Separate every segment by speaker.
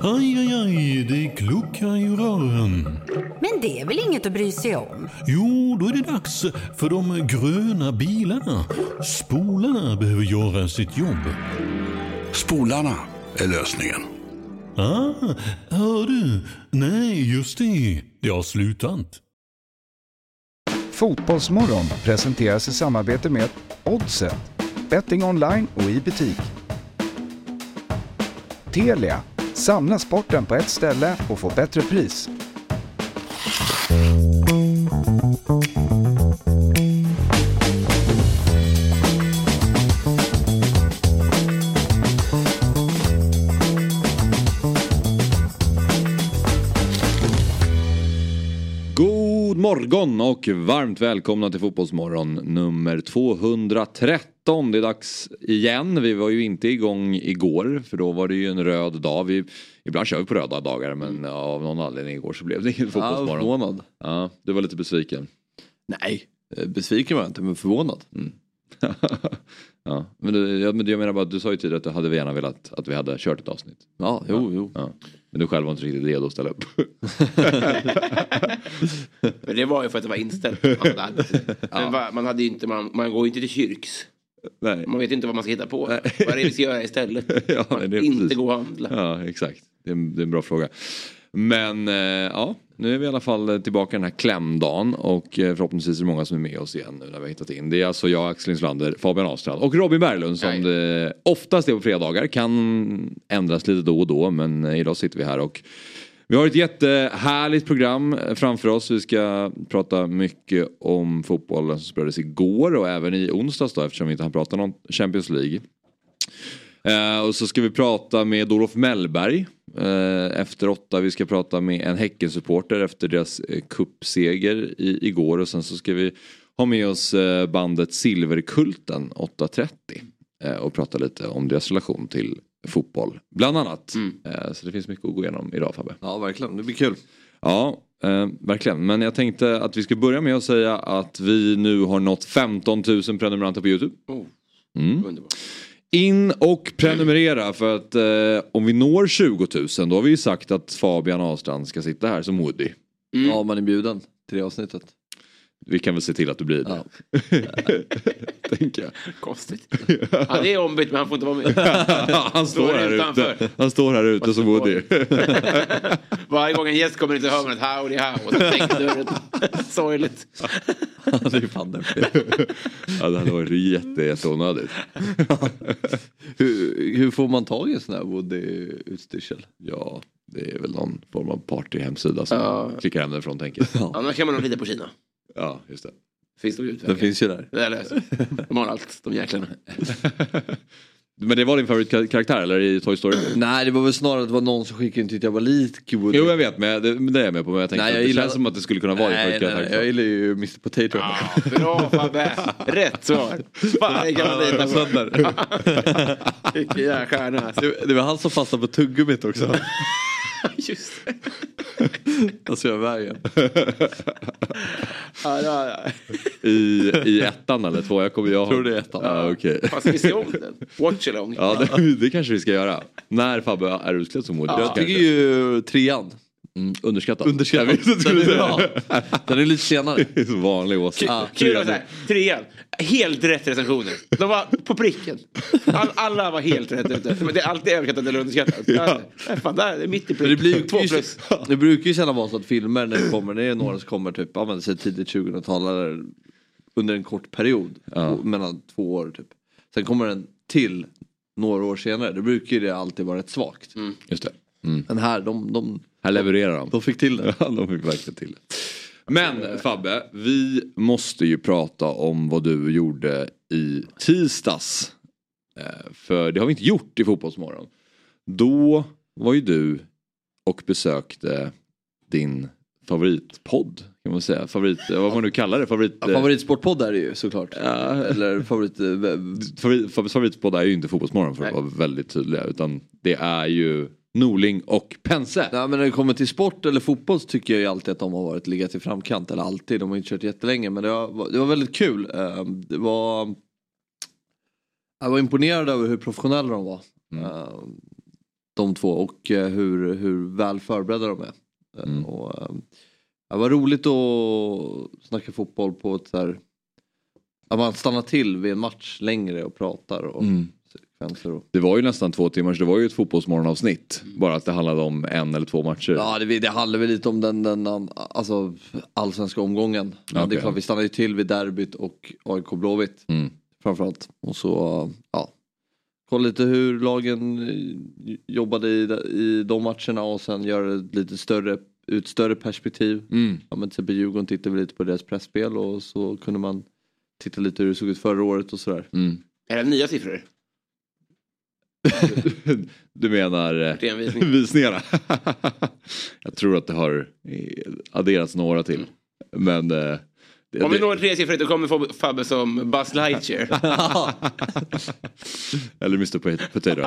Speaker 1: Aj, aj, aj, det kluckar i rören.
Speaker 2: Men det är väl inget att bry sig om?
Speaker 1: Jo, då är det dags för de gröna bilarna. Spolarna behöver göra sitt jobb.
Speaker 3: Spolarna är lösningen.
Speaker 1: Ah, hör du? Nej, just det. Det har slutat.
Speaker 4: Fotbollsmorgon presenteras i samarbete med Oddset, betting online och i butik. Telia, samla sporten på ett ställe och få bättre pris.
Speaker 5: God morgon och varmt välkomna till Fotbollsmorgon nummer 213. Det är dags igen. Vi var ju inte igång igår för då var det ju en röd dag. Vi, ibland kör vi på röda dagar men av någon anledning igår så blev det ingen Fotbollsmorgon.
Speaker 6: Mm. förvånad.
Speaker 5: Ja, du var lite besviken.
Speaker 6: Nej, eh, besviken var jag inte men förvånad.
Speaker 5: Mm. ja, men, du, ja, men jag menar bara att du sa ju tidigare att du hade gärna velat att vi hade kört ett avsnitt.
Speaker 6: Ja, jo, jo.
Speaker 5: Ja. Men du själv var inte riktigt redo att ställa upp.
Speaker 7: Men det var ju för att det var inställt. Man hade, Men va- man, hade ju inte, man, man går ju inte till kyrks.
Speaker 5: Nej.
Speaker 7: Man vet ju inte vad man ska hitta på. Vad är det vi ska göra istället?
Speaker 5: Ja,
Speaker 7: man
Speaker 5: det är
Speaker 7: inte
Speaker 5: precis.
Speaker 7: gå och handla.
Speaker 5: Ja, exakt. Det är, en, det är en bra fråga. Men eh, ja, nu är vi i alla fall eh, tillbaka den här klämdagen och eh, förhoppningsvis är det många som är med oss igen nu när vi har hittat in. Det är alltså jag, Axel Inslander, Fabian Ahlstrand och Robin Berglund som
Speaker 7: Jajamän.
Speaker 5: det oftast är på fredagar. Kan ändras lite då och då men eh, idag sitter vi här och vi har ett jättehärligt program eh, framför oss. Vi ska prata mycket om fotbollen som spelades igår och även i onsdags då eftersom vi inte hann prata någon Champions League. Eh, och så ska vi prata med Olof Mellberg eh, efter åtta. Vi ska prata med en Häckensupporter efter deras eh, cupseger i, igår. Och sen så ska vi ha med oss eh, bandet Silverkulten 8.30. Eh, och prata lite om deras relation till fotboll bland annat. Eh, så det finns mycket att gå igenom idag Fabbe.
Speaker 6: Mm. Ja, verkligen. Det blir kul.
Speaker 5: Ja, eh, verkligen. Men jag tänkte att vi ska börja med att säga att vi nu har nått 15 000 prenumeranter på Youtube.
Speaker 7: Oh,
Speaker 5: Mm.
Speaker 7: Underbart.
Speaker 5: In och prenumerera för att eh, om vi når 20 000 då har vi ju sagt att Fabian Ahlstrand ska sitta här som Woody. Mm.
Speaker 6: Ja, man är bjuden till det avsnittet.
Speaker 5: Vi kan väl se till att du blir det. Tänker jag.
Speaker 7: Konstigt. Han är ombytt men han får inte vara med.
Speaker 5: Han står
Speaker 7: Står
Speaker 5: här ute,
Speaker 7: utanför.
Speaker 5: han står här ute som Woody.
Speaker 7: Varje gång en gäst kommer in så hör man ett howdy how och så stängs dörren. Sorgligt.
Speaker 6: det är fan deppigt.
Speaker 5: ja, det hade varit jätte, jätteonödigt.
Speaker 6: hur, hur får man tag i en sån här Woody-utstyrsel?
Speaker 5: Ja, det är väl någon form av partyhemsida som
Speaker 7: Ja.
Speaker 5: klickar hem den från tänker jag.
Speaker 6: Ja,
Speaker 7: Annars kan man nog lita på Kina.
Speaker 5: Ja, just det.
Speaker 7: Finns de utvägar?
Speaker 6: den finns ju där.
Speaker 7: Det där löser vi. De har allt, de jäklarna.
Speaker 5: Men det var din favoritkaraktär eller i Toy Story?
Speaker 6: Nej, det var väl snarare att det var någon som skickade in tyckte jag var lik Woody.
Speaker 5: Jo jag vet, men jag- det, men det är jag med på. Men jag tänkte
Speaker 6: Nej,
Speaker 5: att
Speaker 6: jag
Speaker 5: det
Speaker 6: gillar-
Speaker 5: känns som att det skulle kunna vara din
Speaker 6: nej, nej, nej, jag
Speaker 5: favoritkaraktär.
Speaker 6: gillar ju Mr Potato.
Speaker 7: Ah, bra Fabbe! Rätt svar. Fan, det kan man lita på.
Speaker 6: Sönder.
Speaker 7: Vilken jävla stjärna. alltså.
Speaker 6: Det, det var han som fastnade på tuggummit också.
Speaker 7: Just det.
Speaker 6: Alltså jag vägen.
Speaker 7: Ja, ja, ja.
Speaker 5: I, I ettan eller två? Jag, kommer, jag
Speaker 6: Tror det är ettan.
Speaker 5: Ja, okej.
Speaker 7: Fan, ska vi se om den? Watch along.
Speaker 5: Ja, det, det kanske vi ska göra. När Fabbe är utklädd som Woody.
Speaker 6: Jag tycker ju trean.
Speaker 5: Mm, underskattat.
Speaker 6: Underskattad.
Speaker 5: Jag visste att du skulle
Speaker 6: Den är
Speaker 5: säga
Speaker 6: bra. Den är lite senare.
Speaker 5: det. Som vanlig åsikt.
Speaker 6: Ah.
Speaker 7: Kul att säga. Trean. Helt rätt recensioner. De var på pricken. All, alla var helt rätt ute. Men det är alltid överskattat eller underskattat. Ja. Fan, där, det är mitt i
Speaker 6: Men det,
Speaker 7: prick.
Speaker 6: blir ju,
Speaker 7: Två plus.
Speaker 6: det brukar ju sällan vara så att filmer när det kommer, det är några som kommer typ, ja men säg tidigt 2000-tal eller under en kort period, två- mellan två år typ. Sen kommer den till några år senare, då brukar ju det alltid vara rätt svagt.
Speaker 5: Just det.
Speaker 6: Men här, de, de,
Speaker 5: Här levererar de.
Speaker 6: de fick till det.
Speaker 5: Ja, de fick verkligen till det. Men Fabbe, vi måste ju prata om vad du gjorde i tisdags. Eh, För det har vi inte gjort i Fotbollsmorgon. Då var ju du och besökte din favoritpodd. Kan man säga. Favorit, eh, vad man nu kallar det. Favorit,
Speaker 6: Ja, Favoritsportpodd är det ju såklart.
Speaker 5: Ja.
Speaker 6: Eller favorit... eh, v-
Speaker 5: favorit, Fabbes favoritpodd är ju inte Fotbollsmorgon för att
Speaker 7: Nej.
Speaker 5: vara väldigt tydliga. Utan det är ju Norling och Pense.
Speaker 6: Nej men när det kommer till sport eller fotboll så tycker jag ju alltid att de har varit legat i framkant. Eller alltid, de har ju inte kört jättelänge. Men det var, det var väldigt kul. Eh, Det var... Jag var imponerad över hur professionella de var. Eh, de två och eh, hur, hur väl förberedda de är. Eh,
Speaker 5: Mm.
Speaker 6: Och, eh, det var roligt att snacka fotboll på ett så här... Att man stannar till vid en match längre och pratar om sekvenser. Och,
Speaker 5: Det var ju nästan två timmars, det var ju ett fotbollsmorgonavsnitt. Bara att det handlade om en eller två matcher.
Speaker 6: ja, det, det handlar väl lite om den, den um, alltså, allsvenska omgången. Men det
Speaker 5: Okej.
Speaker 6: är klart, vi stannar ju till vid derbyt och AIK Blåvitt.
Speaker 5: Mm.
Speaker 6: Framförallt. Och så, ja. Kolla lite hur lagen eh, jobbade i, de- i de matcherna och sen göra ett lite större, ut större perspektiv.
Speaker 5: Mm.
Speaker 6: Ja, men till exempel Djurgården tittade vi lite på deras pressspel och så kunde man titta lite hur det såg ut förra året och sådär.
Speaker 5: Mm.
Speaker 7: Är det nya siffror?
Speaker 5: Du menar eh,
Speaker 7: Renvisning.
Speaker 5: visningarna? jag tror att det har eh, adderats några
Speaker 6: Mm.
Speaker 5: till. Men... eh, det-
Speaker 7: Om vi
Speaker 5: det-
Speaker 7: når tresiffrigt då kommer Fob- Fabbe som Buzz Lightyear.
Speaker 5: Eller Mr Pot- Potato.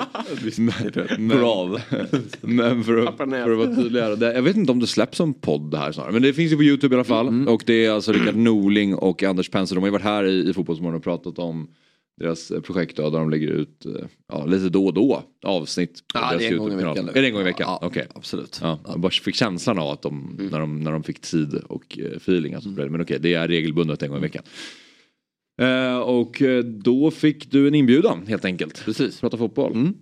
Speaker 5: Men- men- Men för att,
Speaker 7: Pappa näs.
Speaker 5: för att vara tydligare. Det, jag vet inte om det släpps som podd här snarare. Men det finns ju på Youtube i alla fall.
Speaker 6: Mm.
Speaker 5: Och det är alltså Rickard Norling och Anders Penser. De har ju varit här i, i Fotbollsmorgon och pratat om deras eh, projekt då, där de lägger ut eh, ja, lite då och då avsnitt. på
Speaker 6: Ja,
Speaker 5: deras
Speaker 6: det är en gång i
Speaker 5: YouTube-kanal.
Speaker 6: veckan nu.
Speaker 5: Är det en gång i veckan?
Speaker 6: Ja,
Speaker 5: Okej.
Speaker 6: absolut. Mm.
Speaker 5: Ja, jag bara fick känslan av att de, när, de, när de fick tid och eh, feeling. Alltså, Men okej, det är regelbundet en gång i veckan. Eh, och eh, då fick du en inbjudan helt enkelt. Precis. Prata fotboll.
Speaker 7: Mm.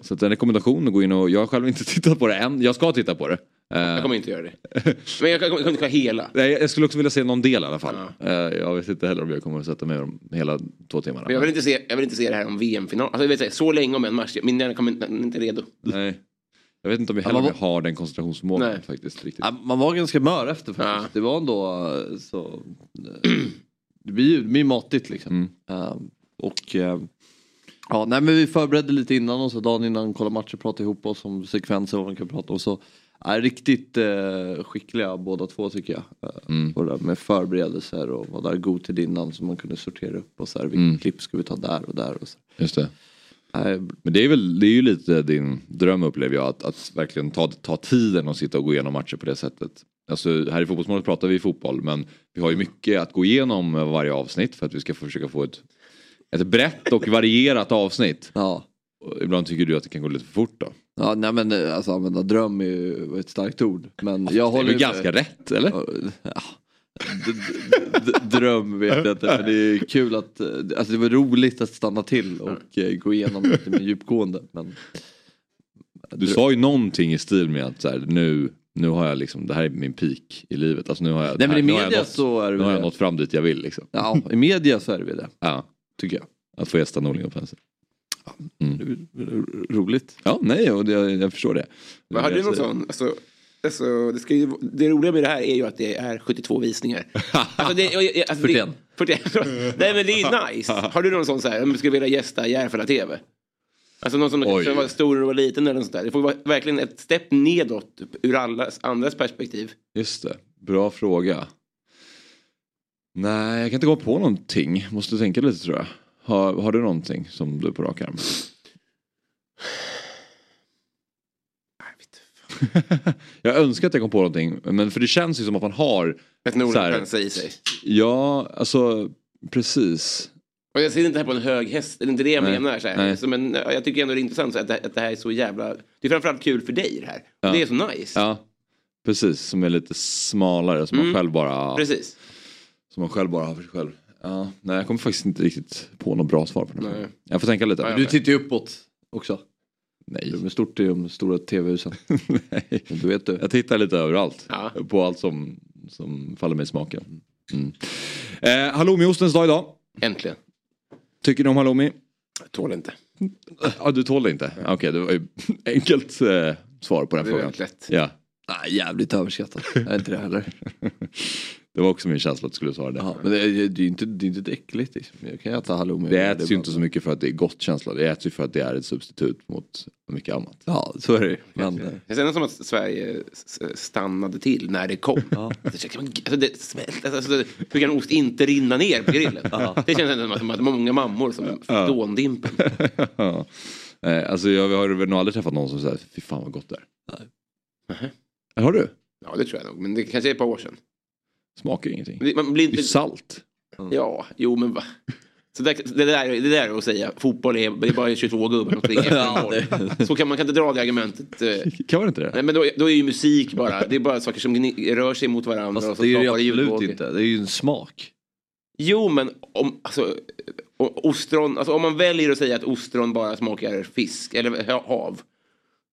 Speaker 5: Så att en rekommendation att gå in och, jag har själv inte tittat på det än, jag ska titta på det. Eh,
Speaker 7: Jag kommer inte göra det. Men jag kommer jag kommer inte kolla hela.
Speaker 5: nej, jag skulle också vilja se någon del i alla fall. Eh, jag vet inte heller om jag kommer att sätta mig med dem hela två timmarna.
Speaker 7: Men Jag vill inte se, jag vill inte se det här om VM-final. Alltså, jag vet, så här, så länge om en match. Min hjärna kommer inte, inte redo.
Speaker 5: Nej. Jag vet inte om jag heller om
Speaker 6: Ja,
Speaker 5: jag
Speaker 6: men
Speaker 5: har den koncentrationsförmågan
Speaker 7: Nej.
Speaker 5: faktiskt. Riktigt.
Speaker 6: Ja, man var ganska mör efter faktiskt.
Speaker 7: Ja.
Speaker 6: Det var ändå eh, så... eh, Det blir ju det blir matigt liksom.
Speaker 5: Mm.
Speaker 6: Eh, och... eh, Ja, nej men vi förberedde lite innan och så dagen innan kolla matcher, prata ihop oss om sekvenser vad man kan prata om. Så, är riktigt eh, skickliga båda två tycker jag. Eh,
Speaker 5: Mm.
Speaker 6: på det där med förberedelser och var där god tid innan så man kunde sortera upp och så här, vilken klipp ska vi ta där och där och så.
Speaker 5: Mm. Just det.
Speaker 6: Nej,
Speaker 5: Men det är, väl, det är ju lite din dröm upplever jag, att, att verkligen ta, ta tiden och sitta och gå igenom matcher på det sättet. Alltså här i Fotbollsmålet pratar vi fotboll men vi har ju
Speaker 6: Mm.
Speaker 5: mycket att gå igenom med varje avsnitt för att vi ska försöka få ett, ett brett och varierat avsnitt.
Speaker 6: ja.
Speaker 5: Och ibland tycker du att det kan gå lite för fort då.
Speaker 6: ja, nej men eh, alltså använda dröm är ju ett starkt ord. Men jag
Speaker 5: Det är
Speaker 6: håller
Speaker 5: väl
Speaker 6: ju-
Speaker 5: ganska rätt eller?
Speaker 6: Ja, d- d- d- Dröm vet jag inte, men det är kul att, eh, alltså det var roligt att stanna till och eh, gå igenom lite mer djupgående. Men
Speaker 5: Du sa ju någonting i stil med att så här, nu, nu har jag liksom, det här är min peak i livet. Alltså nu har jag,
Speaker 6: Nej men i
Speaker 5: nu har jag
Speaker 6: media
Speaker 5: nått-
Speaker 6: så är det
Speaker 5: nu har
Speaker 6: väl
Speaker 5: jag
Speaker 6: det.
Speaker 5: nått fram dit jag vill liksom.
Speaker 6: Ja, i media så är det väl det.
Speaker 5: Ja, tycker jag. Att få gästa Norling och Penser. Mm.
Speaker 6: Mm. Roligt.
Speaker 5: Ja, nej, och det, jag förstår det.
Speaker 7: Men har du någon sån? Alltså, alltså, det, ska ju, det roliga med det här är ju att det är 72 visningar. Alltså, det, jag- jag- alltså,
Speaker 6: 41.
Speaker 7: Det, 41. Nej men det är ju nice. Har du någon sån så här, om du skulle vilja gästa Järfälla TV? Alltså någon som
Speaker 5: Oj.
Speaker 7: kanske var stor och var liten eller något sånt där. Det får vara verkligen ett steg nedåt typ, ur alla andras perspektiv.
Speaker 5: Just det, bra fråga. Nej, jag kan inte gå på någonting. Måste tänka lite tror jag. Har, har du någonting som du på rak arm? jag önskar att jag kom på någonting. Men för det känns ju som att man har.
Speaker 7: Ett
Speaker 5: Så här.
Speaker 7: Nordenpensa i sig.
Speaker 5: Ja, alltså precis.
Speaker 7: Och jag sitter inte här på en hög häst, det är inte det jag
Speaker 5: Nej,
Speaker 7: menar. Så här.
Speaker 5: nej.
Speaker 7: Så, men, ja, jag tycker ändå det är intressant så att, det, att det här är så jävla... Det är framförallt kul för dig det här.
Speaker 5: Ja.
Speaker 7: Det är så nice. Mm.
Speaker 5: Ja, precis. Som är lite smalare. Som man själv bara...
Speaker 7: Precis.
Speaker 5: Som man själv bara har för sig själv. Ja, nej, jag kommer faktiskt inte riktigt på något bra svar på den här
Speaker 7: Nej.
Speaker 5: frågan. Jag får tänka lite.
Speaker 7: Ja, ja.
Speaker 6: Du tittar ju uppåt också.
Speaker 5: Nej.
Speaker 6: De är stort i de stora tv-husen.
Speaker 5: nej.
Speaker 6: Du vet du.
Speaker 5: Jag tittar lite överallt.
Speaker 7: Ja.
Speaker 5: På allt som, som faller mig i smaken. Mm. Eh, halloumiostens dag idag.
Speaker 7: Äntligen.
Speaker 5: Tycker ni om halloumi?
Speaker 7: Jag tål inte.
Speaker 5: Ja, du tål det inte? Okej, det var ju enkelt eh, svar på den
Speaker 7: Det är
Speaker 5: frågan.
Speaker 7: väldigt lätt.
Speaker 5: Ja,
Speaker 6: Ah, jävligt överskattat. Jag är inte det heller.
Speaker 5: det var också min känsla att du skulle svara det.
Speaker 6: Ja, men det är ju det är ju inte, det är inte äckligt liksom. Jag kan äta halloumi.
Speaker 5: Det äts ju inte så
Speaker 6: bara-
Speaker 5: mycket för att det är gott känsla. Det äts ju för att det är ett substitut mot mycket annat.
Speaker 6: Ja, så är det ju. Men, eh,
Speaker 7: Det kändes som att Sverige s- s- stannade till när det kom. Alltså, kan man- alltså, det smält, alltså, alltså, hur kan ost inte rinna ner på grillen? Det känns ändå som att- som att många mammor som ja. dåndimpen.
Speaker 5: Ja. Eh, alltså jag har väl nog aldrig träffat någon som säger fy fan vad gott det är. Eh, Har du?
Speaker 7: Ja, det tror jag nog. Men det kanske är ett par år sedan.
Speaker 5: Smakar ju ingenting.
Speaker 7: Det- Man blir
Speaker 5: Det är ju
Speaker 7: inte...
Speaker 5: salt.
Speaker 7: Ja, jo men va? Så det, det, där, det där är att säga fotboll är, det är bara 22 gubbar som springer efter en boll. Så kan, man kan inte dra det argumentet. eh,
Speaker 5: Kan man inte det?
Speaker 7: Nej, men då, då är ju musik bara, det är bara saker som gni- rör sig mot varandra.
Speaker 6: Fast
Speaker 7: och så
Speaker 6: det är ju
Speaker 7: skapar
Speaker 6: absolut
Speaker 7: ljudvågor.
Speaker 6: inte. Det är ju en smak.
Speaker 7: Jo, men om, alltså, o- ostron, alltså, om man väljer att säga att ostron bara smakar fisk eller ha- hav.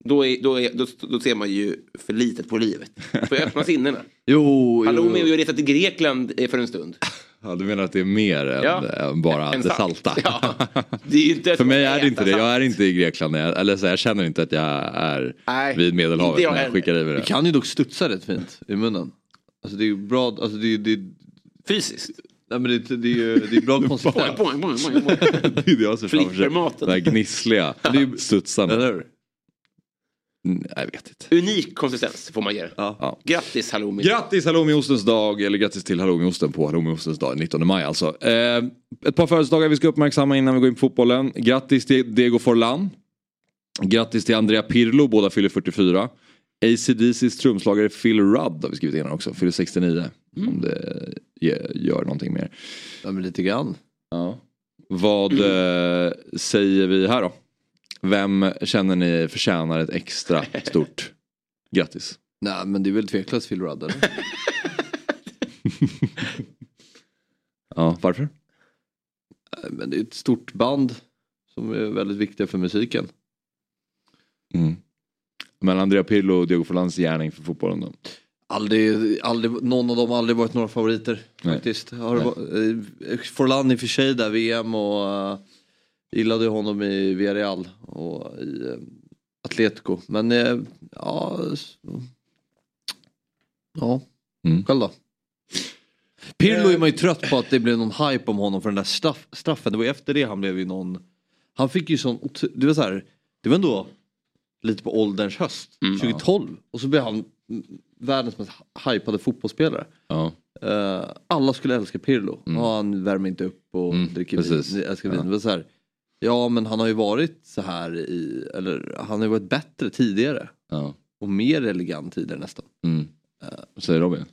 Speaker 7: Då, är, då, är, då, då ser man ju för litet på livet. Får jag öppna sinnena?
Speaker 6: Jo,
Speaker 7: Halloumi har ju retat i Grekland eh, för en stund.
Speaker 5: Ja, du menar att det är mer än,
Speaker 7: Ja.
Speaker 5: än bara
Speaker 7: En
Speaker 5: det
Speaker 7: salt.
Speaker 5: salta?
Speaker 7: Ja. Det är ju inte
Speaker 5: För mig är
Speaker 7: äta
Speaker 5: det inte det. Jag
Speaker 7: salt.
Speaker 5: är inte i Grekland. när jag- Eller så här, jag känner inte att jag är
Speaker 7: Nej,
Speaker 5: vid Medelhavet
Speaker 7: inte jag
Speaker 5: när jag
Speaker 7: heller.
Speaker 5: skickar i mig
Speaker 6: Det
Speaker 5: det.
Speaker 6: kan ju dock studsa rätt fint i munnen. Alltså det är ju bra, alltså det är, det är,
Speaker 7: Fysiskt.
Speaker 6: nej men det, är- det är ju det är bra konsistens.
Speaker 7: Boing, boing, boing, boing.
Speaker 5: Det är det jag ser framför mig. Den
Speaker 7: Flippermaten.
Speaker 5: här gnissliga studsarna.
Speaker 6: Eller hur?
Speaker 5: Mm, Jag vet inte.
Speaker 7: Unik konsistens får man ge det.
Speaker 5: Ja.
Speaker 7: Grattis halloumi.
Speaker 5: Grattis halloumiostens dag, eller grattis till halloumioosten på halloumiostens dag, 19 maj alltså. Eh, ett par födelsedagar vi ska uppmärksamma innan vi går in på fotbollen. Grattis till Diego Forlan. Grattis till Andrea Pirlo, båda fyller 44. ACDCs trumslagare Phil Rudd har vi skrivit in här också, fyller 69. Om det ge- gör någonting mer.
Speaker 6: Mm. Ja men lite grann.
Speaker 5: Vad eh, säger vi här då? Vem känner ni förtjänar ett extra stort grattis?
Speaker 6: Nej men det är väl tveklöst Phil Rudd eller?
Speaker 5: Ja, varför?
Speaker 6: Nej, Men det är ett stort band som är väldigt viktiga för musiken.
Speaker 5: Men Andrea Pirlo och Diego Forlans gärning för fotbollen då?
Speaker 6: Aldrig, aldrig, någon av dem har aldrig varit några favoriter
Speaker 5: Nej.
Speaker 6: faktiskt. Har det var- eh, Forlan i och för sig där VM och uh, gillade honom i Villarreal och i eh, Atletico. Men eh, ja, s- ja.
Speaker 5: Mm.
Speaker 6: själv då? Pirlo är man ju trött på att det blev någon hype om honom för den där straff, straffen. Det var ju efter det han blev ju någon, han fick ju sån, otro- det var så här, det var ändå lite på ålderns höst,
Speaker 5: Mm,
Speaker 6: 2012. Och så blev han mm, världens mest hypade fotbollsspelare.
Speaker 5: Ja.
Speaker 6: Eh, alla skulle älska Pirlo. Ja, han värmer inte upp och
Speaker 5: Mm,
Speaker 6: dricker
Speaker 5: precis.
Speaker 6: vin. Älskar vin. Det var så här, ja men han har ju varit så här i, eller han har ju varit bättre tidigare.
Speaker 5: ja.
Speaker 6: Och mer elegant tidigare nästan.
Speaker 5: Mm. Vad säger Robin?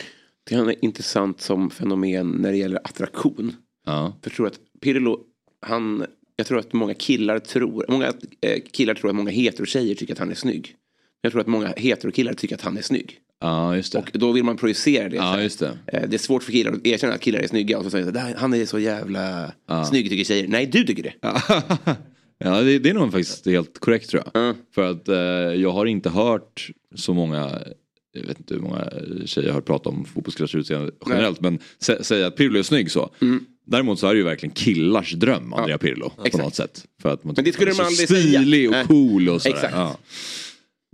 Speaker 7: Det är intressant som fenomen när det gäller attraktion.
Speaker 5: Ja.
Speaker 7: För jag tror att Pirlo, han, jag tror att många killar tror, många eh, killar tror att många heterotjejer tycker att han är snygg. Jag tror att många heterokillar tycker att han är snygg.
Speaker 5: Ja, just det.
Speaker 7: Och då vill man projicera det.
Speaker 5: Ja, just det.
Speaker 7: Eh, Det är svårt för killar att erkänna att killar är snygga och så säger de, "Där, han är så jävla snygg tycker tjejer. Nej, du tycker det.
Speaker 5: ja, det, det är nog faktiskt helt korrekt tror jag. För att eh, jag har inte hört så många, jag vet inte hur många tjejer jag har hört prata om fotbollskillars utseende generellt, men sä, säga att Pirlo är snygg så. Däremot så är det ju verkligen killars dröm, Andrea Pirlo, på
Speaker 7: Mm. Exakt.
Speaker 5: något sätt. För att man
Speaker 7: Men det
Speaker 5: tycker
Speaker 7: skulle
Speaker 5: att han
Speaker 7: de
Speaker 5: är så
Speaker 7: aldrig säga.
Speaker 5: stilig
Speaker 7: Nej.
Speaker 5: och cool och sådär.
Speaker 7: Exakt.
Speaker 5: Ja.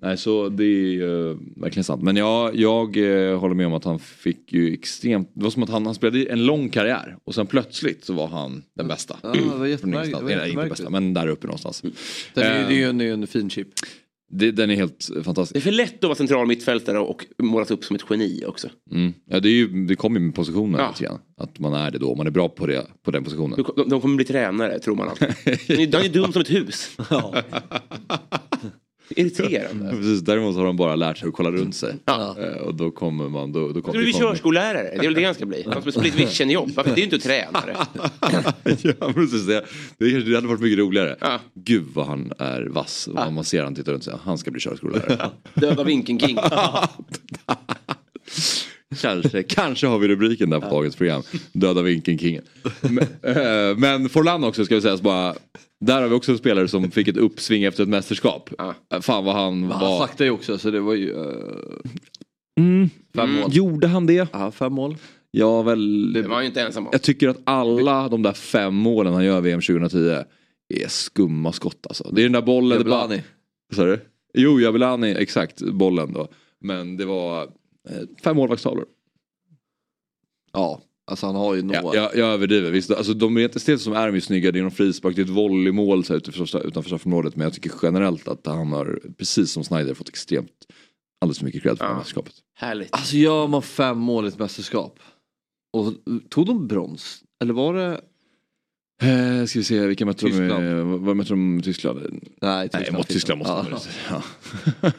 Speaker 5: Nej, så det är ju eh, verkligen sant. Men jag, jag eh, håller med om att han fick ju extremt... Det var som att han, han spelade i en lång karriär och sen plötsligt så var han den bästa.
Speaker 6: Ja, det var
Speaker 5: Från
Speaker 6: jättemärkligt.
Speaker 5: ingenstans.
Speaker 6: Det var
Speaker 5: Eller inte
Speaker 6: jättemärkligt.
Speaker 5: bästa, men där uppe någonstans.
Speaker 7: Mm.
Speaker 6: Den är,
Speaker 5: Eh,
Speaker 6: det är ju en, det är ju en fin chip.
Speaker 5: det, den är helt
Speaker 7: Det är
Speaker 5: fantastisk.
Speaker 7: för lätt att vara central mittfältare och målas upp som ett geni också.
Speaker 5: Mm. Ja, det, är ju, det kommer ju med positionen
Speaker 7: Ja.
Speaker 5: lite grann. Att man är det då, man är bra på, det, på den positionen.
Speaker 7: De- De, de kommer bli tränare, tror man alltid. Han är, han är dum som ett hus. Irriterande.
Speaker 5: Eh, Precis, däremot har de bara lärt sig att kolla runt sig.
Speaker 7: Mm. Ja.
Speaker 5: Eh, Och då kommer man... Då, då kommer,
Speaker 7: Du blir
Speaker 5: det kommer-
Speaker 7: körskollärare, det är väl det han ska bli. Han ska split vision-jobb, Varför- det är ju inte att tränare.
Speaker 5: ja, precis. Det, det, kanske- det hade varit mycket roligare.
Speaker 7: Ja.
Speaker 5: Gud vad han är vass. Man- Man ser han tittar runt sig. Han ska bli körskollärare.
Speaker 7: Döda vinkeln king.
Speaker 5: kanske, kanske har vi rubriken där på dagens program. Döda vinkeln kingen. Men, eh, men Forlan också ska vi säga. så Bara, där har vi också en spelare som fick ett uppsving efter ett mästerskap. Eh, Fan vad han
Speaker 6: Han
Speaker 5: var. Mm.
Speaker 6: slaktade ju också så det var ju eh, fem mål.
Speaker 5: Gjorde han det?
Speaker 6: Ja, fem mål.
Speaker 5: Ja, väl.
Speaker 7: Det var han ju inte ensam om.
Speaker 5: Jag tycker att alla de där fem målen han gör VM 2010 är skumma skott alltså. Det är den där bollen. det bara-
Speaker 6: Jabulani.
Speaker 5: Vad sa du? Jo, Javelani, exakt, bollen då. Men det var eh, fem målvaktstavlor.
Speaker 6: Ja, alltså han har ju några.
Speaker 5: Ja, jag, jag överdriver, visst. Alltså, de rent estetiskt som är de ju snygga, det är någon frispark, det är ett volleymål så här, utanför, utanför straffområdet. Men jag tycker generellt att han har, precis som Snyder, fått extremt alldeles för mycket cred för det här mästerskapet.
Speaker 7: Härligt.
Speaker 6: Alltså gör man fem mål i ett mästerskap. Och tog de brons? Eller var det?
Speaker 5: Eh, ska vi se, vilka mötte de?
Speaker 6: Tyskland.
Speaker 5: eh, Vad vad mötte de? Tyskland?
Speaker 6: Nej,
Speaker 5: Nej, mot Tyskland måste man väl säga. ja.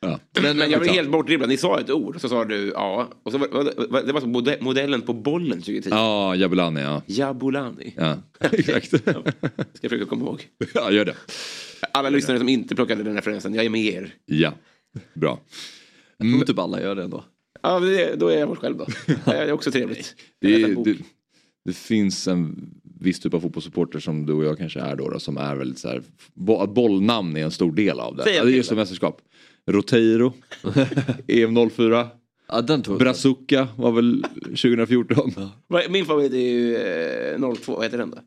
Speaker 5: ja.
Speaker 7: Men, men jag blev helt bortdribblad. Ni sa ett ord så sa du ja. Och så var, var, var, det var som mode- modellen på bollen 2010.
Speaker 5: Ja, Jabulani, ja.
Speaker 7: Jabulani.
Speaker 5: ja. Exakt.
Speaker 7: Ska jag försöka komma ihåg.
Speaker 5: ja, gör det.
Speaker 7: Alla lyssnare som inte plockade den referensen, jag är med er.
Speaker 5: Ja, bra.
Speaker 6: Jag tror typ alla gör det ändå.
Speaker 7: Ja, men det, då är jag själv då. Det är också trevligt.
Speaker 5: Det,
Speaker 7: Jag läser en
Speaker 5: är,
Speaker 7: bok.
Speaker 5: det, det finns en viss typ av fotbollssupporter som du och jag kanske är då, då som är väldigt så här, bo, att bollnamn är en stor del av det.
Speaker 7: Säg en
Speaker 5: Ja, Det är
Speaker 7: till
Speaker 5: just
Speaker 7: då.
Speaker 5: som mästerskap. Roteiro, EM 04,
Speaker 6: Ja, den tog jag.
Speaker 5: Brazuca var väl 2014.
Speaker 7: Vad- Min favorit är ju eh, 02, vad heter den då?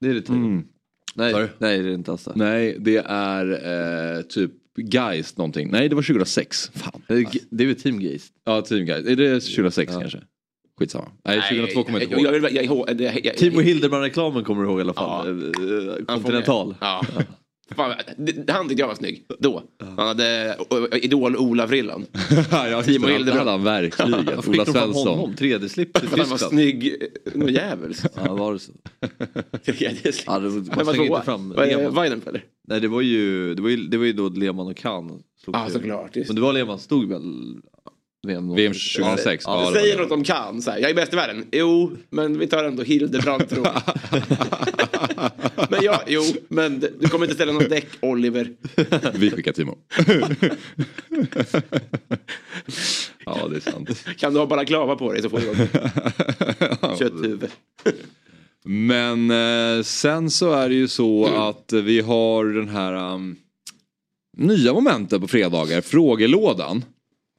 Speaker 6: Det är lite
Speaker 5: Mm.
Speaker 6: nej,
Speaker 5: Sa du?
Speaker 6: nej, det är inte Assa.
Speaker 5: Nej, det är eh, typ Geist någonting. Nej, det var 2006. Fan.
Speaker 6: Det är, det är väl Team Geist.
Speaker 5: Ja, Team Geist. Är det 2006 kanske? Skitsamma. Nej, 2002 kommer jag inte
Speaker 7: Jag
Speaker 5: ihåg.
Speaker 7: vill, jag, jag, jag, jag,
Speaker 6: Timo Hildebrand-reklamen kommer du ihåg i alla fall.
Speaker 7: Ja.
Speaker 6: Eh, eh,
Speaker 7: Han får
Speaker 6: Continental.
Speaker 7: med. Ja. Fan, det- han tyckte jag var snygg, då. Han hade ö, ö, Idol-Ola-frillan.
Speaker 5: ja,
Speaker 7: Timo
Speaker 5: Timo Hildebrand.
Speaker 7: Hildebrand.
Speaker 5: hade han verkligen.
Speaker 6: Vad
Speaker 5: Ola
Speaker 6: fick de från
Speaker 5: Svensson.
Speaker 6: honom? Tredje slipp till
Speaker 7: Han var
Speaker 6: Tyskland.
Speaker 7: snygg, eh, någon jävel.
Speaker 6: Ja, var det så?
Speaker 7: Tredje slipp.
Speaker 6: Ja, det var,
Speaker 7: Men
Speaker 6: man
Speaker 7: vad
Speaker 6: slänger
Speaker 7: tvåa?
Speaker 6: inte fram
Speaker 7: Vad är det,
Speaker 6: Lehmann.
Speaker 7: Weidenfeld, eller?
Speaker 6: Nej, det var ju, det var ju, det var ju då Lehmann och Kahn slog
Speaker 7: Ja,
Speaker 6: sig.
Speaker 7: såklart. Just.
Speaker 6: Men det var Lehmann stod väl VM,
Speaker 5: VM 2006. Ja, det var
Speaker 7: Säger
Speaker 5: det.
Speaker 7: något om kan, så här, jag är bäst i världen. Jo, men vi tar ändå Hildebrandt tror jag. men ja, jo, men d- du kommer inte ställa någon däck, Oliver.
Speaker 5: Vi skickar Timo. ja, det är sant.
Speaker 7: Kan du ha balaklava på dig så får du jobb. Kötthuvud.
Speaker 5: Men eh, sen så är det ju så att vi har den här um, nya momenten på fredagar, frågelådan.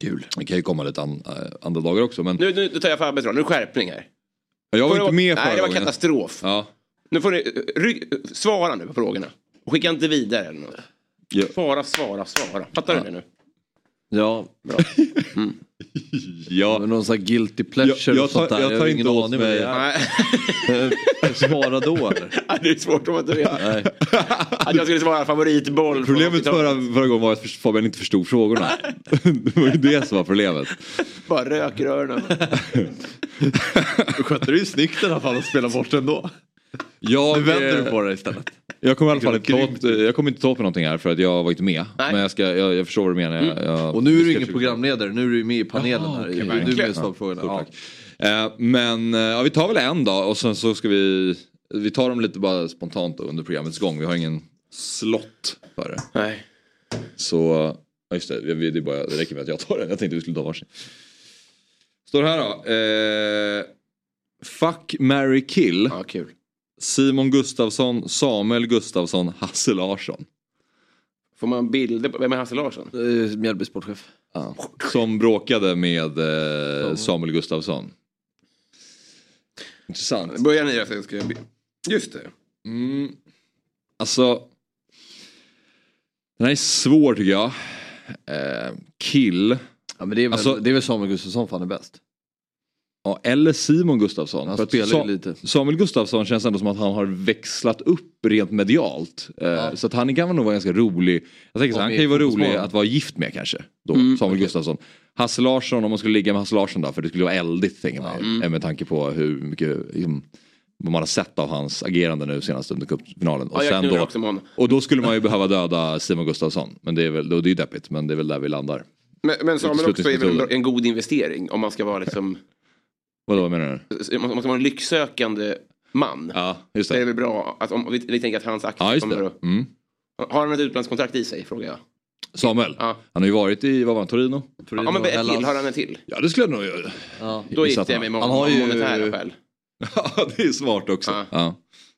Speaker 5: Kul. Det kan ju komma lite an, eh, andra dagar också. Men
Speaker 7: Nu, nu tar jag Fabbes roll, nu är det skärpning här.
Speaker 5: jag var inte med
Speaker 7: Nej, det
Speaker 5: förra
Speaker 7: var
Speaker 5: gången.
Speaker 7: katastrof.
Speaker 5: Ja.
Speaker 7: Nu får ni eh, rygg, eh, svara nu på frågorna. Skicka inte vidare eller något.
Speaker 5: Ja.
Speaker 7: Svara, svara, svara. Fattar du det nu?
Speaker 6: Ja,
Speaker 5: Ja.
Speaker 6: men någon sån här guilty pleasure
Speaker 5: Jag- jag
Speaker 6: och sånt
Speaker 5: tar-
Speaker 6: där.
Speaker 5: jag tar
Speaker 6: har
Speaker 5: inte
Speaker 6: ingen
Speaker 5: åt
Speaker 6: aning vad
Speaker 5: mig.
Speaker 6: det är.
Speaker 7: Nej,
Speaker 6: Eh, Svara då eller?
Speaker 7: det är svårt om man inte vet.
Speaker 6: Nej.
Speaker 7: Att jag skulle svara favoritboll. från
Speaker 5: Problemet
Speaker 7: 80-talet.
Speaker 5: förra, förra gången var att Fabian inte förstod frågorna. det var ju det som var problemet.
Speaker 7: Bara rök i öronen.
Speaker 6: Du skötte det ju snyggt i alla fall att spela bort ändå.
Speaker 5: Jag,
Speaker 6: Nu vänder du
Speaker 5: eh,
Speaker 6: på det istället.
Speaker 5: Jag kommer i alla fall inte ta åt,
Speaker 6: Grymt.
Speaker 5: jag kommer inte ta åt mig någonting här för att jag var inte med.
Speaker 7: Nej.
Speaker 5: Men jag, ska, jag, jag förstår vad du menar. Jag,
Speaker 7: Mm.
Speaker 5: jag,
Speaker 6: Mm. Och nu är
Speaker 5: jag ska
Speaker 6: du ingen
Speaker 5: försöka-
Speaker 6: programledare, nu är du ju med i panelen
Speaker 5: Jaha,
Speaker 6: här.
Speaker 5: okej,
Speaker 6: du är med
Speaker 7: verkligen.
Speaker 6: och svarar på frågorna.
Speaker 5: Stort
Speaker 6: Ja.
Speaker 5: tack. Eh, men eh, ja, vi tar väl en dag och sen så ska vi, vi tar dem lite bara spontant då, under programmets gång. Vi har ingen slott för det.
Speaker 7: Nej.
Speaker 5: Så, ja, just det, vi- det, är bara, det räcker med att jag tar den. Jag tänkte vi skulle ta varsin. Står det här då. Eh, fuck, Mary kill.
Speaker 7: Ja, kul.
Speaker 5: Simon Gustafsson, Samuel Gustafsson, Hasse Larsson.
Speaker 7: Får man bilder på... Vem är Hasse Larsson?
Speaker 6: Eh, Mjällby sportchef.
Speaker 5: Som bråkade med eh, Samuel Gustafsson. Intressant.
Speaker 7: Börjar ni jag ska jag... Just det.
Speaker 5: Mm. Alltså. Den här är svår tycker jag. Eh, kill.
Speaker 6: Ja, men det, är väl,
Speaker 5: Alltså-
Speaker 6: det är väl Samuel Gustafsson fan är bäst.
Speaker 5: Ja, eller Simon Gustafsson.
Speaker 6: Han
Speaker 5: För att
Speaker 6: spelar ju
Speaker 5: Sa-
Speaker 6: lite.
Speaker 5: Samuel Gustafsson känns ändå som att han har växlat upp rent medialt. Eh, Så att han kan nog vara ganska rolig. Jag tänker så, här,
Speaker 6: Och
Speaker 5: han
Speaker 6: med
Speaker 5: kan ju vara rolig
Speaker 6: Fotbollsmorgon.
Speaker 5: att vara gift med kanske. Då,
Speaker 6: Mm.
Speaker 5: Samuel Gustafsson. Hasse Larsson, om man skulle ligga med Hasse Larsson då, för det skulle vara eldigt tänker man ju.
Speaker 6: Mm.
Speaker 5: Eh, Med tanke på hur mycket liksom, vad man har sett av hans agerande nu senast under cupfinalen. Och
Speaker 7: Ja, jag
Speaker 5: sen
Speaker 7: knullar
Speaker 5: då,
Speaker 7: också med honom.
Speaker 5: Och då skulle man ju behöva döda Simon Gustafsson. Men det är väl, och det är ju deppigt, men det är väl där vi landar.
Speaker 7: Men, men Samuel också är väl en,
Speaker 5: Uteslutningsmetoder.
Speaker 7: bra- en god investering om man ska vara liksom...
Speaker 5: Vadå, vad menar du?
Speaker 7: Om man ska vara en lycksökande man.
Speaker 5: Ja, just
Speaker 7: Så är det
Speaker 5: det.
Speaker 7: väl bra att om vi, vi tänker att hans aktie
Speaker 5: Ja, just
Speaker 7: kommer
Speaker 5: det.
Speaker 7: att...
Speaker 5: Mm.
Speaker 7: Har han ett utlandskontrakt i sig, frågar jag.
Speaker 5: Samuel,
Speaker 7: Ja.
Speaker 5: han har ju varit i, vad var han, Torino?
Speaker 7: Ja, men ett till. Har han en till?
Speaker 5: Ja, det skulle jag nog göra.
Speaker 6: Ja.
Speaker 7: Då
Speaker 5: Gissa
Speaker 7: gick
Speaker 5: att
Speaker 7: det
Speaker 5: han-
Speaker 7: med
Speaker 6: han har ju-
Speaker 7: mon- monetära skäl.
Speaker 5: Ja, det är smart också. Ja.
Speaker 7: Ja.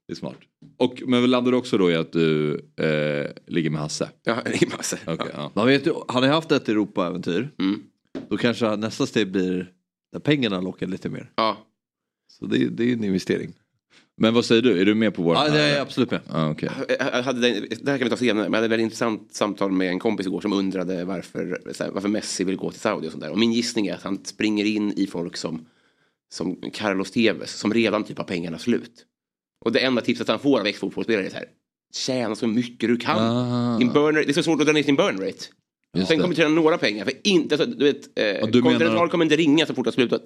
Speaker 5: det är smart. Och, men landar du också då i att du eh, ligger med Hasse?
Speaker 7: Ja, det är massor.
Speaker 5: Okej, ja.
Speaker 6: Man vet ju, han har ju haft ett Europa-äventyr.
Speaker 7: Mm.
Speaker 6: Då kanske nästa steg blir där pengarna lockar lite mer.
Speaker 7: Ja.
Speaker 6: Så det, är- det är en investering.
Speaker 5: Men vad säger du, är du med på vår?
Speaker 6: Ja, det är jag absolut med.
Speaker 5: Ja, okej.
Speaker 7: Jag jag Eh, hade, den- det här kan vi ta senare, men jag hade ett väldigt intressant samtal med en kompis igår som undrade varför, så här, varför Messi vill gå till Saudi och sånt där. Och min gissning är att han springer in i folk som, som Carlos Tevez, som redan typ har pengarna slut. Och det enda tipset han får av ex-fotbollsspelare är så här, tjäna så mycket du kan.
Speaker 5: Ah,
Speaker 7: Din burn, det är så svårt att dra ner sin burn rate.
Speaker 5: just
Speaker 7: Sen
Speaker 5: det.
Speaker 7: kommer tjäna några pengar, för inte, så, du vet, eh,
Speaker 5: du menar-
Speaker 7: Continental kommer inte ringa så fort det har slutat.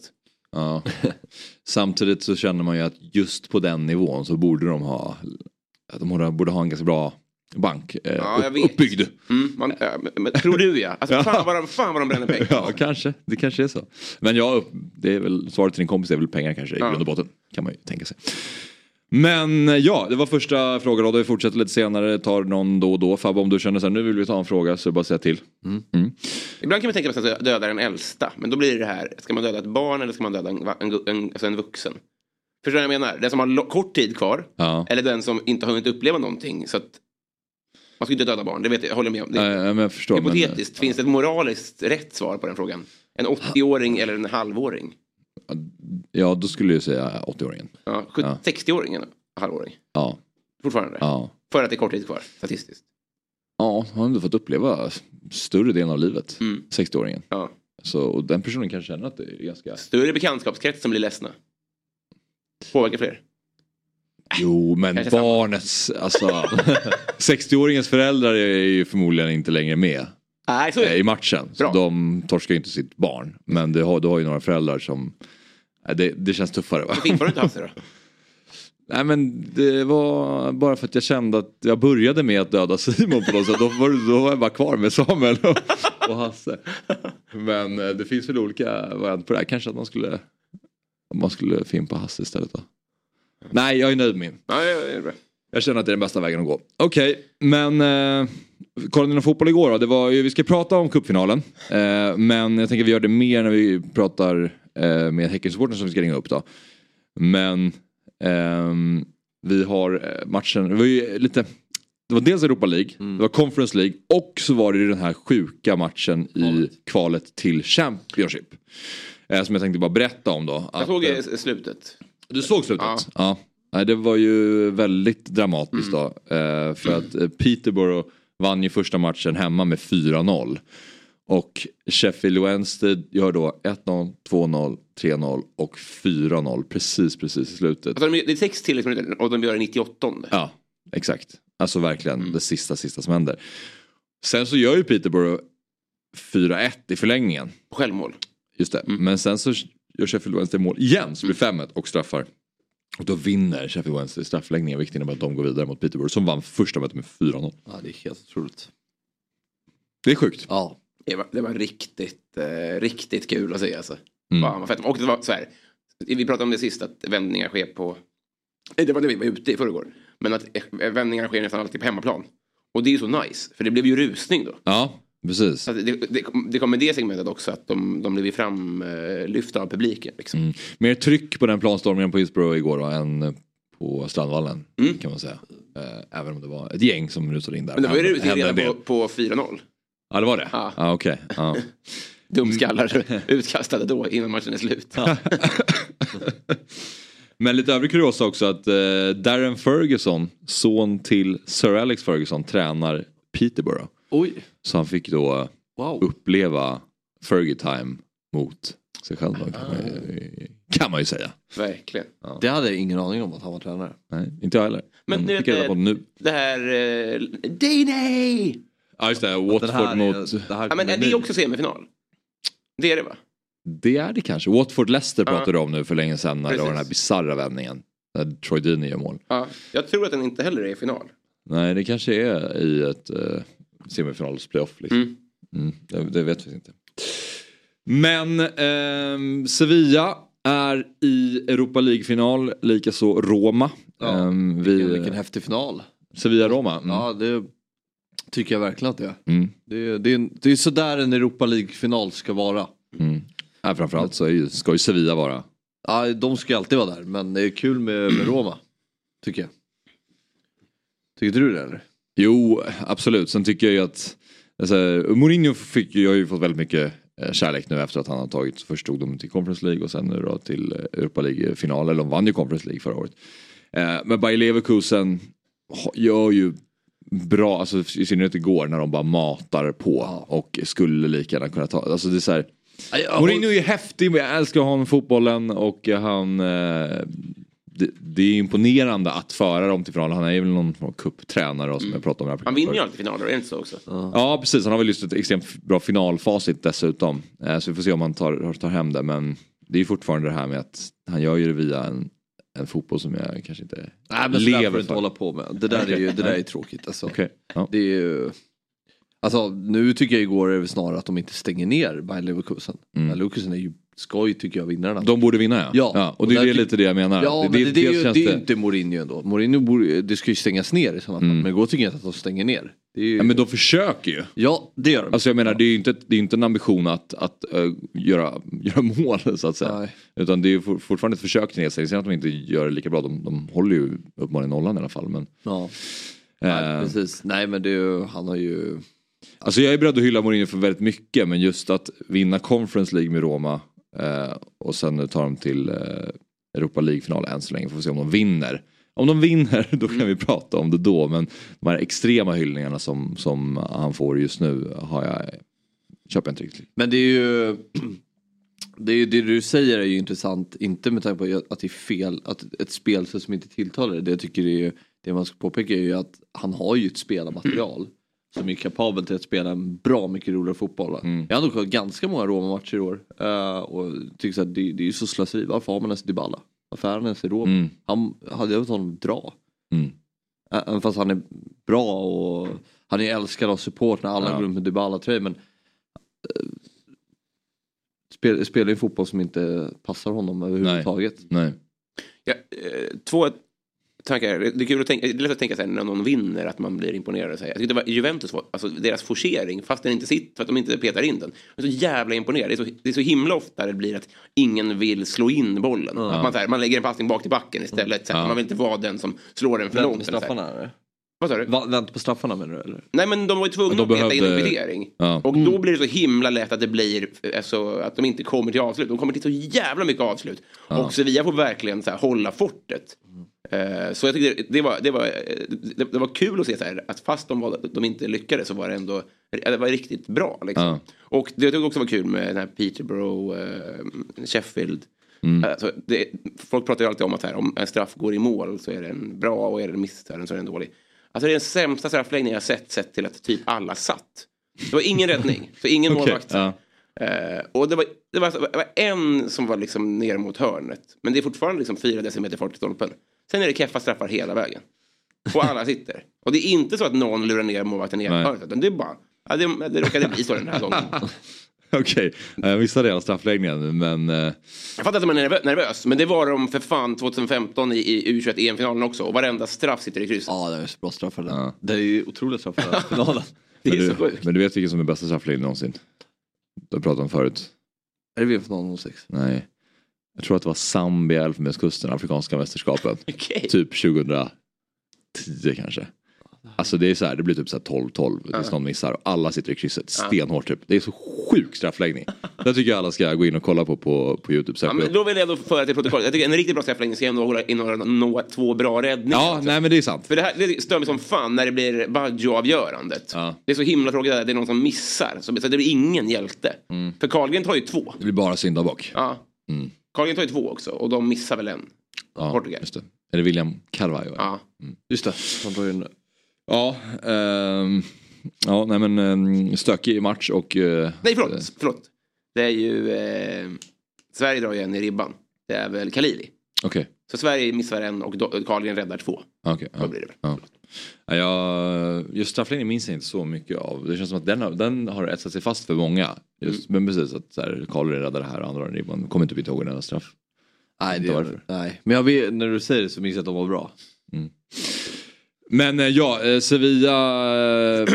Speaker 5: Ja. Samtidigt så känner man ju att just på den nivån så borde de ha, att de borde- borde ha en ganska bra bank eh,
Speaker 7: Ja, jag
Speaker 5: upp-
Speaker 7: vet.
Speaker 5: uppbyggd.
Speaker 7: Mm, man, ja, men, men, tror du ja. Alltså,
Speaker 5: Ja.
Speaker 7: Fan, vad de, fan vad de bränner pengar.
Speaker 5: Ja, kanske. Det kanske är så. Men ja, upp- det är väl, svaret till din kompis är väl pengar kanske i grund och botten. Kan man ju tänka sig. Men eh, ja, det var första frågan då. Vi fortsätter lite senare, tar någon då och då. Fabbe, om du känner så här, nu vill vi ta en fråga så bara säg till.
Speaker 7: Ibland kan man tänka sig att döda den äldsta. Men då blir det här, ska man döda ett barn eller ska man döda en, va- en, gu- en, alltså en vuxen? Förstår du vad jag menar? Den som har lo- kort tid kvar.
Speaker 5: Ja.
Speaker 7: Eller den som inte har hunnit uppleva någonting. Så att, man ska ju inte döda barn, det vet jag, jag håller med om. Det,
Speaker 5: Nej, nej, men jag förstår. men, eh,
Speaker 7: hypotetiskt, finns det ett moraliskt rätt svar på den frågan? En 80-åring eller en halvåring?
Speaker 5: Ja, då skulle jag ju säga 80-åringen.
Speaker 7: Ja, sjut-
Speaker 5: Ja.
Speaker 7: 60-åring eller halvåring?
Speaker 5: Ja.
Speaker 7: Fortfarande?
Speaker 5: Ja.
Speaker 7: För att det är kort tid kvar, statistiskt.
Speaker 5: Ja, han har ändå fått uppleva större delen av livet.
Speaker 7: Mm.
Speaker 5: 60-åringen.
Speaker 7: Ja.
Speaker 5: Så och den personen kan känna att det är ganska...
Speaker 7: Större bekantskapskrets som blir ledsna. Påverkar fler.
Speaker 5: Jo, men
Speaker 7: Äh. Kanske samma.
Speaker 5: barnets... Alltså... 60-åringens föräldrar är ju förmodligen inte längre med
Speaker 7: Nej, så är
Speaker 5: eh, i
Speaker 7: det.
Speaker 5: matchen. Så
Speaker 7: Bra.
Speaker 5: de torskar ju inte sitt barn. Men du har, du har ju några föräldrar som... eh, Det, det känns tuffare va?
Speaker 7: Fimpar du inte haft det då?
Speaker 5: Nej men det var bara för att jag kände att jag började med att döda Simon på något sätt. Då var, då var jag bara kvar med Samuel och, och Hasse. Men eh, det finns väl olika varianter på det här. Kanske att man skulle, man skulle fimpa Hasse istället då. Nej jag är nöjd med min.
Speaker 7: Ja, ja, ja, det är bra.
Speaker 5: Jag känner att det är den bästa vägen att gå. Okej, men eh, kollade ni någon fotboll igår då? Det var ju, vi ska prata om cupfinalen. Eh, men jag tänker vi gör det mer när vi pratar eh, med Häckensupporten som vi ska ringa upp då. Men ehm, vi har eh, matchen, det var ju lite... Det var dels Europa League,
Speaker 7: Mm.
Speaker 5: det var Conference League och så var det ju den här sjuka matchen i kvalet till Championship. Eh, som jag tänkte bara berätta om då.
Speaker 7: Jag
Speaker 5: Att,
Speaker 7: såg
Speaker 5: eh,
Speaker 7: eh, slutet.
Speaker 5: du såg slutet?
Speaker 7: Ja.
Speaker 5: Ja. Nej, det var ju väldigt dramatiskt då. Eh, för att eh, Peterborough vann ju första matchen hemma med 4-0. Och Sheffield Wednesday gör då 1-0, 2-0, 3-0 och 4-0 precis, precis i slutet.
Speaker 7: Alltså, de, det är sex tilläggsminuter och de gör det 98.
Speaker 5: Ja, exakt. Alltså verkligen
Speaker 6: Mm.
Speaker 5: det sista, sista som händer. Sen så gör ju Peterborough 4-1 i förlängningen.
Speaker 7: Självmål.
Speaker 5: Just det.
Speaker 6: Mm.
Speaker 5: Men sen så gör Sheffield Wednesday mål igen så blir det 5-1 och straffar. Och då vinner Sheffield Wednesday straffläggningen vilket innebär att de går vidare mot Peterborough som vann första mötet med 4-0.
Speaker 6: Ja, det är helt otroligt.
Speaker 5: Det är sjukt.
Speaker 6: Ja.
Speaker 7: Det var, det var riktigt, eh, riktigt kul att se alltså.
Speaker 5: Mm.
Speaker 7: Fan vad fett. Och det var så här. Vi pratade om det sist att vändningar sker på. Nej, Det var när vi var ute i förrgår. Men att eh, vändningar sker nästan alltid på hemmaplan. Och det är ju så nice. För det blev ju rusning då.
Speaker 5: Ja, precis.
Speaker 7: Så att det, det, det kommer det segmentet också att de, de blev ju framlyfta av publiken. Liksom.
Speaker 5: Mm. Mer tryck på den planstormningen på Hillsborough igår då, än på Strandvallen kan man säga. Eh, Även om det var ett gäng som rusade in där.
Speaker 7: Mm. Men det var ju
Speaker 5: Hände-
Speaker 7: rusning
Speaker 5: hände en
Speaker 7: redan
Speaker 5: del.
Speaker 7: på, på 4-0.
Speaker 5: Ja det var det?
Speaker 7: Ja.
Speaker 5: Ja, okej. Ja.
Speaker 7: Dumskallar utkastade då innan matchen är slut.
Speaker 5: Men lite övrig kuriosa också att eh, Darren Ferguson, son till Sir Alex Ferguson, tränar Peterborough.
Speaker 6: Oj.
Speaker 5: Så han fick då
Speaker 6: Wow.
Speaker 5: uppleva Fergie time mot sig själv då, kan, man ju, kan man ju säga.
Speaker 7: Verkligen.
Speaker 6: Det hade jag ingen aning om att han var tränare.
Speaker 5: Nej, inte jag heller.
Speaker 7: Men
Speaker 5: Men
Speaker 7: du
Speaker 5: det
Speaker 7: vet,
Speaker 5: fick jag reda på
Speaker 7: eh,
Speaker 5: nu.
Speaker 7: Det här... Eh, Day-Day!
Speaker 5: Ja just det, Watford mot...
Speaker 6: det här
Speaker 7: Ja, men
Speaker 6: kommer
Speaker 7: är det
Speaker 6: bli-
Speaker 7: är också semifinal. Det är det va?
Speaker 5: Det är det kanske. Watford-Leicester pratade du om nu för länge sedan när det var
Speaker 7: Precis.
Speaker 5: den här bisarra vändningen. När Troy Deeney gör mål.
Speaker 7: Ja. Jag tror att den inte heller är i final.
Speaker 5: Nej, det kanske är i ett eh, semifinals-playoff. Liksom.
Speaker 7: Mm.
Speaker 5: Mm, det, det vet vi inte. Men ehm, Sevilla är i Europa League-final, likaså Roma.
Speaker 6: Ja,
Speaker 5: Ehm,
Speaker 6: Vilken,
Speaker 5: vi,
Speaker 6: vilken häftig final.
Speaker 5: Sevilla-Roma. Mm.
Speaker 6: Ja, det tycker jag verkligen att det är.
Speaker 5: Mm.
Speaker 6: Det är, det är, en- det är sådär en Europa League-final ska vara.
Speaker 5: Ja, framförallt så är ju, ska ju Sevilla vara.
Speaker 6: Ja, de ska ju alltid vara där, men det är kul med, med Roma. Tycker jag. Tycker du det eller?
Speaker 5: Jo, absolut. Sen tycker jag ju att alltså, Mourinho fick, ju- har ju fått väldigt mycket eh, kärlek nu efter att han har tagit, först tog dem till Conference League och sen nu då till eh, Europa League-final, eller de vann ju Conference League förra året. Eh, Men Bayer Leverkusen ha- gör ju bra, alltså i synnerhet igår när de bara matar på och skulle lika gärna kunna ta, alltså det är så här, Mourinho är ju häftig, men jag älskar honom i fotbollen och han... Eh, det, det är imponerande att föra dem till final. Han är ju väl någon form av cuptränare och som
Speaker 6: Mm.
Speaker 5: jag pratade om. i det här
Speaker 7: Han
Speaker 5: programmet
Speaker 7: vinner ju
Speaker 5: förut.
Speaker 7: alltid finaler, är det inte så också?
Speaker 5: Ja precis, han har väl just ett extremt bra finalfacit dessutom. Eh, Så vi får se om han tar, tar hem det. Men det är ju fortfarande det här med att han gör ju det via en en fotboll som jag kanske inte
Speaker 6: Nej men sådär
Speaker 5: lever
Speaker 6: får du inte
Speaker 5: för.
Speaker 6: hålla på med. Det där är ju det där är tråkigt alltså.
Speaker 5: Okej, ja.
Speaker 6: Det är ju... Alltså nu tycker jag igår är det snarare att de inte stänger ner Bayern Leverkusen. Mm. Leverkusen är ju skoj tycker jag vinner den här
Speaker 5: De borde vinna ja.
Speaker 6: Ja.
Speaker 5: och det är
Speaker 6: Och
Speaker 5: ju
Speaker 6: där-
Speaker 5: lite det jag menar.
Speaker 6: Ja,
Speaker 5: det, Mm.
Speaker 6: men det, det, är ju,
Speaker 5: känns
Speaker 6: det är ju inte Mourinho ändå. Mourinho borde, det ska ju stängas ner i sådana fall. Men då tycker jag inte att de stänger ner. Det är ju,
Speaker 5: Ja, men de försöker ju.
Speaker 6: ja, det gör de.
Speaker 5: Alltså jag menar det är ju inte, det är ju inte en ambition att, att eh, göra, göra mål så att säga.
Speaker 6: Nej.
Speaker 5: Utan det är ju for, fortfarande ett försök till nedstängning. Sen att de inte gör det lika bra, de, de håller ju uppenbarligen nollan i alla fall. Men,
Speaker 6: ja.
Speaker 5: eh,
Speaker 6: Nej, precis. Nej men det är ju, han har ju...
Speaker 5: Alltså jag är beredd att hylla Mourinho för väldigt mycket men just att vinna Conference League med Roma eh, och sen nu tar de till eh, Europa League-final än så länge. Får vi se om de vinner. Om de vinner då kan
Speaker 7: Mm.
Speaker 5: vi prata om det då men de här extrema hyllningarna som, som han får just nu har jag, eh, köper jag inte riktigt.
Speaker 6: Men det är ju... Det, är ju, det du säger är ju intressant, inte med tanke på att det är fel, att ett spel som inte tilltalar dig. Det jag tycker är ju, det man ska påpeka är ju att han har ju ett spelarmaterial som är kapabel till att spela en bra mycket roligare fotboll. Jag har nog kollat ganska många Roma-matcher i år eh, och tycker så att det, det är ju så slöseri. Varför har man ens Dybala? Varför är han ens i Roma? Han hade jag velat honom dra. Ä- Även fast han är bra och han är älskad av support när alla
Speaker 5: Ja.
Speaker 6: går runt med Dybala-tröjor men eh, spel, spelar ju fotboll som inte passar honom överhuvudtaget.
Speaker 5: Nej.
Speaker 7: Ja, eh, två tankar. Det är kul att tänka, det är lätt att tänka så här, när någon vinner att man blir imponerad. och Så här. Jag tyckte det var Juventus, var, alltså deras forcering, fast den inte sitter, för att de inte petar in den. Jag är så jävla imponerad. Det är så, det är så himla ofta det blir att ingen vill slå in bollen. Att man, så här, man lägger en passning bak till backen istället. Så här,
Speaker 5: Ja.
Speaker 7: Man vill inte vara den som slår den för
Speaker 6: Vänta på
Speaker 7: långt. eller så här.
Speaker 6: straffarna eller?
Speaker 7: Vad sa du?
Speaker 6: Va, vänta på straffarna menar du eller?
Speaker 7: Nej men de var ju tvungna
Speaker 5: Ja,
Speaker 7: att
Speaker 5: de
Speaker 7: peta in en
Speaker 5: behövde-
Speaker 7: kvittering.
Speaker 5: Ja.
Speaker 7: Och då blir det så himla lätt att det blir alltså, att de inte kommer till avslut. De kommer till så jävla mycket avslut. Och Sevilla får verkligen så här, hålla fortet. Eh, Så jag tyckte det var, det, var, eh, det, det var kul att se så här, att fast de, var, de inte lyckades så var det ändå eh, det var riktigt bra. Liksom.
Speaker 5: Ja.
Speaker 7: Och det jag tyckte också var kul med den här Peterborough, eh, Sheffield.
Speaker 5: Mm.
Speaker 7: Alltså, det, folk pratar ju alltid om att här, om en straff går i mål så är den bra och är den missar den så är den dålig. Alltså det är den sämsta straffläggning jag har sett sett till att typ alla satt. Det var ingen räddning, så ingen
Speaker 5: Okej,
Speaker 7: målvakt.
Speaker 5: ja.
Speaker 7: Eh, och det var, det, var, det var en som var liksom ner mot hörnet. Men det är fortfarande liksom fyra decimeter fart i stolpen. Sen är det Keffa straffar hela vägen. Och alla sitter. Och det är inte så att någon lurar ner målvakten i
Speaker 5: Nej.
Speaker 7: hörnet. Utan det är bara, ja, det, det råkade bli så den här gången.
Speaker 5: Okej, Eh, jag missade hela straffläggningen men eh,
Speaker 7: Jag fattar att man är nervö- nervös. Men det var de för fan 2015 i, i U21 EM-finalen också. Och varenda straff sitter i krysset.
Speaker 6: Ja det är så bra straffar där.
Speaker 5: Ja.
Speaker 6: Det är ju otroliga straffar där. Finalen.
Speaker 7: det är
Speaker 5: men,
Speaker 7: så
Speaker 5: du,
Speaker 7: sjukt.
Speaker 5: men du vet vilken som är bästa straffläggning någonsin? Du har pratat om förut.
Speaker 6: Är det VM-finalen 06?
Speaker 5: Nej. Jag tror att det var Zambia, Elfenbenskusten, Afrikanska mästerskapen.
Speaker 7: Okej.
Speaker 5: Typ 2010 kanske. Alltså det är så här, det blir typ så här 12-12 tills någon missar och alla sitter i krysset stenhårt typ. Det är så sjuk straffläggning. Det tycker jag alla ska gå in och kolla på på, på Youtube.
Speaker 7: Ja,
Speaker 5: Ja,
Speaker 7: men då vill jag då föra till protokollet. Jag tycker en riktigt bra straffläggning ska ändå hålla innehålla nå två bra räddningar.
Speaker 5: ja nej men det är sant.
Speaker 7: För det här det stör mig som fan när det blir Baggio-avgörandet.
Speaker 5: Ja.
Speaker 7: Det är så himla tråkigt att det är någon som missar. Så så det blir ingen hjälte. För Carlgren tar ju två.
Speaker 5: Mm. Det blir bara syndabock.
Speaker 7: Ja. Carlgren tar ju två också och de missar väl en.
Speaker 5: Ja,
Speaker 7: Portugal.
Speaker 5: just det. Är det William Carvalho? Mm.
Speaker 7: Ja.
Speaker 6: Just det, han tar ju en
Speaker 5: Ja, ehm, ja nej men ehm, stökig match och... eh,
Speaker 7: Nej, förlåt. förlåt. Det är ju... Eh, Sverige drar ju en i ribban. Det är väl Kalili.
Speaker 5: Okej.
Speaker 7: Så Sverige missar en och do- Carlgren räddar två.
Speaker 5: Okej, ja.
Speaker 7: blir det väl.
Speaker 5: Ja. Ja, jag, just straffläggning minns jag inte så mycket av. Det känns som att den har, den har etsat sig fast för många. Just,
Speaker 6: Mm.
Speaker 5: Men precis att så här, Karlgren räddar det här och andra har en ribban. Kommer inte ihåg en enda straff.
Speaker 6: Nej,
Speaker 5: Inte
Speaker 6: det
Speaker 5: varför.
Speaker 6: nej. Men jag vet, när du säger det så minns jag att de var bra.
Speaker 5: Men eh, ja, eh, Sevilla. eh,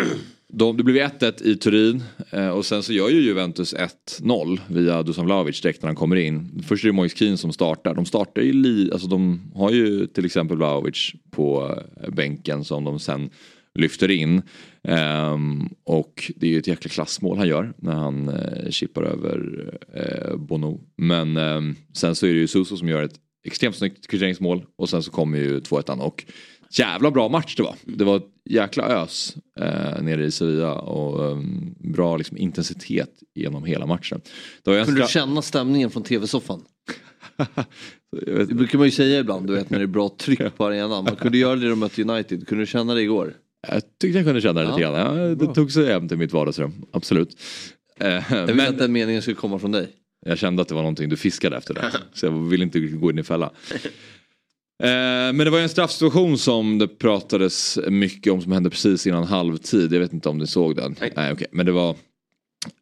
Speaker 5: De, det blev 1-1 i Turin eh, och sen så gör ju Juventus 1-0 via Dusan Vlahovic direkt när han kommer in. Först är det Moise Kean som startar. De startar ju, li, alltså de har ju till exempel Vlahovic på eh, bänken som de sen lyfter in. Ehm, och det är ju ett jäkla klassmål han gör när han eh, chippar över eh, Bono. Men ehm, sen så är det ju Suso som gör ett extremt snyggt kvitteringsmål och sen så kommer ju 2-1 och jävla bra match det var. Det var ett jäkla ös eh, nere i Sevilla och eh, bra liksom, intensitet genom hela matchen. Det var ju en
Speaker 6: Kunde du
Speaker 5: stra-
Speaker 6: känna stämningen från tv-soffan?
Speaker 5: Jag vet-
Speaker 6: Det brukar man ju säga ibland, du vet när det är bra tryck på arenan. Man kunde göra det när de mötte United, kunde du känna det igår?
Speaker 5: Jag tyckte jag kunde känna det lite
Speaker 6: Ja,
Speaker 5: grann. Ja, det tog sig hem till mitt vardagsrum, absolut. Eh,
Speaker 6: Jag
Speaker 5: men-
Speaker 6: ville att den meningen skulle komma från dig.
Speaker 5: Jag kände att det var någonting du fiskade efter där. Så jag ville inte gå in i fälla. Eh, men det var ju en straffsituation som det pratades mycket om som hände precis innan halvtid. Jag vet inte om ni såg den. Nej, okej. Men det var...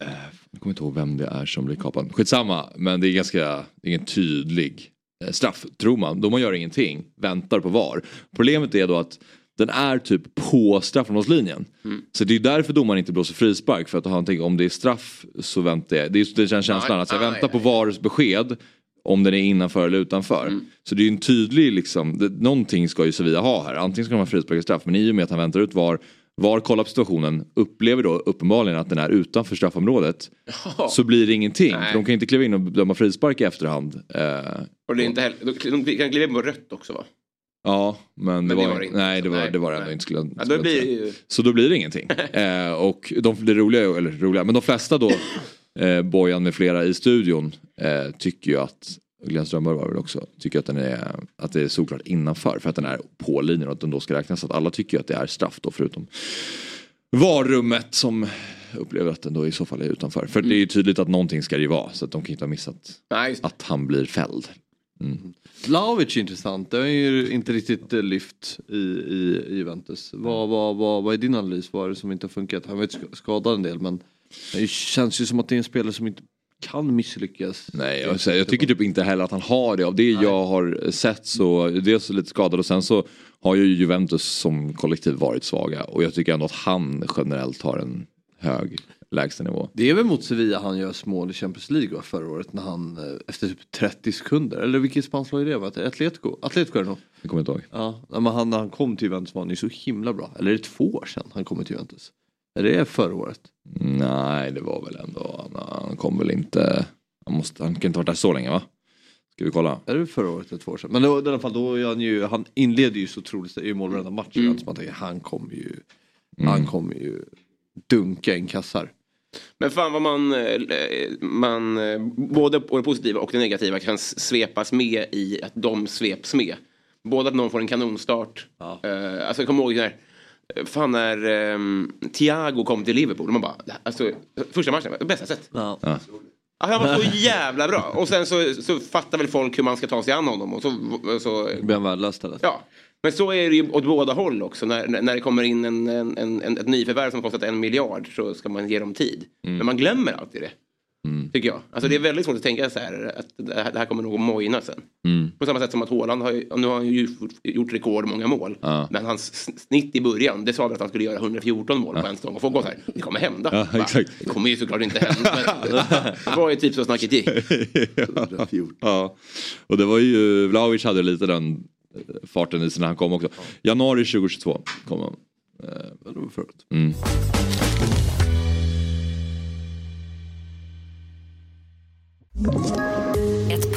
Speaker 5: eh, Jag kommer inte ihåg vem det är som blir kapad. Skitsamma, men det är ganska... Det är ingen tydlig eh, straff, tror man. Domaren gör ingenting, väntar på VAR. Problemet är då att den är typ på straffområdeslinjen. Så det är därför domaren inte blåser frispark. För att han tänker om det är straff så väntar jag. Det, är, det känns känslan att jag
Speaker 7: aj,
Speaker 5: väntar
Speaker 7: aj.
Speaker 5: på VARs besked. Om den är innanför eller utanför. Så det är ju en tydlig liksom, det, någonting ska ju Sevilla ha här. Antingen ska de ha frispark eller straff. Men i och med att han väntar ut VAR, VAR kollar på situationen, upplever då uppenbarligen att den är utanför straffområdet. Så blir det ingenting.
Speaker 7: Nej.
Speaker 5: För de kan inte kliva in och döma frispark i efterhand. Eh,
Speaker 7: Och det är inte heller, de de kan glida in på rött också va?
Speaker 5: ja, men, det,
Speaker 7: det
Speaker 5: var,
Speaker 7: var det inte.
Speaker 5: Nej, det var,
Speaker 7: Nej,
Speaker 5: det var det
Speaker 7: nej.
Speaker 5: ändå inte skulle,
Speaker 7: Ja,
Speaker 5: skulle
Speaker 7: då
Speaker 5: jag
Speaker 7: blir
Speaker 5: säga.
Speaker 7: det ju...
Speaker 5: Så då blir det ingenting. Eh, och de, det roliga, är- eller roliga, men de flesta då, eh, Bojan med flera i studion, eh, tycker ju att, Glenn Strömberg var väl också, tycker att, den är, att det är såklart innanför för att den är på linjen och att den då ska räknas. Så att alla tycker ju att det är straff då förutom varummet som upplever att den då i så fall är utanför. För det är ju tydligt att någonting ska det ju vara så att de kan ju inte ha missat
Speaker 7: Mm. Nej, just det.
Speaker 5: att han blir fälld.
Speaker 6: Vlahovic är intressant. Det har ju inte riktigt eh, lyft i, i, i Juventus. Vad, vad, vad, vad är din analys? Vad är det som inte har funkat? Han var ju sk- skadad en del men det känns ju som att det är en spelare som inte kan misslyckas.
Speaker 5: Nej, jag, säger, jag tycker typ inte heller att han har det. Av det jag har sett så, dels lite skadad och sen så har ju Juventus som kollektiv varit svaga. Och jag tycker ändå att han generellt har en hög lägstanivå.
Speaker 6: Det är väl mot Sevilla han gör mål i Champions League va, förra året när han eh, efter typ 30 sekunder, eller vilket spanskt lag är det? va? Atletico? Atletico är det nog.
Speaker 5: Jag kommer inte ihåg.
Speaker 6: Ja, nej, men han, när han kom till Juventus var han ju så himla bra. Eller är det två år sedan han kom till Juventus? Eller är det förra året?
Speaker 5: Nej, det var väl ändå, han, han kom väl inte, han, måste, han kan inte ha varit där så länge va? Ska vi kolla?
Speaker 6: Är det förra året eller två år sedan? Men då, i alla fall, då är han, ju, han inleder ju så otroligt, det är ju mål varenda match. Mm. Man tänker, han kommer ju, han kommer ju dunka in kassar.
Speaker 7: Men fan vad man, eh, man eh, både på det positiva och det negativa kan s- svepas med i att de sveps med. Både att någon får en kanonstart.
Speaker 6: Ja.
Speaker 7: Eh, alltså jag kommer ihåg när, eh, fan när ehm, Thiago kom till Liverpool. Man bara, alltså, första matchen, bästa sätt.
Speaker 6: Ja.
Speaker 7: Ah, han var så jävla bra. Och sen så, så fattar väl folk hur man ska ta sig an honom. Och så, så,
Speaker 6: Blir han värdelös istället?
Speaker 7: ja. Men så är det ju åt båda håll också. När, när det kommer in en, en, en, en, ett nyförvärv som kostat en miljard så ska man ge dem tid.
Speaker 6: Mm.
Speaker 7: Men man glömmer alltid det. Tycker jag. Alltså det är väldigt svårt att tänka så här att det här, det här kommer nog att mojna sen.
Speaker 6: Mm.
Speaker 7: På samma sätt som att Haaland har ju, nu har han ju gjort- gjort rekordmånga mål.
Speaker 5: Ja.
Speaker 7: Men hans sn- snitt i början, det sa vi att han skulle göra 114 mål på en säsong. Och folk var så här, det kommer hända.
Speaker 5: Ja,
Speaker 7: Va?
Speaker 5: exakt.
Speaker 7: Det kommer ju såklart inte hända. Men det var ju typ så snacket gick.
Speaker 5: Ja, och det var ju, Vlahovic hade lite den eh, farten i sig när han kom också. Januari 2022 kom han. Eh, Mm.
Speaker 6: Ja, det var förra året.
Speaker 8: Ett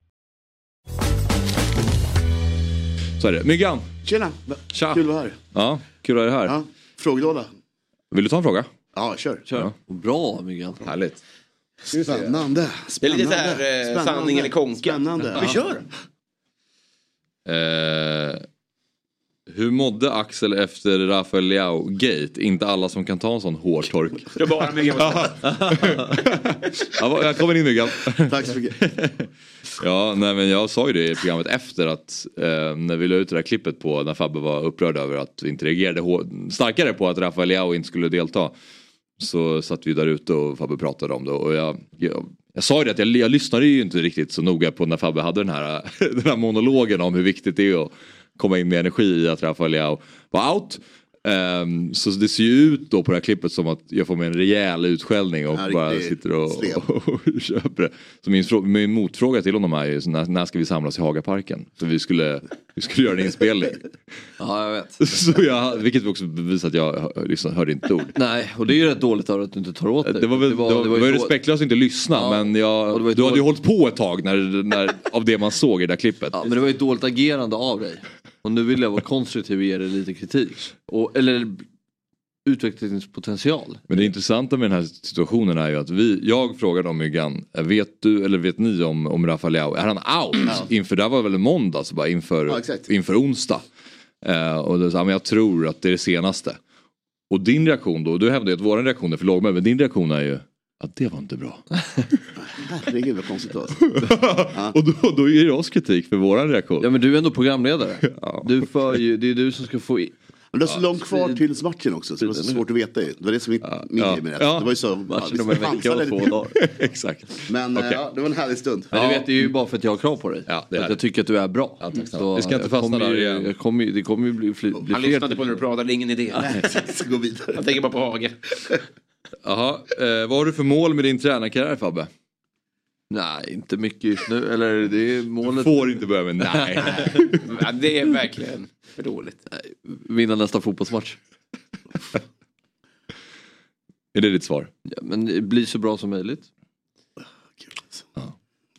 Speaker 5: Så är det. Myggan!
Speaker 9: Tjena!
Speaker 5: Tja.
Speaker 9: Kul att vara här.
Speaker 5: Ja, kul att ha dig här.
Speaker 9: Ja, frågelåda.
Speaker 5: Vill du ta en fråga?
Speaker 9: Ja, kör.
Speaker 6: Kör. Bra Myggan.
Speaker 5: Härligt.
Speaker 9: Spännande.
Speaker 7: Det är
Speaker 9: Spännande.
Speaker 7: lite så här eh, sanning eller konka.
Speaker 9: Spännande.
Speaker 7: Vi kör!
Speaker 5: Eh, hur mådde Axel efter Rafael Leao Gate? Inte alla som kan ta en sån hårtork.
Speaker 7: Det var bara mycket.
Speaker 5: Ja, va- Jag kommer in Myggan.
Speaker 9: Tack så mycket.
Speaker 5: Ja, nej, men jag sa ju det i programmet efter att eh, när vi la ut det där klippet på när Fabbe var upprörd över att vi inte reagerade hår- starkare på att Rafael Leao inte skulle delta. Så satt vi där ute och Fabbe pratade om det och jag, jag, jag sa ju det att jag, jag lyssnade ju inte riktigt så noga på när Fabbe hade den här, den här monologen om hur viktigt det är att komma in med energi i att Rafael Leao var out. Ehm, så det ser ju ut då på det här klippet som att jag får med en rejäl utskällning och
Speaker 9: Ja,
Speaker 5: bara
Speaker 9: riktigt
Speaker 5: sitter och,
Speaker 9: slev.
Speaker 5: och köper det. Så min, frå- min motfråga till honom är ju så när, när ska vi samlas i Hagaparken? För vi skulle, vi skulle göra en inspelning.
Speaker 6: Ja, jag vet.
Speaker 5: så jag, vilket också bevisar att jag hör- liksom, hörde inte ett ord.
Speaker 6: Nej, och det är ju rätt dåligt av att du inte tar åt dig.
Speaker 5: Det var, väl, det var, det var, ju
Speaker 6: då-
Speaker 5: respektlöst att inte lyssna
Speaker 6: Ja,
Speaker 5: men jag,
Speaker 6: och det var ju
Speaker 5: du hade ju
Speaker 6: dåligt.
Speaker 5: hållit på ett tag när, när, av det man såg i det där klippet.
Speaker 6: Ja, men det var ju ett dåligt agerande av dig. Och nu vill jag vara konstruktiv och ge dig lite kritik. Och, eller utvecklingspotential.
Speaker 5: Men det intressanta med den här situationen är ju att vi, jag frågade om myggan, vet du eller vet ni om, om Rafael Leao, är han out? Inför, det här var väl en måndag, så bara inför,
Speaker 9: Ja, exakt.
Speaker 5: inför onsdag. Eh, och då sa han, men jag tror att det är det senaste. Och din reaktion då, du hävdar ju att våran reaktion är för låg, men din reaktion är ju att det var inte bra.
Speaker 9: Herregud vad konstigt det var.
Speaker 5: Och då, då ger du oss kritik för våran reaktion.
Speaker 6: Ja men du är ändå programledare. Du för ju, det är du som ska få i-
Speaker 9: Men det är så långt kvar tills matchen också, så det var så svårt att veta ju. Det var det som är min grej med det. Det var ju så... ja, vi
Speaker 6: matchen om en vecka
Speaker 9: chansade
Speaker 6: och två
Speaker 9: lite.
Speaker 6: dagar.
Speaker 5: Exakt.
Speaker 9: Men eh,
Speaker 5: Okej.
Speaker 9: ja, det var en härlig stund.
Speaker 6: Men du vet, det är ju bara för att jag har krav på dig.
Speaker 5: Ja, det
Speaker 6: För
Speaker 5: är
Speaker 6: att
Speaker 5: det.
Speaker 6: jag tycker att du är bra. Ja, tack
Speaker 5: snälla. Vi ska inte fastna där igen.
Speaker 6: Jag kommer, ju- det kommer ju bli, fly, bli
Speaker 7: Han
Speaker 6: fler.
Speaker 7: lyssnade på när du pratade, det är ingen idé.
Speaker 9: Så gå vidare.
Speaker 7: Jag tänker bara på Hage.
Speaker 5: Jaha, eh, vad har du för mål med din tränarkarriär Fabbe?
Speaker 6: Nej, inte mycket just nu. Eller det är målet.
Speaker 5: Får inte börja med nej.
Speaker 7: Ja, Det är verkligen för dåligt.
Speaker 6: Vinna nästa fotbollsmatch.
Speaker 5: är det ditt svar?
Speaker 6: Ja, men bli så bra som möjligt.
Speaker 9: Kul.
Speaker 7: alltså.
Speaker 6: Ja,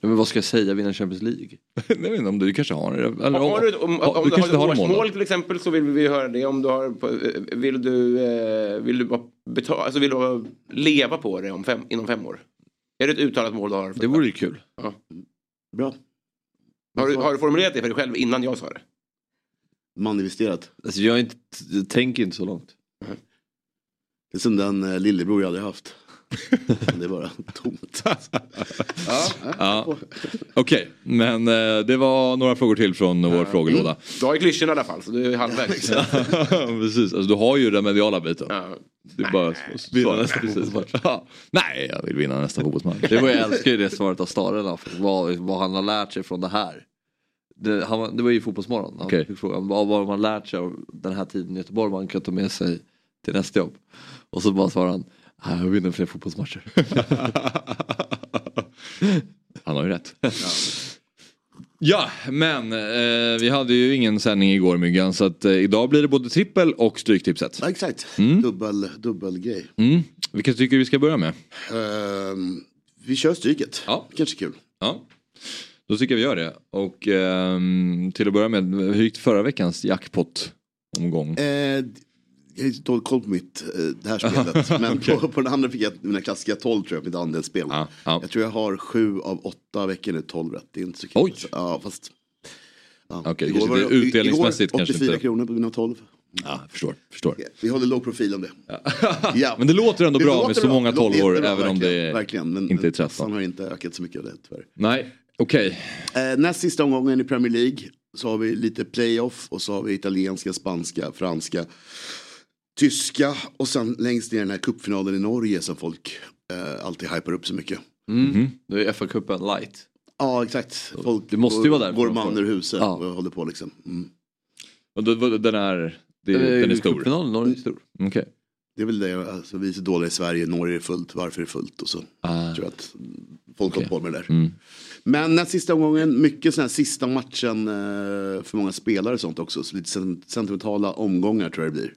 Speaker 6: men vad ska jag säga? Vinna Champions League?
Speaker 5: nej men om du kanske har en- eller,
Speaker 7: Om, har du, om, om du har ett
Speaker 5: kanske en mål då?
Speaker 7: årsmål till exempel så vill vi höra det. Om du har, på- eh, vill du, eh, vill du, bara betala, alltså vill du bara leva på det om fem, inom fem år? Är det ett uttalat mål du har?
Speaker 6: Det vore ju kul.
Speaker 9: Bra.
Speaker 7: Har du, har du formulerat det för dig själv innan jag sa det?
Speaker 9: Manifesterat.
Speaker 6: Alltså, jag, är inte, jag tänker inte så långt.
Speaker 9: Det är som den eh, lillebror jag aldrig haft. det är bara tomt.
Speaker 5: Ja. Okej, men eh, det var några frågor till från vår
Speaker 6: Mm.
Speaker 5: frågelåda.
Speaker 7: Du har ju klyschorna Mm. i alla fall så du är halvvägs.
Speaker 5: Precis, alltså, du har ju den mediala biten.
Speaker 7: Ja.
Speaker 5: Du bara vinna nästa fotbollsmatch. Ja. Nej, jag vill vinna nästa fotbollsmatch.
Speaker 6: Det var, jag älskar ju det svaret av Staren. haft. Vad, vad han har lärt sig från det här. Det, han, var- det var ju i Fotbollsmorgon. Han
Speaker 5: Okej.
Speaker 6: fick frågan vad vad har man lärt sig av den här tiden i Göteborg man kan ta med sig till nästa jobb. Och så bara svarar han. "Nej, Jag vinner fler fotbollsmatcher.
Speaker 5: Han har ju rätt. Ja, men eh, vi hade ju ingen sändning igår Myggan så att eh, idag blir det både trippel och stryktipset.
Speaker 9: Ja, exakt.
Speaker 6: Mm.
Speaker 9: Dubbel, dubbel grej.
Speaker 5: Mm. Vilka tycker du vi ska börja med?
Speaker 9: Ehm, vi kör stryket.
Speaker 5: Ja.
Speaker 9: Kanske kul.
Speaker 5: Ja. Då tycker jag vi gör det. Och ehm, till att börja med, hur gick förra veckans jackpot-omgång?
Speaker 9: Eh, jag har inte dålig koll på mitt, eh, det här spelet. Men på, på den andra fick jag mina klassiska 12 tror jag, mitt andelsspel.
Speaker 5: Ja, ja.
Speaker 9: Jag tror jag har sju av åtta veckor nu 12 rätt. Det är inte så kul.
Speaker 5: Oj.
Speaker 9: Ja, fast, ja.
Speaker 5: Okej,
Speaker 9: Igår
Speaker 5: kanske det-
Speaker 9: i-
Speaker 5: utdelningsmässigt
Speaker 9: igår,
Speaker 5: kanske
Speaker 9: 84
Speaker 5: inte.
Speaker 9: kronor på mina 12.
Speaker 5: Ja, förstår. förstår.
Speaker 9: Vi håller låg profil om det. Ja.
Speaker 5: Men det låter ändå
Speaker 9: Det
Speaker 5: bra
Speaker 9: låter
Speaker 5: med så
Speaker 9: bra.
Speaker 5: många
Speaker 9: Det låter
Speaker 5: tolvor
Speaker 9: jättebra,
Speaker 5: även om
Speaker 9: verkligen,
Speaker 5: det är...
Speaker 9: verkligen. Men
Speaker 5: inte är
Speaker 9: kassan
Speaker 5: 13.
Speaker 9: har inte ökat så mycket av det tyvärr.
Speaker 5: Nej, okej.
Speaker 9: Eh, näst sista omgången i Premier League så har vi lite playoff och så har vi italienska, spanska, franska, tyska och sen längst ner den här cupfinalen i Norge som folk eh, alltid hypar upp så mycket.
Speaker 6: Nu Mm-hmm. är FA-cupen light.
Speaker 9: Ja exakt, folk
Speaker 6: Det måste ju vara därför
Speaker 9: går
Speaker 6: de
Speaker 9: man
Speaker 6: får-
Speaker 9: ur huset
Speaker 6: Ja.
Speaker 9: och håller på liksom. Mm.
Speaker 5: Och då- då- Den är, det,
Speaker 9: Eh,
Speaker 6: Eh,
Speaker 5: den är stor? Mm, Okej.
Speaker 6: Cupfinalen, Norge är stor.
Speaker 9: Det är väl det, alltså, vi är så dåliga i Sverige, Norge är fullt, varför är det fullt och så.
Speaker 5: Ah.
Speaker 9: tror jag att folk har hållit på med det där.
Speaker 5: Mm.
Speaker 9: Men näst sista omgången, mycket sån här sista matchen eh, för många spelare och sånt också. Så lite sen- sentimentala omgångar tror jag det blir.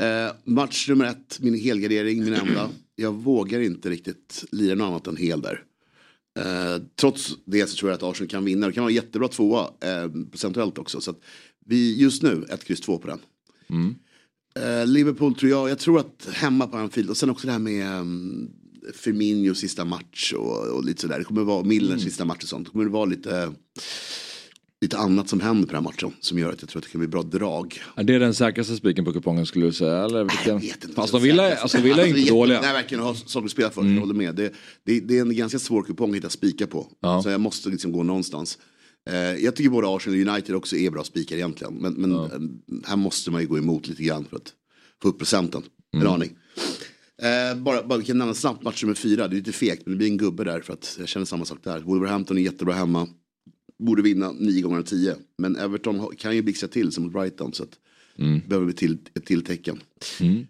Speaker 9: Eh, match nummer ett, min helgardering, min enda. Jag vågar inte riktigt lira något annat än hel där. Eh, trots det så tror jag att Arsenal kan vinna. Det kan vara en jättebra tvåa eh, procentuellt också. Så att vi, just nu, ett kryss två på den.
Speaker 5: Mm.
Speaker 9: Eh, Liverpool tror jag, jag tror att hemma på Anfield och sen också det här med um, Firmino sista match och, och lite sådär. Det kommer vara Milners
Speaker 5: Mm.
Speaker 9: sista match och sånt. Det kommer vara lite, lite annat som händer på den här matchen som gör att jag tror att det kan bli bra drag.
Speaker 5: Är det den säkraste spiken på kupongen skulle du säga? Eller vilken?
Speaker 9: Jag vet inte.
Speaker 5: Fast de vill, alltså, de vill är
Speaker 9: Alltså, det är
Speaker 5: inte
Speaker 9: jätte-
Speaker 5: dåliga. Mm.
Speaker 9: Nej, verkligen. Har, som du spelar för, jag håller med. Det, det, det är en ganska svår kupong att hitta spikar på.
Speaker 5: Ja.
Speaker 9: Så jag måste liksom gå någonstans. Eh, jag tycker både Arsenal och United också är bra spikar egentligen. Men, men eh, här måste man ju gå emot lite grann för att få upp procenten.
Speaker 5: Mm.
Speaker 9: En aning. Eh, bara, bara, vi kan nämna snabbt match nummer fyra. Det är lite fegt, men det blir en gubbe där för att jag känner samma sak där. Wolverhampton är jättebra hemma. Borde vinna nio gånger av tio. Men Everton har- kan ju blixtra till som mot Brighton. Så att
Speaker 5: Mm.
Speaker 9: behöver vi till, ett till tecken.
Speaker 3: Mm.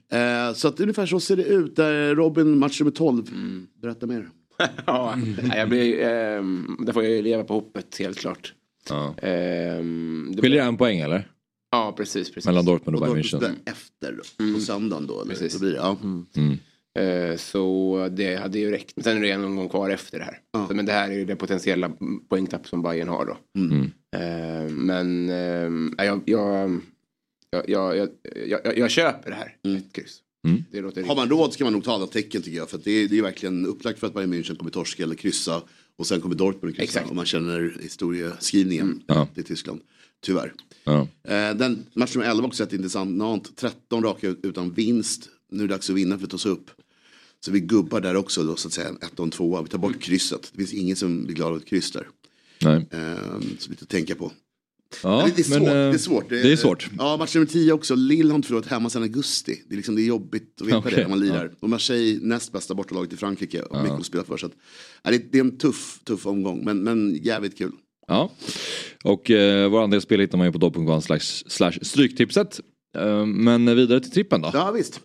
Speaker 9: Eh, så att ungefär så ser det ut. Där Robin, match nummer 12.
Speaker 7: Mm.
Speaker 9: Berätta mer.
Speaker 7: Ja, nej, jag blir, ehm, där får jag ju leva på hoppet helt klart.
Speaker 5: Ja.
Speaker 7: Ehm, det-
Speaker 5: Skiljer det en poäng eller?
Speaker 7: Ja, precis. precis.
Speaker 5: Mellan Dortmund och
Speaker 9: Och
Speaker 5: Bayern
Speaker 9: Dortmund
Speaker 5: München? Mm.
Speaker 9: spelar efter på söndagen då. Eller?
Speaker 7: Precis.
Speaker 9: Så blir det, ja.
Speaker 7: Eh, Så det hade ju räckt. Men sen är det en omgång kvar efter det här.
Speaker 9: Ja.
Speaker 7: Men det här är ju det potentiella poängtapp som Bayern har då. Eh, men eh, jag, jag, jag, jag, jag, jag, jag köper det här.
Speaker 9: Mm.
Speaker 7: Ett kryss. Det låter
Speaker 9: Har man råd ska man nog ta alla tecken tycker jag. För att det, är, det är verkligen upplagt för att Bayern München kommer torska eller kryssa. Och sen kommer Dortmund kryssa. Om man känner historieskrivningen
Speaker 7: Mm.
Speaker 5: Ja.
Speaker 9: till Tyskland. Tyvärr.
Speaker 5: Ja.
Speaker 9: Eh, den match nummer 11 också jätteintressant. 13 raka utan vinst. Nu är det dags att vinna för att ta sig upp. Så vi gubbar där också då så att säga. 1 och 2 Vi tar bort krysset. Det finns ingen som blir glad åt kryss där.
Speaker 5: Mm. Nej.
Speaker 9: Eh, så lite att tänka på.
Speaker 5: Ja,
Speaker 9: Men det, är svårt,
Speaker 5: men, eh,
Speaker 9: det är svårt.
Speaker 5: det är svårt.
Speaker 9: Ja, match nummer 10 också. Lille har inte förlorat hemma sedan augusti. Det är, liksom, det är jobbigt att veta
Speaker 5: Okej,
Speaker 9: det när man lirar.
Speaker 5: ja.
Speaker 9: Och Marseille, näst bästa bortalaget i Frankrike, och
Speaker 5: Ja.
Speaker 9: mycket att spela för. Så att, ja, det, det är en tuff, tuff omgång, men, men jävligt kul.
Speaker 5: Ja, och eh, vår andel spel hittar man ju på dobb.com slash, slash stryktipset. Eh, men vidare till trippen då.
Speaker 9: Ja, visst.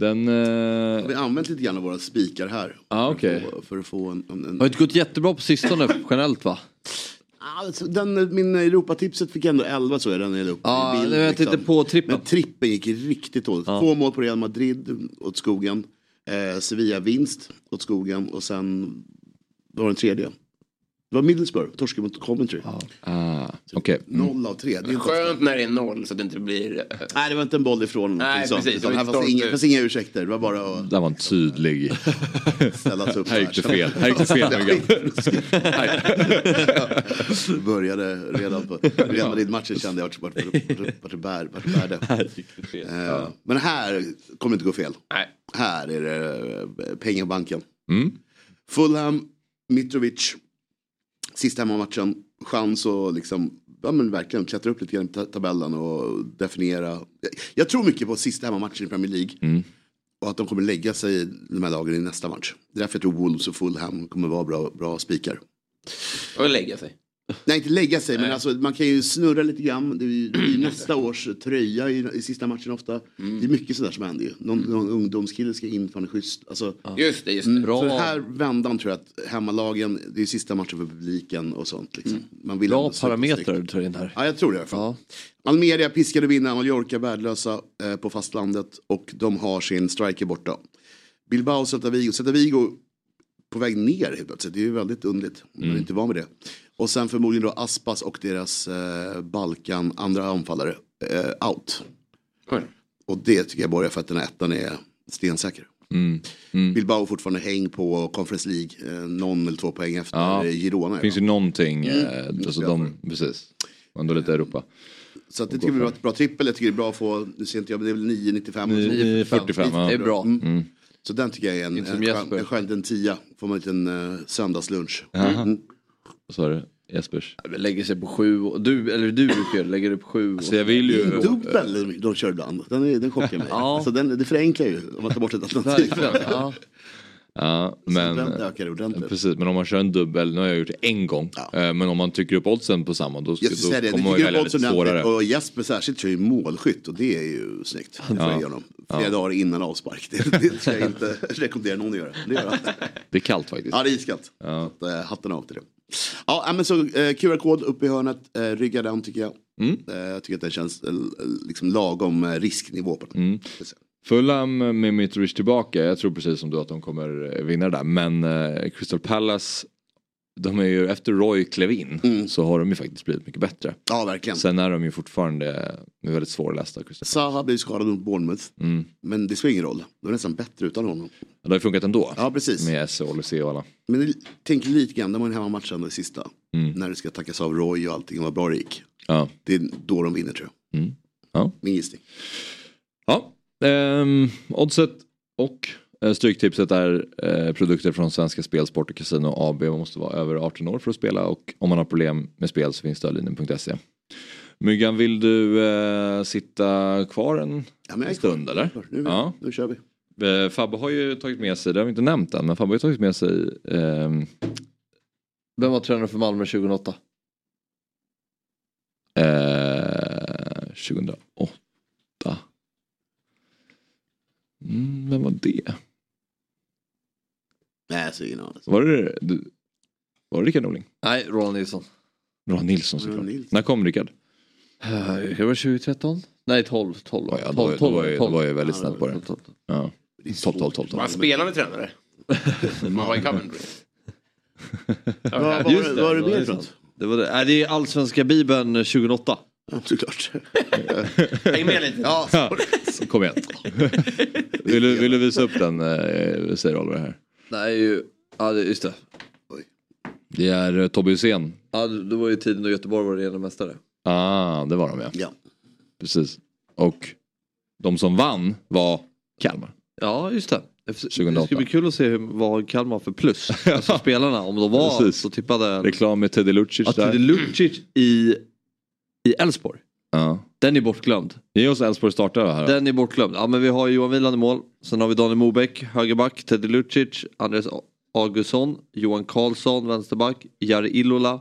Speaker 5: Den... Eh...
Speaker 9: Vi har använt lite grann av våra spikar här.
Speaker 5: Ah, okej.
Speaker 9: för, att få- för att få en... en, en...
Speaker 6: Har inte gått jättebra på sistone generellt va?
Speaker 9: Alltså, den, min Europatipset fick ändå 11 så är den jag la upp.
Speaker 6: Ja,
Speaker 9: i bild,
Speaker 6: nu har jag tittat på trippen.
Speaker 9: Men trippen gick riktigt dåligt.
Speaker 6: Ja.
Speaker 9: Två mål på Real Madrid åt skogen. Eh, Sevilla-vinst åt skogen och sen var den tredje. Det var Middlesbrough, torsken mot Coventry.
Speaker 5: Ah, okej.
Speaker 9: Noll av tre. Det är inte
Speaker 7: Skönt när det är noll så att det inte blir... eh,
Speaker 9: Nej, det var inte en boll ifrån. eller
Speaker 7: Nej,
Speaker 9: någonting sånt,
Speaker 7: precis,
Speaker 9: utan
Speaker 7: det
Speaker 9: Här
Speaker 7: var inte
Speaker 9: fanns
Speaker 7: stolpe
Speaker 9: inga,
Speaker 7: ut.
Speaker 9: fanns inga ursäkter. Det var bara att
Speaker 5: Där var en tydlig...
Speaker 9: ställa sig
Speaker 5: Mm.
Speaker 9: upp.
Speaker 5: Här gick det fel. Här gick det fel, Myggan.
Speaker 9: Det började redan på Real Madrid-matchen kände jag vart vart- vart- vart det bär- vart det bärde. Eh, Men här kommer det inte gå fel. Här är det eh, pengabanken.
Speaker 5: Mm.
Speaker 9: Fulham, Mitrovic, sista hemmamatchen, chans att liksom, ja men verkligen klättra upp lite grann i ta- tabellen och definiera. Jag tror mycket på sista hemmamatchen i Premier League.
Speaker 5: Mm.
Speaker 9: Och att de kommer lägga sig i de här lagen i nästa match. Det är därför jag tror Wolves och Fulham kommer vara bra, bra spikar.
Speaker 7: Och lägga sig.
Speaker 9: Nej, inte lägga sig, men alltså, man kan ju snurra lite grann. Det är ju det är ju nästa års tröja i, i sista matchen ofta.
Speaker 7: Mm.
Speaker 9: Det är mycket sådär som händer ju. Någon, någon ungdomskille ska in för han är schysst. Alltså,
Speaker 7: Just det, just det.
Speaker 9: Mm, Så den här vändan tror jag att hemmalagen, det är ju sista matchen för publiken och sånt. Liksom.
Speaker 7: Mm.
Speaker 9: Man vill
Speaker 6: Bra
Speaker 9: ändå sluta
Speaker 6: parametrar
Speaker 9: snyggt.
Speaker 6: du tar in här.
Speaker 9: Ja, jag tror det i alla fall. Almeria piskade vinna, Mallorca värdelösa eh, på fastlandet och de har sin striker borta. Bilbao och Celta Vigo. Celta Vigo på väg ner helt plötsligt, det är ju väldigt underligt. Man
Speaker 5: Mm.
Speaker 9: är inte van vid det. Och sen förmodligen då Aspas och deras eh, Balkan, andra anfallare, eh, out. Och det tycker jag borgar för att den här ettan är stensäker.
Speaker 5: Mm.
Speaker 9: Bilbao fortfarande häng på Conference League, eh, någon eller två poäng efter
Speaker 5: Ja.
Speaker 9: Girona. Mm.
Speaker 5: Det finns ju någonting... Eh, alltså
Speaker 9: Ja,
Speaker 5: de, precis. Ändå lite Europa.
Speaker 9: Så att det tycker vi var ett bra trippel, jag tycker det är bra att få, nu ser inte jag, men det är väl 9,95.
Speaker 5: Ni-
Speaker 9: och så.
Speaker 5: 45, ja.
Speaker 6: Det är bra.
Speaker 9: Mm. Så den tycker jag är en, en,
Speaker 6: Inte som
Speaker 9: skön,
Speaker 6: Jesper.
Speaker 9: en skön en tia, får man en liten eh, söndagslunch.
Speaker 5: Jaha.
Speaker 9: Mm.
Speaker 5: Vad sa du? Jespers?
Speaker 6: Lägger sig på sju, och- du, eller du brukar lägga dig på sju.
Speaker 5: Så Alltså, jag vill ju...
Speaker 9: Dubbel de kör ibland, den, är, den chockar mig. Så den, det förenklar ju om man tar bort ett alternativ.
Speaker 6: Verkligen, ja.
Speaker 5: Ja,
Speaker 9: Men,
Speaker 5: men... eh,
Speaker 9: den ökar ordentligt.
Speaker 5: Precis, men om man kör en dubbel, nu har jag gjort det en gång, eh, men om man trycker upp oddsen på samma då, ska,
Speaker 9: Jag ska säga
Speaker 5: då
Speaker 9: det,
Speaker 5: kommer man ju
Speaker 9: det
Speaker 5: välja
Speaker 9: upp
Speaker 5: lite
Speaker 9: oddsen ordentligt
Speaker 5: svårare.
Speaker 9: och Jesper särskilt kör ju målskytt och det är ju snyggt. Det får jag ge honom. Flera dagar innan avspark, det, det ska jag inte rekommendera någon att göra. Det gör han.
Speaker 5: Det är kallt faktiskt.
Speaker 9: Ja, det är iskallt.
Speaker 5: Ja.
Speaker 9: Så, eh, hatten av till det. Ja, äh, men så eh, QR-kod uppe i hörnet, eh, rygga den tycker jag.
Speaker 5: Mm.
Speaker 9: Eh, jag tycker att den känns eh, liksom lagom eh, risknivå på den.
Speaker 5: Fulham Mm. med Mitrovic tillbaka, jag tror precis som du att de kommer eh, vinna det där. Men eh, Crystal Palace, de är ju, efter Roy klev in så har de ju faktiskt blivit mycket bättre.
Speaker 9: Mm. Ja, verkligen.
Speaker 5: Sen är de ju fortfarande de är väldigt svårlästa. Crystal.
Speaker 9: Zaha blev ju skadad mot Bournemouth,
Speaker 5: Mm.
Speaker 9: men det spelar ingen roll. Det var nästan bättre utan honom.
Speaker 5: Det har ju funkat ändå.
Speaker 9: Ja, precis.
Speaker 5: Med SC och Olysee och alla.
Speaker 9: Men det- tänk lite grann, det var en hemmamatch ändå i sista.
Speaker 5: Mm.
Speaker 9: När det ska tackas av Roy och allting och vad bra det gick.
Speaker 5: Ja.
Speaker 9: Det är då de vinner tror jag.
Speaker 5: Mm. Ja.
Speaker 9: Min gissning.
Speaker 5: Ja, ehm, oddset och eh, stryktipset är eh, produkter från Svenska Spel, Sport och Casino AB. Man måste vara över 18 år för att spela och om man har problem med spel så finns stödlinjen.se. E. Myggan, vill du eh, sitta kvar en
Speaker 9: Ja, men jag är
Speaker 5: stund eller?
Speaker 9: Nu,
Speaker 5: Ja.
Speaker 9: nu kör vi.
Speaker 5: Eh, Fabbe har ju tagit med sig, det har vi inte nämnt än, men Fabbe har ju tagit med sig ehm,
Speaker 6: Vem var tränare för Malmö 2008?
Speaker 5: eh, 2008. Mm, vem var det?
Speaker 9: Nej, så ingen aning.
Speaker 5: Var det, du, var det Rickard Norling?
Speaker 6: Nej, Roland Nilsson.
Speaker 5: Roland Nilsson såklart.
Speaker 9: Roland Nilsson.
Speaker 5: När kom Rickard?
Speaker 6: Eh, Det var 2013? Nej, 12. 12.
Speaker 5: Ja, ja,
Speaker 6: 12,
Speaker 5: då, var-
Speaker 6: 12,
Speaker 5: då, var jag, då
Speaker 6: 12.
Speaker 5: var jag väldigt snäll på det.
Speaker 6: 12, 12.
Speaker 5: Ja. 12, 12, 12.
Speaker 7: Man spelande tränare. Man var i Coventry.
Speaker 9: Vad var, var, var du med i för något?
Speaker 6: Det, var det. Nej, det är Allsvenska Bibeln eh, 2008.
Speaker 9: Ja, såklart.
Speaker 7: Häng med lite.
Speaker 9: Ja,
Speaker 5: Kom igen. Vill du, vill du visa upp den, eh, säger Oliver här.
Speaker 6: Det är ju, ja det, just det.
Speaker 5: Det är eh, Tobbe Hysén.
Speaker 6: Ja, det det var ju tiden då Göteborg var regerande mästare.
Speaker 5: Ah, det var de ja.
Speaker 9: Ja.
Speaker 5: Precis. Och de som vann var Kalmar.
Speaker 6: Ja, just det. Det skulle
Speaker 5: 2008.
Speaker 6: bli kul att se hur, vad Kalmar för plus. Alltså spelarna, om de var
Speaker 5: Precis.
Speaker 6: så tippade
Speaker 5: Reklam med Teddy Lucic
Speaker 6: att
Speaker 5: där.
Speaker 6: det är Lucic i i Elfsborg.
Speaker 5: Ja.
Speaker 6: Den är bortglömd.
Speaker 5: Ge oss Elfsborg starta här.
Speaker 6: Den är bortglömd. Ja men vi har Johan Wieland i mål. Sen har vi Daniel Mobeck, högerback. Teddy Lucic, Andres Augustsson, Johan Karlsson, vänsterback. Jari Illola,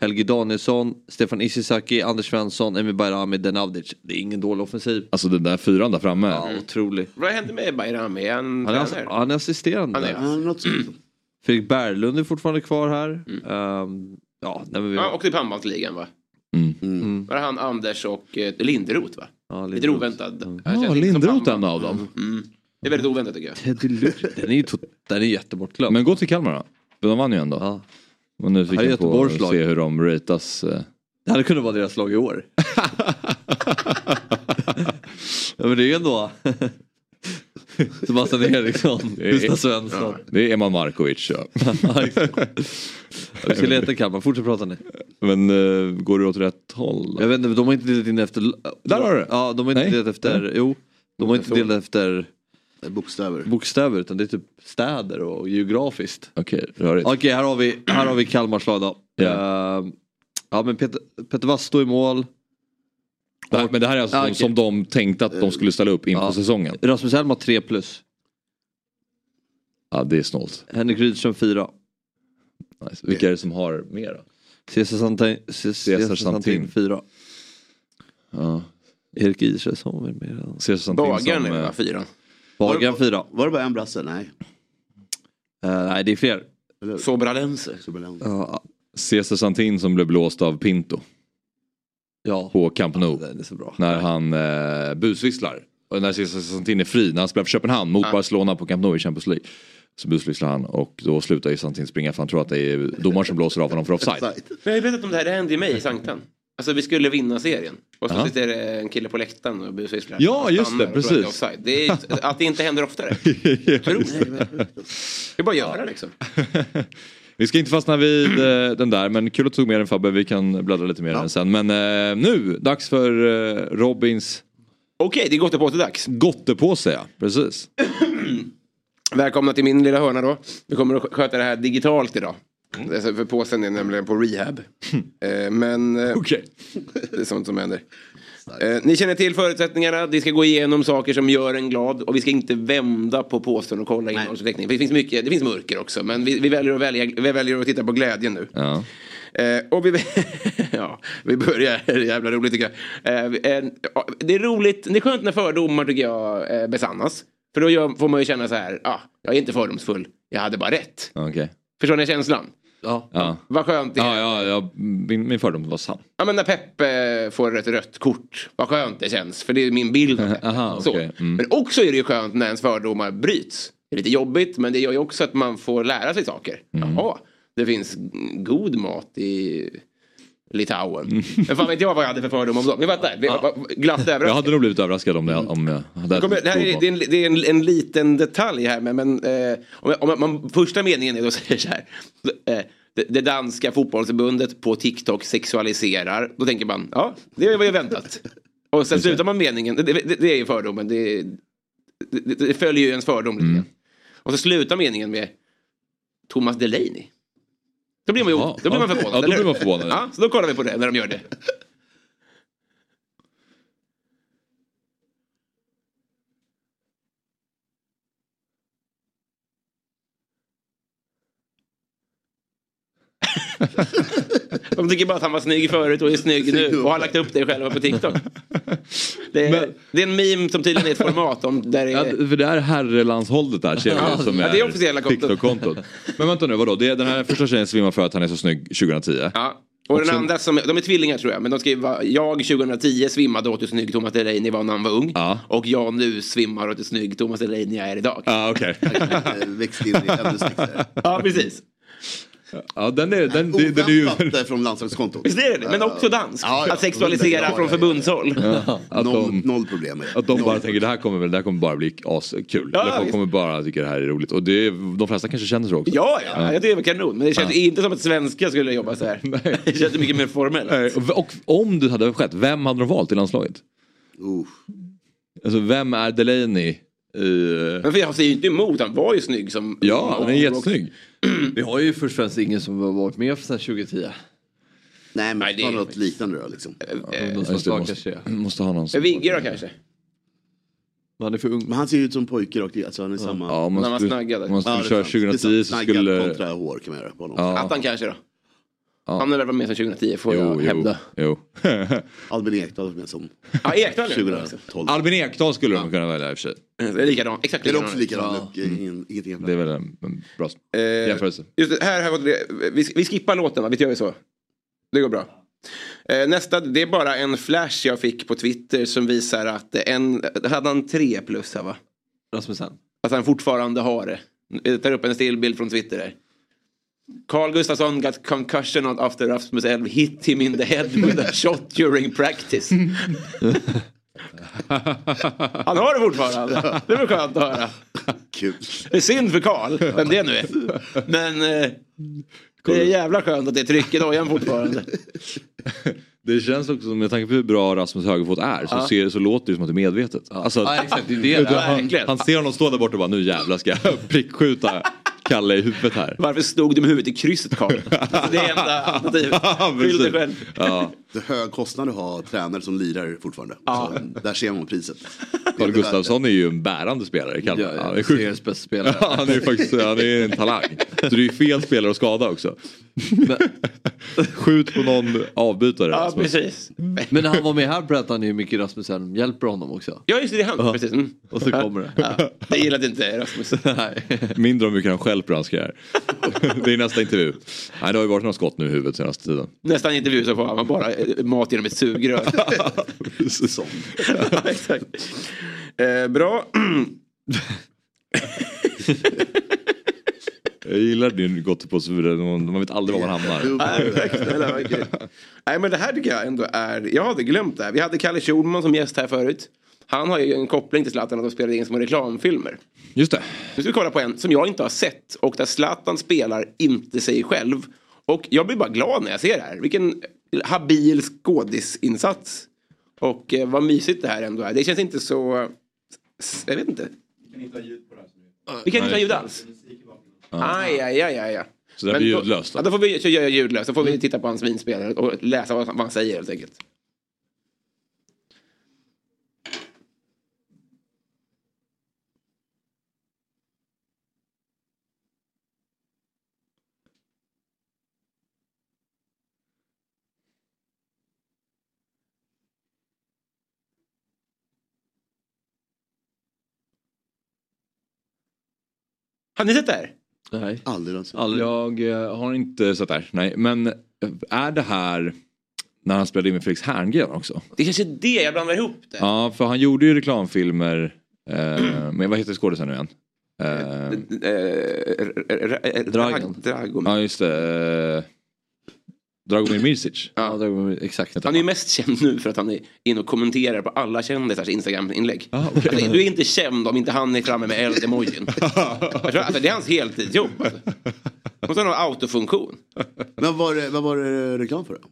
Speaker 6: Helge Danielsson, Stefan Ishizaki, Anders Svensson, Emil Bayrami, Denavdic. Det är ingen dålig offensiv.
Speaker 5: Alltså den där fyran där framme. Mm.
Speaker 6: Ja, otrolig.
Speaker 7: Vad hände med Bayrami? Är Han,
Speaker 6: Han är,
Speaker 7: tränare?
Speaker 6: ass- han är assisterande.
Speaker 7: Han är-
Speaker 9: ja, något sånt.
Speaker 6: Fredrik Berglund är fortfarande kvar här.
Speaker 7: Mm.
Speaker 6: Ehm, ja, nej, men vi
Speaker 7: Han åkte i pannbandsligan va?
Speaker 5: Mm.
Speaker 7: Var det han, Anders och eh, Linderoth va?
Speaker 6: ja,
Speaker 7: Lite oväntat.
Speaker 5: Ja,
Speaker 7: Jag ser inte som
Speaker 5: Linderoth är en
Speaker 7: pannband.
Speaker 5: av dem.
Speaker 7: Mm. Det är väldigt oväntat tycker jag.
Speaker 6: Teddy Lucic. Den är ju tot- den är jättebortglömd.
Speaker 5: Men gå till Kalmar då. För de vann ju ändå.
Speaker 6: Ja.
Speaker 5: Och nu fick
Speaker 6: Här är
Speaker 5: jag på att
Speaker 6: Göteborgs lag.
Speaker 5: se hur de ratas. eh.
Speaker 6: Det hade kunnat vara deras lag i år. ja, men det är ju ändå Sebastian Eriksson,
Speaker 5: är-
Speaker 6: Gustav Svensson.
Speaker 5: Det är Eman Markovic. Ja.
Speaker 6: Ja, exakt. Vi ska leta i Kalmar, fortsätt prata ni.
Speaker 5: Men eh, går det åt rätt håll?
Speaker 6: Jag vet inte, de har inte delat in efter...
Speaker 5: Där har du det.
Speaker 6: Ja, de har inte
Speaker 5: Nej.
Speaker 6: delat efter... Jo, de har inte delat efter
Speaker 9: Det är Bokstäver.
Speaker 6: bokstäver utan det är typ städer och geografiskt.
Speaker 5: Okej, rörigt.
Speaker 6: Okej, här har vi, här har vi Kalmars lag då.
Speaker 5: Ja.
Speaker 6: Ehm, ja men Peter, Peter Wass står i mål.
Speaker 5: Det här, men det här är alltså
Speaker 6: Ah,
Speaker 5: de
Speaker 6: okej.
Speaker 5: som de tänkte att de skulle ställa upp in på
Speaker 6: Ja.
Speaker 5: säsongen.
Speaker 6: Rasmus Elm har 3 plus.
Speaker 5: Ja, det är snålt.
Speaker 6: Henrik Rydström 4.
Speaker 5: Nice. Vilka är det som har mer då?
Speaker 6: Cesar Santin, Cesar
Speaker 5: Santin.
Speaker 6: Santin 4.
Speaker 5: Ja.
Speaker 6: Erik Israelsson var med redan.
Speaker 5: Ser sånt eh,
Speaker 7: Bagaren är va, fyran?
Speaker 6: Wahlgren 4.
Speaker 9: Var det bara en brasse? Nej.
Speaker 5: Eh,
Speaker 6: nej det är fler.
Speaker 7: Sobralense.
Speaker 9: Superland.
Speaker 6: Ja,
Speaker 5: Cesar Santin som blev blåst av Pinto
Speaker 6: ja.
Speaker 5: på Camp Nou.
Speaker 6: Den är så bra.
Speaker 5: När han eh, busvisslar. Och när Cesar Santin är fri, när han spelar för Köpenhamn mot Barcelona på Camp Nou i Champions League. Så busvisslar han och då slutar ju Santin springa för han tror att det är domaren som blåser av honom för offside.
Speaker 9: Sajt.
Speaker 7: Men jag vet inte om det här det hände ju mig i Sanktan. Alltså vi skulle vinna serien. Och så
Speaker 5: Ja.
Speaker 7: sitter det en kille på läktaren och busvisslar.
Speaker 5: Ja,
Speaker 7: Han
Speaker 5: just
Speaker 7: stannar
Speaker 5: det,
Speaker 7: och tror att
Speaker 5: precis.
Speaker 7: är offside. Det är, att det inte händer oftare. Otroligt. Det är bara att göra liksom.
Speaker 5: Vi ska inte fastna vid eh, den där men kul att du tog med den Fabbe, vi kan bläddra lite mer i den sen. Men eh, nu, dags för eh, Robins
Speaker 7: Okej, det går till på till dags.
Speaker 5: gottepåse ja, precis.
Speaker 7: Välkomna till min lilla hörna då. Vi kommer att skö- sköta det här digitalt idag.
Speaker 5: Mm.
Speaker 7: Alltså, för påsen är nämligen på rehab. eh, men eh,
Speaker 5: Okej.
Speaker 7: det är sånt som händer. Eh, ni känner till förutsättningarna. Vi ska gå igenom saker som gör en glad. Och vi ska inte vända på påsen och kolla innehållsförteckningen. För Det finns mycket, det finns mörker också. Men vi, vi, väljer att välja, vi väljer att titta på glädjen nu.
Speaker 5: Ja.
Speaker 7: Eh, och vi, ja, vi börjar, det är jävla roligt tycker jag. Eh, vi- en- ja, det är roligt, det är skönt när fördomar tycker jag eh, besannas. För då gör, får man ju känna så här, ah, jag är inte fördomsfull, jag hade bara rätt.
Speaker 5: Okej.
Speaker 7: Förstår ni känslan?
Speaker 6: Ja.
Speaker 5: Ja.
Speaker 7: Vad skönt det är.
Speaker 5: Ja, ja, ja, min, min fördom var sann.
Speaker 7: Ja, men när Peppe får ett rött kort, vad skönt det känns. För det är min bild av det.
Speaker 5: Aha,
Speaker 7: Så.
Speaker 5: okej. Mm.
Speaker 7: Men också är det ju skönt när ens fördomar bryts. Det är lite jobbigt, men det gör ju också att man får lära sig saker.
Speaker 5: Mm.
Speaker 7: Jaha, det finns god mat i Litauen.
Speaker 5: Mm.
Speaker 7: Men fan vet jag vad jag hade för fördomar om dem. Ni fattar, det var glatt
Speaker 5: Jag
Speaker 7: överraskning.
Speaker 5: hade nog blivit överraskad om, det, om jag hade
Speaker 7: Mm. Det kommer- Det, här är, det är, en, det är en, en liten detalj här, men, men eh, om, jag, om jag, man, första meningen är då säger så här. Eh, det, det danska fotbollsförbundet på TikTok sexualiserar. Då tänker man, ja, det var ju väntat. Och sen slutar man meningen, det, det, det är ju fördomen, det, det, det följer ju ens fördom lite grann. Och så slutar meningen med Thomas Delaney. Då blir man, ju,
Speaker 5: Ja,
Speaker 7: då blir man
Speaker 5: ja,
Speaker 7: förvånad.
Speaker 5: ja, då
Speaker 7: eller
Speaker 5: blir man
Speaker 7: hur?
Speaker 5: förvånad, ja.
Speaker 7: Ja, så då kollar vi på det när de gör det. De tycker bara att han var snygg förut och är snygg nu och har lagt upp det själva på TikTok. Det är,
Speaker 5: Men-
Speaker 7: det är en meme som tydligen är ett format om där det
Speaker 5: Ja,
Speaker 7: är...
Speaker 5: för det är herrelandshållet där ser vi
Speaker 7: Ja,
Speaker 5: ju som
Speaker 7: ja, det är officiella kontot.
Speaker 5: TikTok-kontot. Men vänta nu, vadå? Det är, den här första tjejen svimmar för att han är så snygg 2010.
Speaker 7: Ja. Och den andra som, de är tvillingar tror jag, men de skriver jag 2010 svimmade åt hur snygg Thomas Delaney var när han var ung.
Speaker 5: Ja.
Speaker 7: Och jag nu svimmar åt hur snygg Thomas Delaney är idag.
Speaker 5: Ja, okej.
Speaker 9: Eh, Växt in i ämnesväxter.
Speaker 7: Ja, precis.
Speaker 5: Ja, den är, den, den, den är ju...
Speaker 9: Oväntat eh, från landslagskontot.
Speaker 7: Visst är det det? Men också dansk. Att sexualisera från förbundshåll.
Speaker 5: Ja, att de,
Speaker 9: noll problem med
Speaker 5: Att de bara tänker det här kommer, väl- det här kommer bara bli askul.
Speaker 7: Ja,
Speaker 5: Eller folk
Speaker 7: visst.
Speaker 5: kommer bara tycka det här är roligt. Och det, är- de flesta kanske känner så också.
Speaker 7: Ja, ja, ja, det är väl kanon. Men det känns
Speaker 5: Ja.
Speaker 7: inte som att svenskar skulle jobba så här. Det känns mycket mer formellt.
Speaker 5: Nej, Och, och om det hade skett, vem hade de valt i landslaget? Alltså vem är Delaney eh, i...
Speaker 7: Men för jag säger ju inte emot, han var ju snygg som...
Speaker 5: Ja, han är jättesnygg.
Speaker 6: Vi har ju först och främst ingen som har varit med sedan 2010.
Speaker 9: Nej men
Speaker 7: det
Speaker 9: ta
Speaker 7: är-
Speaker 9: något liknande då liksom.
Speaker 6: de som
Speaker 5: Just det,
Speaker 6: var
Speaker 5: måste,
Speaker 6: kanske-
Speaker 5: måste ha någon som...
Speaker 7: Vigge då kanske?
Speaker 9: Han är för ung. Men han ser ju ut som pojke rakt alltså han är samma.
Speaker 5: Ja, om man När man skulle- snaggade. om man skulle
Speaker 9: det är
Speaker 5: köra
Speaker 9: sant. Det
Speaker 5: 2010
Speaker 9: är sant.
Speaker 5: så
Speaker 9: Snaggad
Speaker 5: skulle-
Speaker 9: kontra hår kan man göra på honom.
Speaker 5: Ja.
Speaker 7: Attan kanske då?
Speaker 5: Ja.
Speaker 7: Han har väl varit med sedan 2010 får jag hävda.
Speaker 5: Jo.
Speaker 9: Albin Ekdal med som
Speaker 7: Ja, Ekdal är det också.
Speaker 9: 2012.
Speaker 5: Albin Ekdal skulle de kunna välja i och för sig.
Speaker 7: Det är likadant, exakt
Speaker 9: Det är
Speaker 7: likadant.
Speaker 9: också likadant. Ja. Ingen, ingenting jämfört.
Speaker 5: Det är väl en, en bra
Speaker 7: Eh,
Speaker 5: jämförelse.
Speaker 7: Just det, här, här var det, vi, vi skippar låten va? Visst gör vi så? Det går bra. Eh, nästa, det är bara en flash jag fick på Twitter som visar att en, hade han tre plus här va?
Speaker 6: Rasmussen.
Speaker 7: Att han fortfarande har det. Jag tar upp en stillbild från Twitter här. Carl Gustafsson got concussion after Rasmus Elv hit him in the head with a shot during practice.
Speaker 9: liksom.
Speaker 7: Han har det fortfarande. Det var skönt att höra.
Speaker 9: Kul.
Speaker 7: Det är synd för Karl, vem det nu är. Men eh, det är jävla skönt att det är tryck i dojan fortfarande.
Speaker 5: Det känns också som, med tanke på hur bra Rasmus Högerfot är, så,
Speaker 7: Ja.
Speaker 5: ser, så låter det som att det är medvetet. Alltså,
Speaker 6: Ja, exakt, det är det.
Speaker 5: Vet du,
Speaker 6: Ja,
Speaker 5: han,
Speaker 7: verkligen.
Speaker 5: han ser honom stå där borta och bara nu jävlar ska jag prickskjuta Kalle i huvudet här.
Speaker 7: Varför stod du med huvudet i krysset Karl? Alltså, det är enda alternativet. Skyll dig själv.
Speaker 5: Ja.
Speaker 9: Det är hög kostnad att ha tränare som lirar fortfarande.
Speaker 7: Ja.
Speaker 9: Så, där ser man priset.
Speaker 5: Carl Gustafsson är ju en bärande spelare i Kalmar.
Speaker 6: Ja, ja,
Speaker 5: han är sjukt-
Speaker 6: seriens bästa spelare.
Speaker 5: Ja, han är ju faktiskt han är en talang. Så det är ju fel spelare att skada också. Skjut på någon avbytare.
Speaker 7: Ja,
Speaker 5: Rasmus.
Speaker 7: precis.
Speaker 6: Men när han var med här berättade han ju Micke Rasmussen hjälper honom också.
Speaker 7: Ja, just det, det är han. Precis. Mm.
Speaker 6: Och så kommer det.
Speaker 7: Ja, det gillade inte Rasmus.
Speaker 6: Nej.
Speaker 5: Mindre om hur mycket han själv branskar. Det är nästa intervju. Nej, det har ju varit några skott nu i huvudet senaste tiden.
Speaker 7: Nästan intervju så får han bara eh, mat genom ett sugrör.
Speaker 9: Som.
Speaker 7: Ja, exakt. Eh, bra.
Speaker 5: Jag gillar din gottepåse, man vet aldrig var man hamnar.
Speaker 7: Nej, exakt. Eller, vad kul. Nej men det här tycker jag ändå är, jag hade glömt det här. Vi hade Kalle Schulman som gäst här förut. Han har ju en koppling till Zlatan att de spelade in små reklamfilmer.
Speaker 5: Just det.
Speaker 7: Nu ska vi kolla på en som jag inte har sett och där Zlatan spelar inte sig själv. Och jag blir bara glad när jag ser det här. Vilken habil skådisinsats. Och eh, vad mysigt det här ändå är. Det känns inte så... eh, s- Jag vet inte. Vi kan inte ha ljud alls. Aj, aj, aj, aj. aj.
Speaker 5: Så det här
Speaker 7: Men
Speaker 5: blir
Speaker 7: då-
Speaker 5: ljudlöst då?
Speaker 7: Ja, då får vi så gör jag ljudlöst. Då får vi titta på hans vinspelare och läsa vad vad han säger helt enkelt. Har ni sett det här?
Speaker 6: Nej.
Speaker 9: Aldrig någonsin.
Speaker 6: Aldrig.
Speaker 5: Jag eh, har inte sett det här, nej. Men eh, är det här när han spelade in med Felix Herngren också?
Speaker 7: Det kanske är det jag blandar ihop det.
Speaker 5: Ja, för han gjorde ju reklamfilmer eh, med, vad heter skådisen nu igen? Eh,
Speaker 7: eh, Dragon. Dragon.
Speaker 5: ja, just det. Eh, Dragomir Mirsic.
Speaker 6: Ja, det var, exakt.
Speaker 7: Han är ju mest känd nu för att han är inne och kommenterar på alla kändisars Instagram-inlägg.
Speaker 5: Ah, okej.
Speaker 7: Alltså, du är inte känd om inte han är framme med eld-emojin. Jag tror- alltså, det är hans heltidsjobb. Alltså. Måste ha någon autofunktion.
Speaker 9: Men vad var, det, vad var det reklam för då?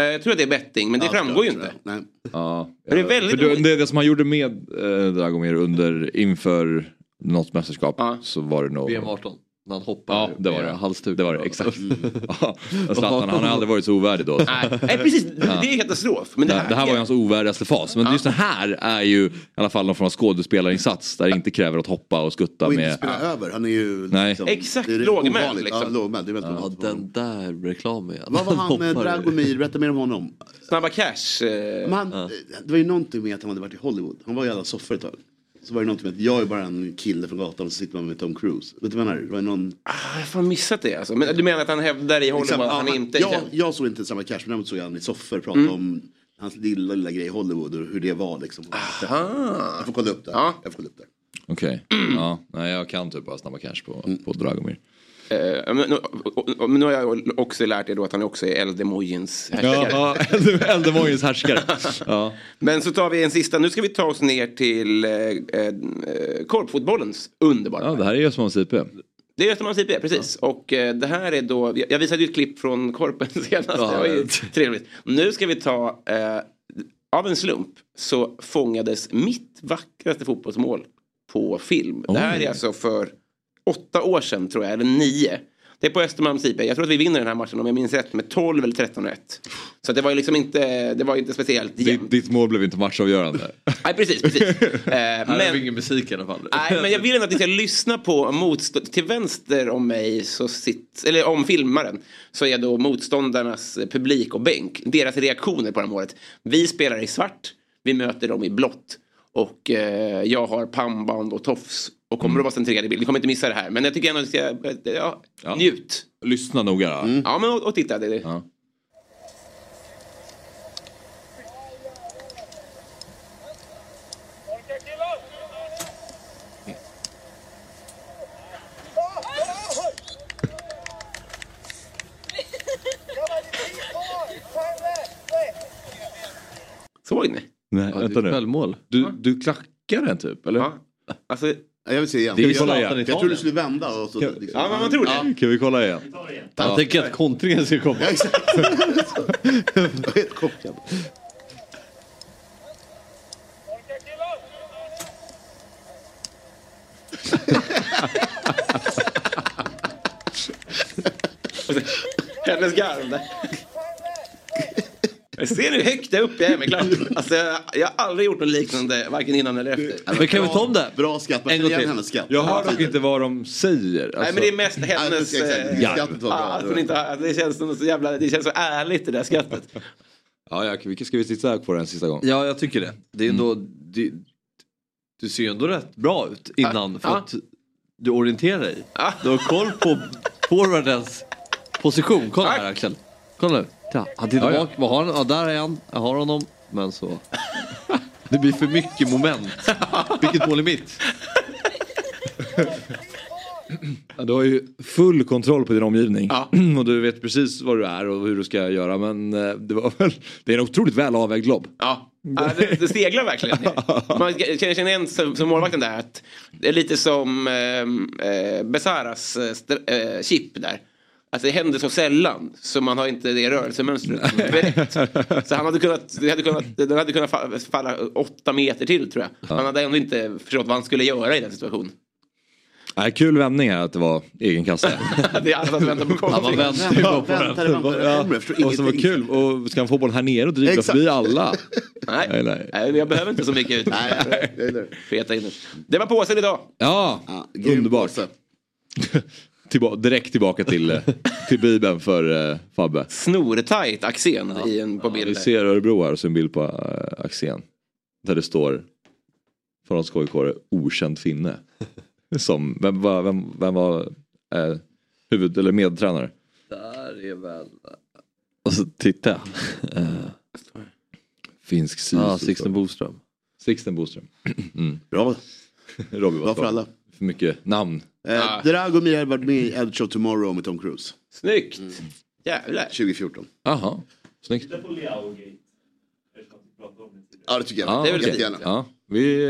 Speaker 7: Eh, Jag tror att det är betting, men det
Speaker 9: Ja,
Speaker 7: framgår ju
Speaker 9: såklart,
Speaker 7: inte.
Speaker 9: såklart. Nej.
Speaker 5: Ja.
Speaker 7: Men det är väldigt
Speaker 5: För det,
Speaker 7: roligt.
Speaker 5: det, det som han gjorde med eh, Dragomir under, inför något mästerskap
Speaker 7: Ja.
Speaker 5: så var det nog...
Speaker 6: VM18. När han hoppar
Speaker 5: Ja, det var det. Mm.
Speaker 6: Halsduk.
Speaker 5: Det var det, exakt. Ja, Zlatan, han har aldrig varit så ovärdig då.
Speaker 7: Nej, nej, precis. Det är ju katastrof. Men det här,
Speaker 5: det här var ju hans ovärdigaste fas. Men just den här är ju i alla fall någon form av skådespelarinsats där det inte kräver att hoppa och skutta
Speaker 9: Och inte
Speaker 5: med...
Speaker 9: spela över. Han är ju liksom-
Speaker 5: Nej.
Speaker 7: Exakt,
Speaker 9: det är
Speaker 7: lågmäld,
Speaker 9: ovanligt.
Speaker 7: liksom.
Speaker 9: Ja, lågmäld. Det är väldigt
Speaker 6: Ja,
Speaker 9: ovanligt.
Speaker 6: den där reklamen ja.
Speaker 9: Vad var han med
Speaker 6: hoppar. Mm.
Speaker 9: Dragomir? Berätta mer om honom.
Speaker 7: Snabba Cash. eh,
Speaker 9: Men han, Det var ju någonting med att han hade varit i Hollywood. Han var i alla soffor ett tag. Så var det någonting med att jag är bara en kille från gatan och så sitter man med Tom Cruise. Vet du vad jag menar? Det var någon...
Speaker 7: Ah, Jag har fan missat det alltså. Men du menar att han hävdar i Hollywood
Speaker 9: Exakt,
Speaker 7: att
Speaker 9: ja,
Speaker 7: han
Speaker 9: han-
Speaker 7: inte är
Speaker 9: jag,
Speaker 7: känd? Mm.
Speaker 9: jag såg inte samma cash, men däremot såg jag han i soffor prata om hans lilla, lilla grej i Hollywood och hur det var liksom. Jag får kolla upp det.
Speaker 7: Ja.
Speaker 5: Mm.
Speaker 9: Jag får kolla upp det.
Speaker 5: Okej. Ja, nej, jag kan typ bara Snabba Cash på, på Dragomir.
Speaker 7: Eh, men, nu- och- och- men nu har jag också lärt er då att han också är Eldemojins härskare.
Speaker 5: Ja, ja, Eldemojins härskare. Ja.
Speaker 7: Men så tar vi en sista. Nu ska vi ta oss ner till eh, eh, korpfotbollens underbara
Speaker 5: Ja, det här är Östermalms IP.
Speaker 7: Det är Östermalms IP, precis. Och eh, det här är då, jag jag visade ju ett klipp från Korpen senast, det var ju trevligt. Nu ska vi ta, eh, av en slump så fångades mitt vackraste fotbollsmål på film. Det här
Speaker 10: Oj.
Speaker 7: är alltså för åtta år sedan tror jag, eller nio. Det är på Östermalms IP. Jag tror att vi vinner den här matchen om jag minns rätt med 12 eller 13-1. Så det var ju liksom inte, det var ju inte speciellt jämnt.
Speaker 5: Ditt, ditt mål blev inte matchavgörande.
Speaker 7: Nej, precis, precis. Eh, men...
Speaker 6: ingen musik i alla fall.
Speaker 7: Nej, men jag vill ändå att ni ska lyssna på motstånd... Till vänster om mig, så sitt... eller om filmaren, så är då motståndarnas publik och bänk. Deras reaktioner på det här målet. Vi spelar i svart, vi möter dem i blått. Och eh, jag har pannband och tofs. Och
Speaker 5: Mm.
Speaker 7: kommer att vara centrerad i bild. Ni kommer inte missa det här. Men jag tycker ändå att jag... Ja, Njut. Mm.
Speaker 5: Lyssna noga då.
Speaker 7: Ja, men och, och titta. Det är... Såg ni?
Speaker 5: Nej,
Speaker 6: ja,
Speaker 5: vänta nu.
Speaker 6: Självmål.
Speaker 5: Du, du klackar den typ, eller?
Speaker 7: Alltså,
Speaker 9: Jag vill se igen.
Speaker 5: Det är
Speaker 9: Jag
Speaker 5: kolla
Speaker 9: tror-
Speaker 5: igen.
Speaker 9: Jag tror du skulle vända. Och så, liksom.
Speaker 5: Ja. Kan vi kolla igen?
Speaker 6: Han tänker att kontringen ska komma.
Speaker 9: Jag är helt chockad.
Speaker 7: Hennes garv där. Jag Ser ni hur högt där uppe jag är med klacken? Alltså, jag, jag har aldrig gjort något liknande, varken innan eller efter.
Speaker 6: Men kan vi ta om det?
Speaker 9: Bra skatt.
Speaker 7: En
Speaker 9: En
Speaker 7: gång
Speaker 9: gång
Speaker 7: till.
Speaker 5: Jag hör dock inte vad de säger.
Speaker 7: Nej
Speaker 5: alltså.
Speaker 7: men det är mest hennes...
Speaker 5: precis, exakt.
Speaker 7: eh,
Speaker 5: Ja.
Speaker 7: skrattet var bra. Ja, att hon inte, har- att det, känns som så jävla, det känns så ärligt det där skrattet.
Speaker 5: Ja, ja, vi ska vi titta på den sista gången?
Speaker 6: Ja, jag tycker det. Det är ändå... Det, du ser ju ändå rätt bra ut innan för
Speaker 7: ja.
Speaker 6: att du orienterar dig. Du har koll på forwardens position. Kolla här Axel. Kolla nu. Titta, Han tittar
Speaker 5: Ja, ja.
Speaker 6: bak. Vad har han? Ja, där är han. Jag har honom. Men så... Det blir för mycket moment. Vilket mål är mitt?
Speaker 5: Ja, Du har ju full kontroll på din omgivning. Och du vet precis vad du är och hur du ska göra. Men eh, det, var väl, det är en otroligt väl avvägd lobb.
Speaker 7: Ja. Ja, det, det seglar verkligen. Man känner, känner igen som, som målvakten där att det är lite som eh, eh, Besaras eh, str- eh, chip där. Alltså det händer så sällan så man har inte det rörelsemönstret direkt. Så han hade kunnat, det hade kunnat, den hade kunnat fa- falla åtta meter till tror jag. Han hade ändå inte förstått vad han skulle göra i den situationen.
Speaker 5: Nej, kul vändning här att det var egen kasse.
Speaker 7: Det är alla som väntar på kontring.
Speaker 5: Ja, Och så var kul. Och ska han få bollen här nere och driva
Speaker 7: Exakt.
Speaker 5: förbi alla?
Speaker 7: Nej.
Speaker 5: Nej, nej.
Speaker 7: Nej, men jag behöver inte så mycket ut. Peta in den. Det var påsen idag.
Speaker 5: Ja, underbart. Tillba- direkt tillbaka till, eh, till Bibeln för eh, Fabbe.
Speaker 7: Snortajt Axén i en, på
Speaker 5: Vi
Speaker 7: bild.
Speaker 5: ser Örebro här och så en bild på eh, Axén. Där det står för oss KIK-are okänd finne. Som, vem var, vem, vem var eh, huvud eller medtränare?
Speaker 6: Där är väl...
Speaker 5: Och så titta. Eh, Finsk sisu.
Speaker 6: Ja, Sixten Boström.
Speaker 5: Sixten Boström. Mm.
Speaker 9: Bra.
Speaker 5: Robin
Speaker 9: Bra för alla.
Speaker 5: För mycket namn.
Speaker 6: Ah.
Speaker 9: Eh, Dragomir hade varit med i Edge of Tomorrow med Tom Cruise.
Speaker 7: Snyggt!
Speaker 5: Mm.
Speaker 7: Jävlar.
Speaker 9: 2014.
Speaker 5: Jaha, snyggt.
Speaker 9: Ja, det tycker jag.
Speaker 5: Ja,
Speaker 9: det är väl
Speaker 5: okej.
Speaker 9: jättegärna.
Speaker 5: ja. vi,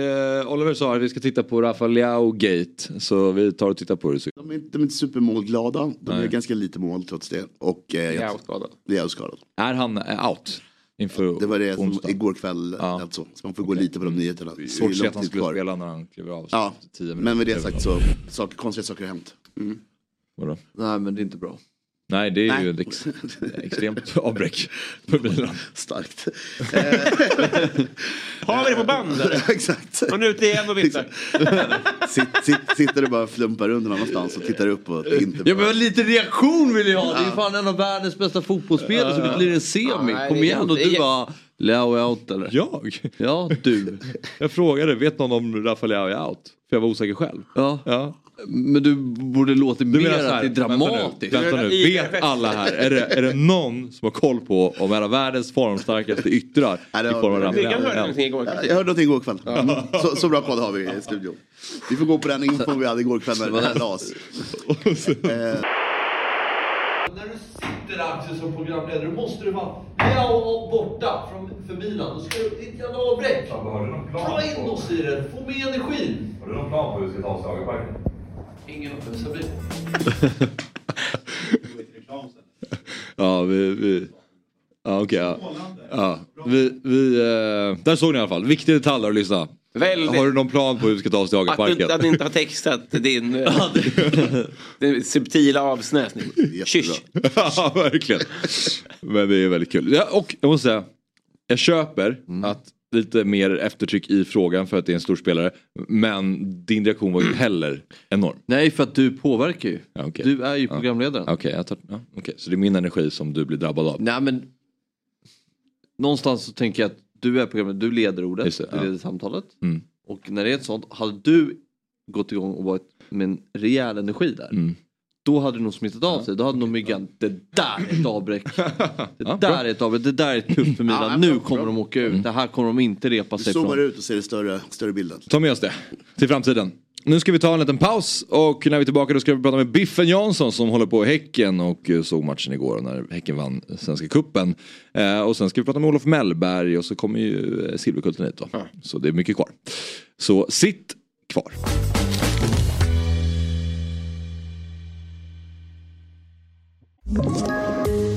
Speaker 5: eh, Oliver sa att vi ska titta på Rafa Leao Gate. Så vi tar och tittar på det.
Speaker 9: De är, inte- de är inte supermålglada. De
Speaker 5: Nej.
Speaker 9: gör ganska lite mål trots det. Och, eh, jag-
Speaker 5: Leao
Speaker 7: skadad.
Speaker 9: Leao skadad.
Speaker 5: Är han eh, out? Inför
Speaker 9: Det var det som
Speaker 5: onsdag. Mm.
Speaker 9: igår kväll lät så. Så man får gå lite på de nyheterna. Det är
Speaker 5: Svårt att se
Speaker 9: lång
Speaker 5: att han
Speaker 9: tid
Speaker 5: skulle
Speaker 9: kvar.
Speaker 5: spela när han kliver av.
Speaker 9: Ja,
Speaker 5: Tio minuter
Speaker 9: men med det
Speaker 5: över.
Speaker 9: sagt så saker, konstiga saker har hänt. Mm.
Speaker 5: Vadå?
Speaker 6: Nej, men det är inte bra.
Speaker 5: Nej, det är
Speaker 9: Nej.
Speaker 5: ju ett ex extremt avbräck för Milan.
Speaker 9: Starkt.
Speaker 7: Har vi det på band? eller?
Speaker 9: Exakt.
Speaker 7: Och nu ute igen och viftar.
Speaker 9: Sitt, sitt, sitter du bara och flumpar runt någon annanstans och tittar upp och inte...
Speaker 6: Ja men lite reaktion vill jag ha! Det är ju fan en av världens bästa fotbollsspelare som blir en semi. Kom igen och du bara... Leao är out eller?
Speaker 5: Jag?
Speaker 6: Ja, du.
Speaker 5: Jag frågade, vet någon om Rafa Leao är out? För jag var osäker själv.
Speaker 6: Ja.
Speaker 5: ja.
Speaker 6: Men du borde låtit
Speaker 5: Du
Speaker 6: mer
Speaker 5: menar så
Speaker 6: att
Speaker 5: här,
Speaker 6: det är dramatiskt.
Speaker 5: Vänta nu, vänta nu. vet alla här, är det, är det någon som har koll på om en av världens formstarkaste yttrar i form av Ramsey?
Speaker 9: Ja, Jag hörde någonting igår kväll. Mm. Så, så bra koll har vi i studion. Vi får gå på den info vi hade igår kväll när det här lades. Eh,
Speaker 10: När du sitter Axel som programledare, då måste du vara med och borta från, för Milan. Då ska du, det är ett jävla avbräck. Dra in oss i det, få med energin. Har du någon plan på hur du ska ta Schlagerparken? Ingen uppvisar bil.
Speaker 5: Ja, vi... vi ja, okej. ja. ja. Vi, vi, eh, där såg ni i alla fall. Viktig detalj där att lyssna.
Speaker 7: Väldigt.
Speaker 5: Har du någon plan på hur vi ska ta oss till
Speaker 7: Att du, inte- att du
Speaker 5: Hagaparken?
Speaker 7: inte har textat din, eh, din subtila avsnäsning. Kysch.
Speaker 5: ja, verkligen. Men det är väldigt kul. Ja, och jag måste säga, jag köper
Speaker 6: Mm.
Speaker 5: att lite mer eftertryck i frågan för att det är en stor spelare. Men din reaktion var ju heller enorm.
Speaker 6: Nej, för att du påverkar ju.
Speaker 5: Ja, okej.
Speaker 6: Du är ju
Speaker 5: Ja.
Speaker 6: programledaren.
Speaker 5: Okej, jag tar, ja, okej. så det är min energi som du blir drabbad av.
Speaker 6: Nej men Någonstans så tänker jag att du är programledare, du leder ordet,
Speaker 5: Just det,
Speaker 6: du
Speaker 5: ja.
Speaker 6: leder samtalet.
Speaker 5: Mm.
Speaker 6: Och när det är ett sånt, hade du gått igång och varit med en rejäl energi där.
Speaker 5: Mm.
Speaker 6: Då hade det nog smittat av sig. Då hade nog myggan, det där är ett avbräck. Det
Speaker 9: Ja, bra.
Speaker 6: där är ett avbräck, det där är ett kupp
Speaker 9: Ja,
Speaker 6: för Milan.
Speaker 9: bra,
Speaker 6: Nu kommer
Speaker 9: bra.
Speaker 6: de åka
Speaker 5: Mm.
Speaker 6: ut, det här kommer de inte repa
Speaker 9: Du
Speaker 6: sig
Speaker 9: zoomar
Speaker 6: från.
Speaker 9: ut och ser den större, större bilden.
Speaker 5: Ta med oss det till framtiden. Nu ska vi ta en liten paus och när vi är tillbaka då ska vi prata med Biffen Jansson som håller på i Häcken och eh, såg matchen igår när Häcken vann Svenska Cupen. Eh, och sen ska vi prata med Olof Mellberg och så kommer ju eh, Silverkulten hit då. Så det är mycket kvar. Så sitt kvar.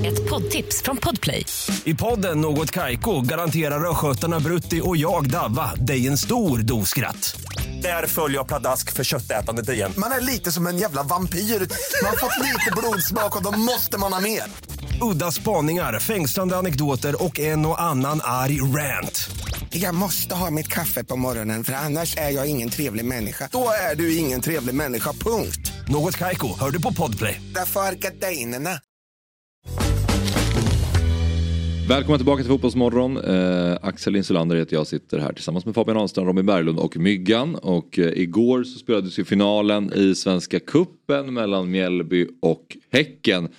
Speaker 8: Ett poddtips från Podplay.
Speaker 11: I podden Något Kaiko garanterar östgötarna Brutti och jag, Davva, dig en stor dos skratt. Där följer jag pladask för köttätandet igen.
Speaker 12: Man är lite som en jävla vampyr. Man har fått lite blodsmak och då måste man ha mer.
Speaker 11: Udda spaningar, fängslande anekdoter och en och annan arg rant.
Speaker 13: Jag måste ha mitt kaffe på morgonen för annars är jag ingen trevlig människa. Då är du ingen trevlig människa, punkt.
Speaker 11: Något Kaiko, hör du på Podplay.
Speaker 13: Därför är gardinerna.
Speaker 5: Välkomna tillbaka till Fotbollsmorgon. Eh, Axel Insulander heter jag sitter här tillsammans med Fabian Ahlstrand, Robin Berglund och Myggan. Och eh, igår så spelades ju finalen i Svenska Cupen mellan Mjällby och Häcken.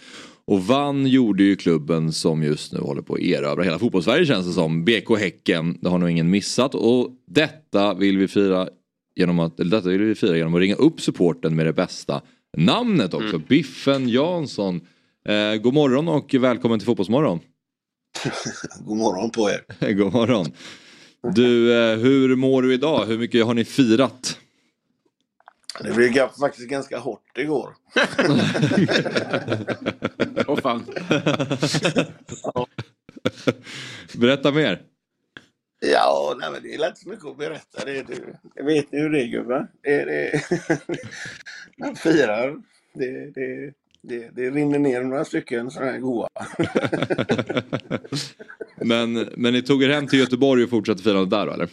Speaker 5: Och vann gjorde ju klubben som just nu håller på att erövra hela fotbollssverige känns det som. BK Häcken, det har nog ingen missat. Och detta vill vi fira genom att, eller detta vill vi fira genom att ringa upp supporten med det bästa namnet också. Biffen Jansson. Eh, god morgon och välkommen till Fotbollsmorgon.
Speaker 14: God morgon på er.
Speaker 5: God morgon. Du, eh, hur mår du idag? Hur mycket har ni firat?
Speaker 14: Det blev ga- faktiskt ganska hårt igår.
Speaker 7: Åh fan.
Speaker 5: Berätta mer.
Speaker 14: Ja, nej, men det är inte så mycket att berätta. Det, är du. Jag vet ni hur det är gubbar? Det, det... Man firar. Det, det, det, det rinner ner några stycken sådana här goa.
Speaker 5: Men, men ni tog er hem till Göteborg och fortsatte firandet där då, eller?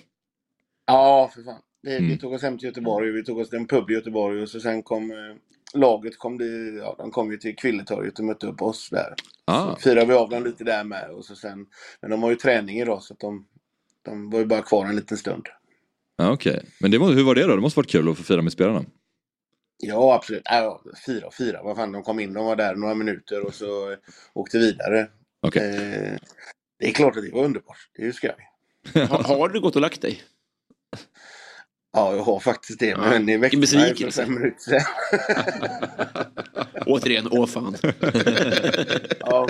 Speaker 14: Ja, för fan. Det, Vi
Speaker 5: Mm.
Speaker 14: tog oss hem till Göteborg. Vi tog oss till en pub i Göteborg och så sen kom eh, laget kom det, ja, de kom ju till Kvilletorget och mötte upp oss där.
Speaker 5: Ah.
Speaker 14: Så firade vi av dem lite där med. Och så sen, men de har ju träning idag så att de, de var ju bara kvar en liten stund.
Speaker 5: Ja, Okej, men det var, hur var det då? Det måste varit kul att få fira med spelarna.
Speaker 14: Ja, absolut. Ja, ja, fyra och fyra. Vad fan, de kom in, de var där några minuter och så eh, åkte vidare.
Speaker 5: Okej.
Speaker 14: Eh, det är klart att det var underbart. Det är ju skoj.
Speaker 7: Ha, har du gått och lagt dig?
Speaker 14: Ja, jag har faktiskt det. Men ni väckte
Speaker 7: I
Speaker 14: mig för
Speaker 7: besvikelse.
Speaker 14: fem minuter sedan.
Speaker 7: Återigen, åh fan.
Speaker 14: ja.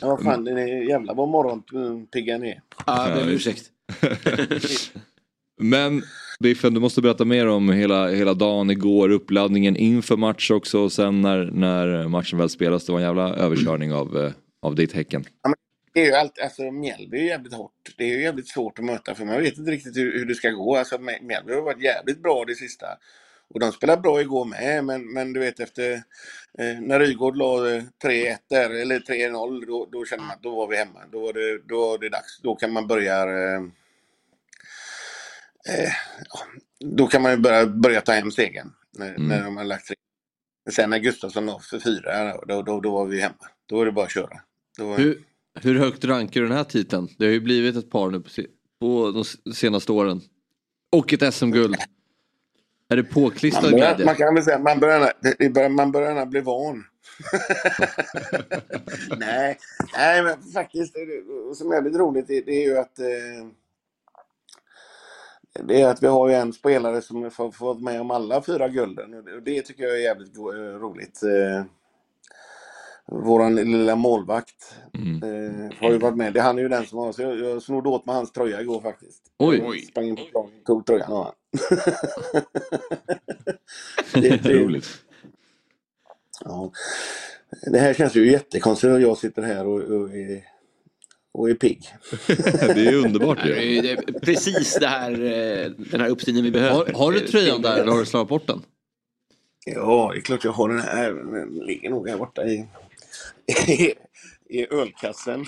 Speaker 14: ja, vad fan, det är jävla vad morgonpigga ni är.
Speaker 7: Ja, jag ber om
Speaker 5: Ja,
Speaker 7: ursäkt.
Speaker 5: Eh, Men Biffen, du måste berätta mer om hela, hela dagen igår, uppladdningen inför match också och sen när, när matchen väl spelas. Det var en jävla överkörning av, eh, av ditt Häcken.
Speaker 14: Det är ju allt, alltså Mjällby är ju jävligt hårt. Det är ju jävligt svårt att möta för man vet inte riktigt hur, hur det ska gå. Alltså Mj- Mjällby har varit jävligt bra det sista. Och de spelade bra igår med, men, men du vet efter eh, när Rygård la eh, 3-1 där, eller 3-0, då, då kände man att då var vi hemma. Då var det, då var det dags. Då kan man börja eh, eh, ja, då kan man ju börja, börja ta hem segern när, när de har lagt tre. Sen när Gustafsson la för fyra, då, då, då var vi hemma. Då var det bara att köra. Då var-
Speaker 6: Hur, hur högt rankar du den här titeln? Det har ju blivit ett par nu på, se- på de s- senaste åren. Och ett SM-guld. Är det påklistrad
Speaker 14: Man, börjar,
Speaker 6: glädje?
Speaker 14: man kan väl säga att man börjar, det börjar- man börjar gärna bli van. nej, nej, men faktiskt, det- det som är lite roligt det, det är ju att eh, det är att vi har ju en spelare som har fått- fått med om alla fyra gulden och det, och det tycker jag är jävligt go- eh, roligt. Eh, våran lilla målvakt eh, har ju varit med. Det, han är ju den som har, så jag, jag snodde åt mig hans tröja igår faktiskt.
Speaker 6: Oj.
Speaker 14: Jag Sprang in på planen, tog tröjan av han.
Speaker 6: Roligt.
Speaker 14: Ja. Det här känns ju jättekonstigt att jag sitter här och, och, är- och är pigg.
Speaker 5: det är underbart
Speaker 7: ju. Det är precis det här, eh, den här uppsynen vi behöver.
Speaker 14: Har- har du tröjan där eller har du
Speaker 6: slagit bort den?
Speaker 14: Ja, det är klart jag har den här. Den ligger nog här borta i, i, i ölkassen.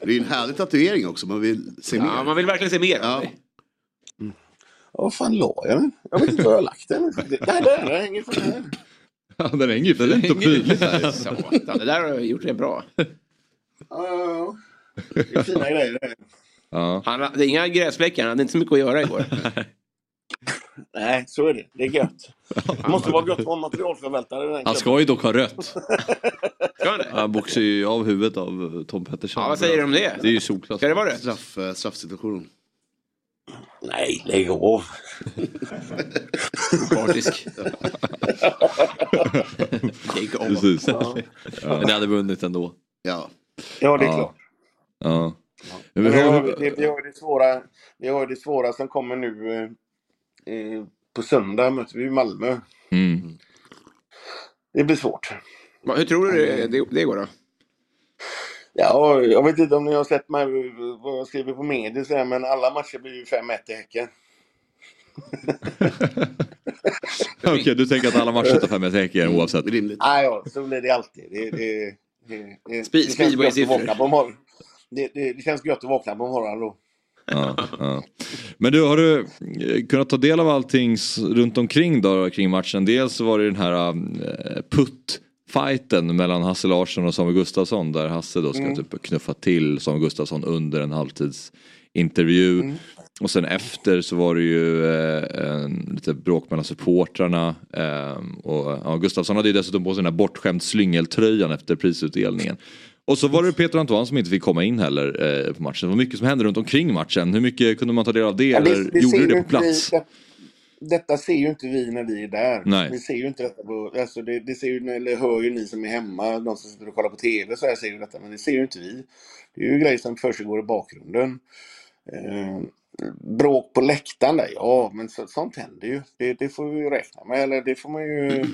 Speaker 9: Det är en härlig tatuering också, man vill se mer.
Speaker 7: Ja, man vill verkligen se mer.
Speaker 9: Ja.
Speaker 14: Mm. Vad fan la jag den? Jag vet inte var jag har lagt den. Där, där, den hänger så här.
Speaker 5: Ja, den hänger ju fint och prydligt här.
Speaker 7: Satan, det där har gjort det bra.
Speaker 14: Ja, ja, ja. Det är fina grejer det här.
Speaker 7: Han, hade- det är inga gräsfläckar, han hade inte så mycket att göra igår.
Speaker 14: Nej, så är det. Det är gött. Det måste vara gött att vara materialförvaltare. i den
Speaker 6: Han
Speaker 14: klubben.
Speaker 6: ska ju dock ha rött. Han boxar ju av huvudet av eh, Tom Pettersson.
Speaker 7: Ja, vad säger du om det?
Speaker 6: Det är ju solklart.
Speaker 7: Ska det vara rött?
Speaker 9: Straff, eh, straffsituation.
Speaker 14: Nej, lägg av.
Speaker 7: Partisk. Lägg av.
Speaker 6: Precis.
Speaker 7: Ja.
Speaker 6: Men ni hade vunnit ändå.
Speaker 9: Ja,
Speaker 14: Ja, det är klart.
Speaker 6: Ja. Men
Speaker 14: Men
Speaker 6: vi
Speaker 14: vi, har,
Speaker 6: har-
Speaker 14: det, vi, har ju det svåra, vi har ju det svåra som kommer nu eh, eh, på söndag möter vi ju Malmö.
Speaker 15: Hmm.
Speaker 5: Mm.
Speaker 14: Det blir svårt.
Speaker 7: Va, Hur tror du det, det, det går då?
Speaker 14: Ja, jag vet inte om ni har sett mig, vad jag skriver på medier så här, men alla matcher blir ju 5-1 i Häcken.
Speaker 5: Okej, du tänker att alla matcher tar fem med säker oavsett?
Speaker 9: Rimligt.
Speaker 14: Ah, ja, så blir det alltid. Det, det, det, det, det
Speaker 7: Spe-
Speaker 14: känns gött att
Speaker 7: speedway-siffror.
Speaker 14: vakna på morgonen. Det, det, det känns gött att vakna på morgonen då.
Speaker 5: Ja, ja. Men du, har du eh, kunnat ta del av allting s- runt omkring då, kring matchen? Dels så var det den här eh, putt-fighten mellan Hasse Larsson och Samuel Gustafsson där Hasse då ska
Speaker 1: Mm.
Speaker 5: typ knuffa till Samuel Gustafsson under en halvtidsintervju.
Speaker 14: Mm.
Speaker 5: Och sen efter så var det ju eh, en, lite bråk mellan supportrarna. Eh, och ja, Gustafsson hade ju dessutom på sig den här bortskämd slyngeltröjan efter prisutdelningen. Och så var det Peter Antoine som inte fick komma in heller eh, på matchen. Det var mycket som hände runt omkring matchen. Hur mycket kunde man ta del av det?
Speaker 14: Ja,
Speaker 5: eller gjorde
Speaker 14: ser
Speaker 5: du
Speaker 14: ju
Speaker 5: det på
Speaker 14: inte vi-
Speaker 5: plats?
Speaker 14: det- detta ser ju inte vi när vi är där.
Speaker 5: Nej.
Speaker 14: Vi ser ju inte detta på, alltså det, det ser ju, eller hör ju ni som är hemma, de som sitter och kollar på TV så här ser ju detta, men det ser ju inte vi. Det är ju grejer som försiggår i bakgrunden. Eh, bråk på läktaren där, ja men så, sånt händer ju. Det, det får vi ju räkna med, eller det får man ju... eh,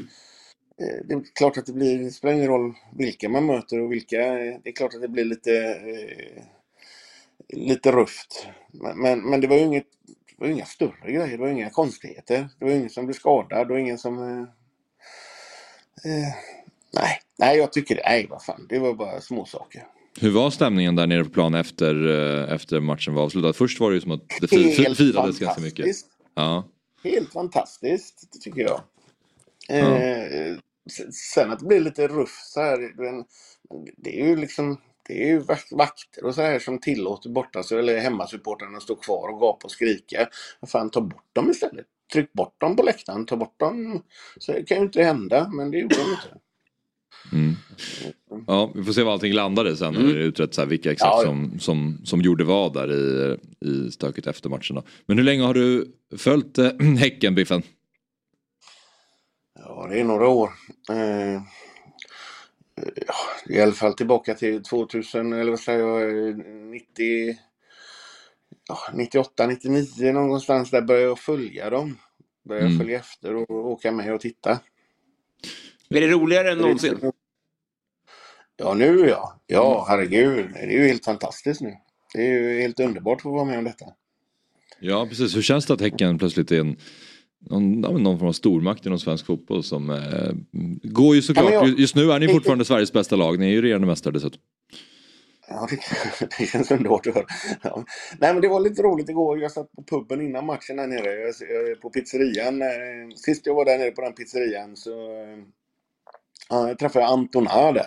Speaker 14: Det är klart att det blir, det spelar ingen roll vilka man möter och vilka, det är klart att det blir lite eh, lite rufft. Men, men, men det var ju inget, det var ju inga större grejer, det var ju inga konstigheter. Det var ju ingen som blev skadad, det var ingen som... Eh, eh, nej, nej jag tycker det, nej vad fan, det var bara småsaker.
Speaker 5: Hur var stämningen där nere på plan efter, eh, efter matchen var avslutad? Först var det ju som att det fi- fi-
Speaker 14: Helt
Speaker 5: firades ganska mycket.
Speaker 14: fantastiskt.
Speaker 5: Ja.
Speaker 14: Helt fantastiskt, det tycker jag. Eh, s- sen att det blir lite ruff så här, men det är ju liksom det är ju vak- vakter och så här som tillåter borta eller hemmasupportrarna att stå kvar och gapa och skrika. Vad fan, ta bort dem istället. Tryck bort dem på läktaren, ta bort dem. Så det kan ju inte hända, men det gjorde de inte.
Speaker 5: Ja, vi får se var allting landade sen.
Speaker 14: Mm.
Speaker 5: När det är utrett så här, vilka exakt
Speaker 14: Ja, ja.
Speaker 5: Som, som, som gjorde vad där i, i stöket efter matchen. Då. Men hur länge har du följt äh, Häcken, Biffen?
Speaker 14: Ja, det är några år. Eh, ja, I alla fall tillbaka till 2000, eller vad säger jag, eh, 90, ja, 98, 99 någonstans. Där började jag följa dem. Började
Speaker 5: Mm.
Speaker 14: följa efter och åka med och titta.
Speaker 7: Är det roligare än någonsin?
Speaker 14: Ja, nu ja. Ja, herregud. Det är ju helt fantastiskt nu. Det är ju helt underbart att få vara med om detta.
Speaker 5: Ja, precis. Hur känns det att Häcken plötsligt är en, någon, ja, men någon form av stormakt inom svensk fotboll som eh, går ju såklart.
Speaker 14: Ja, men jag-
Speaker 5: Ju- Just nu är ni fortfarande Sveriges bästa lag. Ni är ju regerande mästare dessutom.
Speaker 14: Ja, det, det känns underbart att höra. Ja. Nej, men det var lite roligt igår. Jag satt på puben innan matchen där nere. Jag, jag, på pizzerian. eh, Sist jag var där nere på den pizzerian så eh, ja, jag träffade jag Anton A där.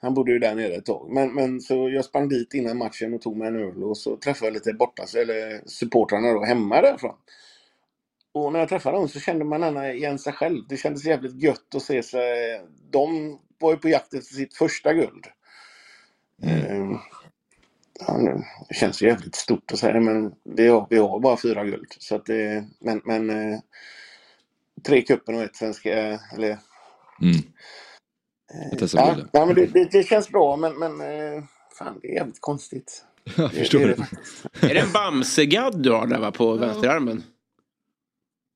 Speaker 14: Han bodde ju där nere ett tag. Men, men så jag sprang dit innan matchen och tog mig en öl och så träffade jag lite borta, eller supportrarna då, hemma därifrån. Och när jag träffade dem så kände man gärna igen sig själv. Det kändes jävligt gött att se sig. De var ju på jakt efter sitt första guld. Eh, ja, nu- det känns ju jävligt stort att säga men vi har, vi har bara fyra guld. Så att det, men, men eh, tre cupen och ett svenska, eller
Speaker 5: Mm. Jag testar
Speaker 14: Ja,
Speaker 5: bilden.
Speaker 14: ja, men det, det, det känns bra men, men eh, fan det är jävligt konstigt.
Speaker 5: Jag
Speaker 14: Det-
Speaker 5: förstår
Speaker 14: det är det
Speaker 5: det.
Speaker 7: Är det en Bamsegadd du har där va, på vänsterarmen?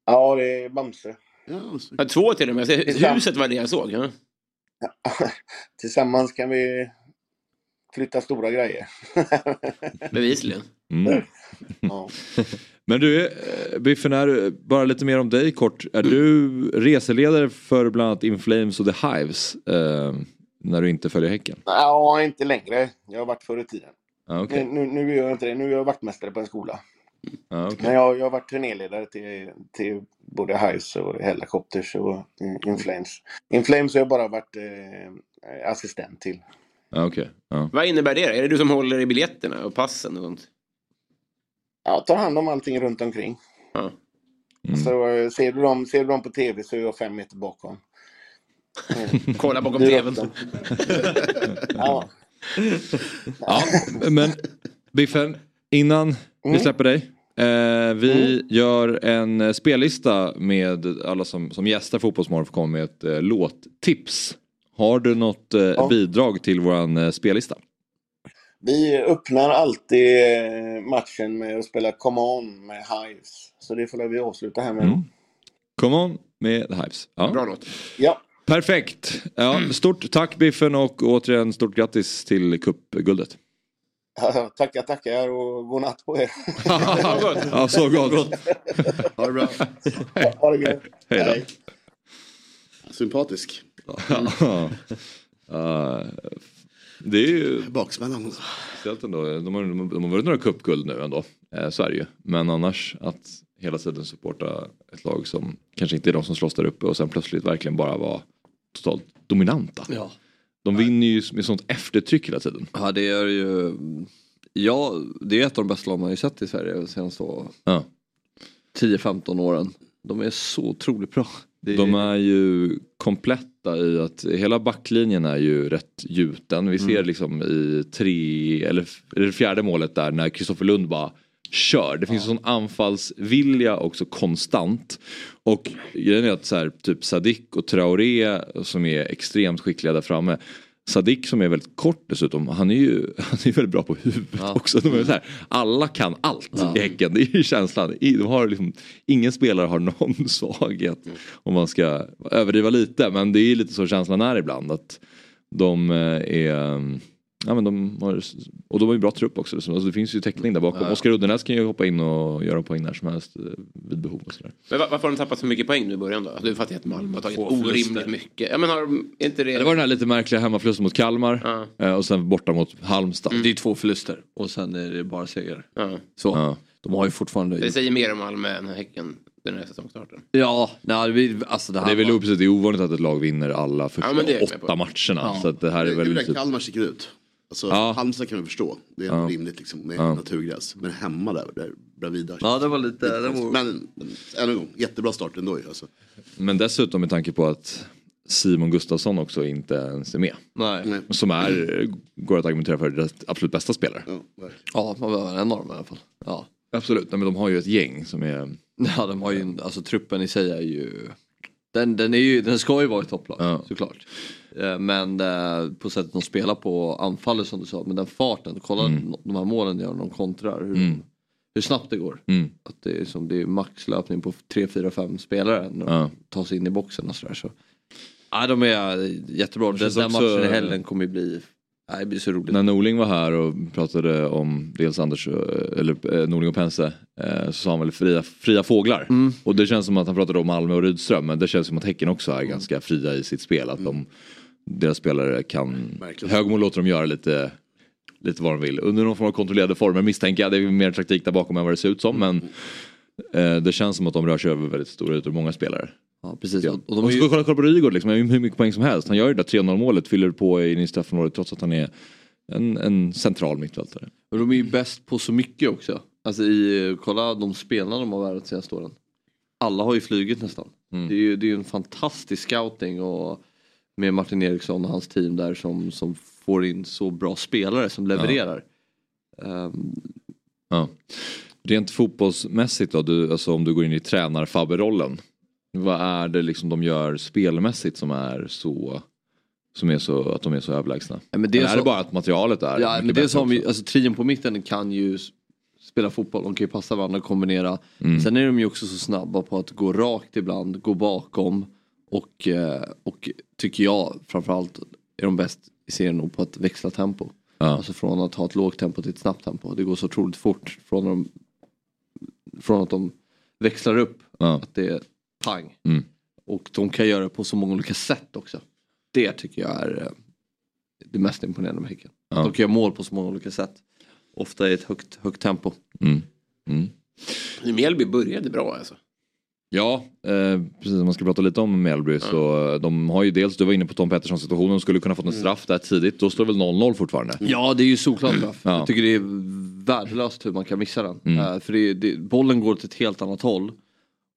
Speaker 14: Ja, det är Bamse.
Speaker 7: Ja, alltså. två till och med. Jag ser- Huset var det jag såg. Ja.
Speaker 14: Tillsammans kan vi flytta stora grejer.
Speaker 7: Bevisligen.
Speaker 5: Mm. Men du, eh, Biffen, är, bara lite mer om dig kort. Är du reseledare för bland annat In Flames och The Hives? Eh, när du inte följer Häcken?
Speaker 14: Ja, inte längre. Jag har varit förr i tiden.
Speaker 5: Ah, okej.
Speaker 14: Nu, nu, nu är jag inte det. Nu är jag vaktmästare på en skola.
Speaker 5: Ah, okej.
Speaker 14: Men jag, jag har varit turnéledare till, till både Hives och Hellacopters och In- In Flames. In Flames har jag bara varit eh, assistent till.
Speaker 5: Ja, Ah, okej. Ja.
Speaker 7: Vad innebär det? då? Är det du som håller i biljetterna och passen och sånt?
Speaker 14: Jag tar hand om allting runt omkring.
Speaker 7: Ja.
Speaker 5: Mm.
Speaker 14: Så eh, ser du, dem, ser du dem på tv så är jag fem meter bakom.
Speaker 7: Kolla bakom
Speaker 14: Det är
Speaker 7: tvn.
Speaker 14: ofta. ja.
Speaker 5: Ja, men Biffen, innan vi
Speaker 7: Mm.
Speaker 5: släpper dig. Eh, vi gör en eh, spellista med alla som, som gästar Fotbollsmorgon får komma med ett eh, låttips. Har du något eh, bidrag till våran eh, spellista?
Speaker 14: Vi öppnar alltid eh, matchen med att spela Come On med Hives. Så det får vi avsluta här med.
Speaker 5: Mm. Come on med The Hives. Ja. Bra
Speaker 7: låt.
Speaker 14: Ja.
Speaker 5: Perfekt. Ja, stort tack Biffen och återigen stort grattis till cupguldet.
Speaker 14: Tackar, tackar och god natt på er.
Speaker 5: Ja, så gott.
Speaker 9: Ha det bra.
Speaker 14: Ha det gött.
Speaker 5: Hej då.
Speaker 9: Sympatisk.
Speaker 5: Ja. Eh, det är ju... Baksmällan. Speciellt ändå. De har, de har- de har vunnit några cupguld nu ändå. Eh, så är det ju. Men annars att hela tiden supporta ett lag som kanske inte är de som slåss där uppe och sen plötsligt verkligen bara vara totalt dominanta.
Speaker 6: Ja.
Speaker 5: De vinner ju med sånt eftertryck hela tiden.
Speaker 6: Ja det är ju, ja det är ett av de bästa lagen man har sett i Sverige de senaste
Speaker 5: Ja.
Speaker 6: 10-15 åren. De är så otroligt bra. Det är-
Speaker 5: De är ju kompletta i att hela backlinjen är ju rätt gjuten. Vi ser
Speaker 6: Mm.
Speaker 5: liksom i tre, eller f- är det fjärde målet där när Kristoffer Lund bara kör. Det finns en sån anfallsvilja också konstant. Och grejen är att så här, typ Sadik och Traoré som är extremt skickliga där framme. Sadik som är väldigt kort dessutom, han är ju han är väldigt bra på huvudet också. De är så här, alla kan allt i Häcken, det är ju känslan. I- De har liksom, ingen spelare har någon svaghet om man ska överdriva lite. Men det är ju lite så känslan är ibland. Att de eh, är... eh, Ja, men de har, och de har ju bra trupp också. Alltså, det finns ju täckning där bakom.
Speaker 7: Ja.
Speaker 5: Oskar Uddenäs kan ju hoppa in och göra poäng när som helst eh, vid behov. Och sådär.
Speaker 7: Men va- varför har de tappat så mycket poäng nu i början då? Du fattar att Malmö har tagit
Speaker 5: Få
Speaker 7: orimligt
Speaker 5: förluster.
Speaker 7: mycket. Ja, men har de är inte det...
Speaker 5: Ja, Det var den här lite märkliga hemmaförlusten mot Kalmar eh, och sen borta mot Halmstad.
Speaker 6: Det är två förluster och sen är det bara segrar.
Speaker 7: Mm. Ja.
Speaker 6: Så. De har ju fortfarande...
Speaker 7: Det säger mer om Malmö än Häcken den här säsongstarten.
Speaker 6: Ja, nej, vi, alltså det
Speaker 5: Det,
Speaker 6: här
Speaker 5: är väl
Speaker 6: var-
Speaker 5: uppe, det är ovanligt att ett lag vinner alla första
Speaker 6: Ja, men det är jag med
Speaker 5: åtta
Speaker 6: på.
Speaker 5: matcherna.
Speaker 9: Ja.
Speaker 5: Så att det här är
Speaker 9: det är
Speaker 5: väl...
Speaker 9: väl där
Speaker 5: Typ,
Speaker 9: Kalmar sticker ut. Alltså,
Speaker 5: Ja.
Speaker 9: Halmstad kan vi förstå. Det är
Speaker 5: Ja.
Speaker 9: rimligt liksom. Med
Speaker 5: Ja.
Speaker 9: naturgräs. Men hemma där, där bredvid. där.
Speaker 6: Ja, det var lite... Det var...
Speaker 9: Men än en gång, jättebra start ändå ju. Alltså.
Speaker 5: men dessutom med tanke på att Simon Gustafsson också inte ens är med.
Speaker 7: Mm.
Speaker 6: Nej.
Speaker 5: Som är, går att argumentera för, deras absolut bästa spelare.
Speaker 6: Ja, man behöver en av dem i alla fall. Ja.
Speaker 5: Absolut, Nej, men de har ju ett gäng som är...
Speaker 6: Ja, de har ju, alltså truppen i sig är ju... Den, den, är ju, den ska ju vara i topplag såklart. Eh, Men eh, på sättet de spelar på anfallet som du sa, men den farten, kolla de här målen de gör när de kontrar. Hur,
Speaker 5: Mm.
Speaker 6: hur snabbt det går.
Speaker 5: Mm.
Speaker 6: Att det, är som, det är maxlöpning på 3-4-5 spelare när de
Speaker 5: Ja.
Speaker 6: tar sig in i boxen och sådär. Så. Ja, de är eh, jättebra. Den
Speaker 5: känns
Speaker 6: där
Speaker 5: också-
Speaker 6: matchen i helgen kommer ju bli... Nej, det blir så roligt.
Speaker 5: När Norling var här och pratade om dels Anders, eh, eller eh, Norling och Pense, eh, så sa han väl fria, fria fåglar. Och det känns som att han pratade om Malmö och Rydström, men det känns som att Häcken också är ganska fria i sitt spel. Att de, deras spelare kan, Högmo låter dem göra lite, lite vad de vill. Under någon form av kontrollerade former misstänker jag, det är ju mer taktik där bakom än vad det ser ut som. Men eh, det känns som att de rör sig över väldigt stora ytor, många spelare.
Speaker 6: Ja, precis. Och,
Speaker 5: Och de är ju... kolla, kolla på Rygaard, liksom, han gör ju hur mycket poäng som helst. Han gör ju det där 3-0 målet, fyller på in i straffområdet trots att han är en, en central mittfältare.
Speaker 6: Och de är ju bäst på så mycket också. Alltså i, kolla de spelarna de har värvat senaste åren. alla har ju flugit nästan.
Speaker 5: Mm.
Speaker 6: Det är ju det är ju en fantastisk scouting och med Martin Eriksson och hans team där som, som får in så bra spelare som levererar. Ehm,
Speaker 5: Ja. Rent fotbollsmässigt då, du, alltså om du går in i tränarfabberollen. Vad är det liksom de gör spelmässigt som är så, som är så att de är så överlägsna?
Speaker 6: Ja, men det är
Speaker 5: Eller är
Speaker 6: så-
Speaker 5: det bara att materialet är
Speaker 6: Ja,
Speaker 5: mycket
Speaker 6: men det är
Speaker 5: bättre
Speaker 6: som,
Speaker 5: också?
Speaker 6: ju- alltså, trion på mitten kan ju s- spela fotboll, de kan ju passa varandra och kombinera.
Speaker 5: Mm.
Speaker 6: Sen är de ju också så snabba på att gå rakt ibland, gå bakom och, eh, och tycker jag framförallt är de bäst i serien nog på att växla tempo. Alltså från att ha ett lågt tempo till ett snabbt tempo. Det går så otroligt fort från, de, från att de växlar upp att det är pang.
Speaker 5: Mm.
Speaker 6: Och de kan göra det på så många olika sätt också. Det tycker jag är eh, det mest imponerande med Häcken.
Speaker 5: Ja.
Speaker 6: De kan göra mål på så många olika sätt. Ofta i ett högt, högt tempo.
Speaker 5: Mm. Mm.
Speaker 7: Mjällby började bra alltså.
Speaker 5: Ja, eh, precis. Om man ska prata lite om Mjällby så eh, de har ju dels, du var inne på Tom Pettersson situationen, de skulle kunna fått en straff där tidigt. Då står det väl 0-0 fortfarande?
Speaker 6: Mm. Ja, det är ju solklart straff.
Speaker 5: Mm. Ja.
Speaker 6: Jag tycker det är värdelöst hur man kan missa den.
Speaker 5: Mm.
Speaker 6: Eh, för det, det, bollen går åt ett helt annat håll